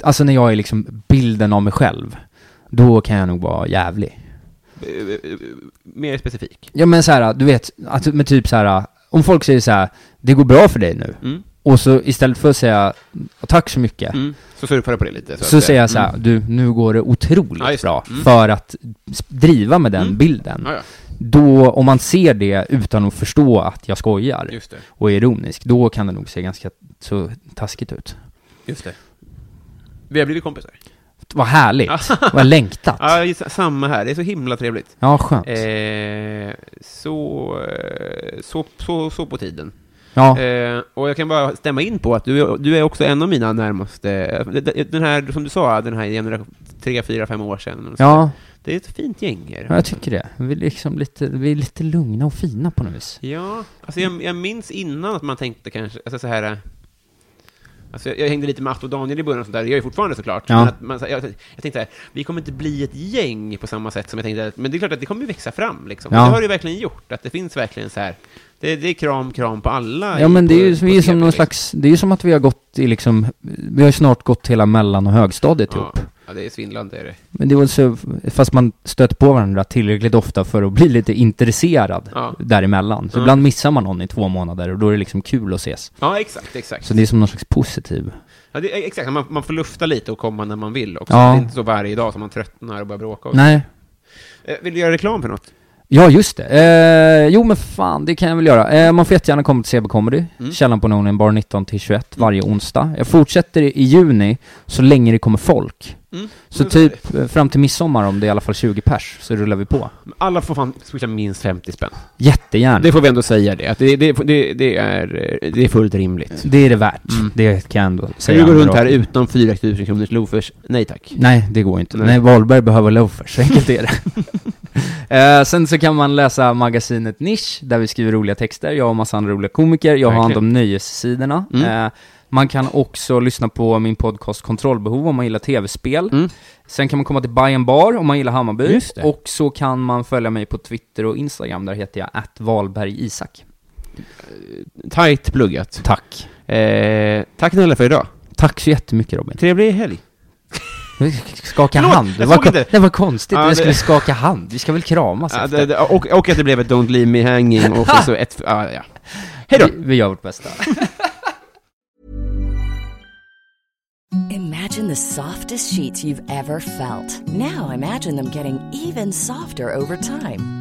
alltså när jag är liksom bilden av mig själv, då kan jag nog vara jävlig.
Eh, eh, mer specifik.
Ja men så här, du vet, att, men typ så här, om folk säger så här, det går bra för dig nu,
Mm.
och så istället för att säga tack så mycket,
Mm. Så surfar du på det lite.
Så,
att säga.
säger jag så här,
Mm.
du, nu går det otroligt
Ja, just det.
bra
Mm.
för att s- driva med den
Mm.
bilden.
Ja,
Då, om man ser det utan att förstå att jag skojar
ja. Just det.
och är ironisk, då kan det nog se ganska så taskigt ut.
Just det. Vi har blivit kompisar.
Gud, vad härligt. vad längtat.
Ja, just- samma här. Det är så himla trevligt.
Ja, skönt.
Eh, så, eh, så, så, så på tiden.
Ja,
Eh, och jag kan bara stämma in på att du, du är också en av mina närmaste, eh, den här, som du sa, den här generation, tre, fyra, fem år sedan. och så.
ja,
Det är ett fint gäng. Är det.
ja, jag tycker det. Vi är liksom lite, vi är lite lugna och fina på något vis.
Ja, alltså jag, jag minns innan att man tänkte kanske, alltså så här... eh, Alltså jag, jag hängde lite med Atto och Daniel i början och sånt där, det gör jag ju fortfarande såklart.
Ja.
Men att man, så- jag, jag tänkte så här, vi kommer inte bli ett gäng på samma sätt som jag tänkte, att- men det är klart att det kommer ju växa fram liksom.
Ja.
Och Det har det ju verkligen gjort, att det finns verkligen så här, det, det är kram, kram på alla.
Ja,
i-
men det är ju
på- på
som, vi är
scenen,
som någon
liksom.
slags, det är ju som att vi har gått i liksom, vi har ju snart gått hela mellan och högstadiet ihop.
Ja, ja, det är svindlande är det.
Men det var så, fast man stöter på varandra tillräckligt ofta för att bli lite intresserad
Ja.
däremellan. Så
Mm.
ibland missar man någon i två månader och då är det liksom kul att ses.
Ja, exakt, exakt.
Så det är som någon slags positiv.
ja, det är, exakt. Man, man får lufta lite och komma när man vill också.
Ja.
Det är inte så varje dag som man tröttnar och börjar bråka. Och så.
Nej.
Eh, Vill du göra reklam för något?
Ja, just det. Eh, jo, men fan, det kan jag väl göra. Eh, man får jättegärna komma till CB Comedy,
Mm.
Källan på Nonen, bar 19-21 varje onsdag. Jag fortsätter i juni, så länge det kommer folk.
Mm.
Så
Mm.
typ eh, fram till midsommar, om det är i alla fall 20 pers, så rullar vi på.
Alla får fan swisha minst 50 spänn.
Jättegärna.
Det får vi ändå säga det, att det, det, det, det, är, eh, det är fullt rimligt.
Det är det värt.
Mm.
Det kan jag ändå
Ska
säga.
du gå
ändå.
runt här utan 4 000 kronors loafers? Nej tack.
Nej, det går inte.
Nej.
Nej, Wahlberg behöver loafers, så enkelt är det. Eh, sen så kan man läsa magasinet Nisch, där vi skriver roliga texter. Jag och massa andra roliga komiker. Jag har hand om nöjessidorna.
Mm.
Eh, man kan också lyssna på min podcast Kontrollbehov om man gillar tv-spel.
Mm.
Sen kan man komma till Buy and Bar om man gillar Hammarby.
Just det.
Och så kan man följa mig på Twitter och Instagram. Där heter jag @valbergisak.
Tight pluggat.
Tack.
Eh, tack Nella för idag.
Tack så jättemycket Robin.
Trevlig helg.
Skaka
Förlåt,
hand.
jag
Det var,
såg inte.
kon- det var konstigt
Ja,
att
det-
jag skulle skaka hand. Vi ska väl kramas
Ja,
efter.
det, det, och, och att det blev ett Don't Leave Me Hanging och så ett... ja, ja. Hej då!
Vi, vi gör vårt bästa.
Imagine the softest sheets you've ever felt. Now imagine them getting even softer over time.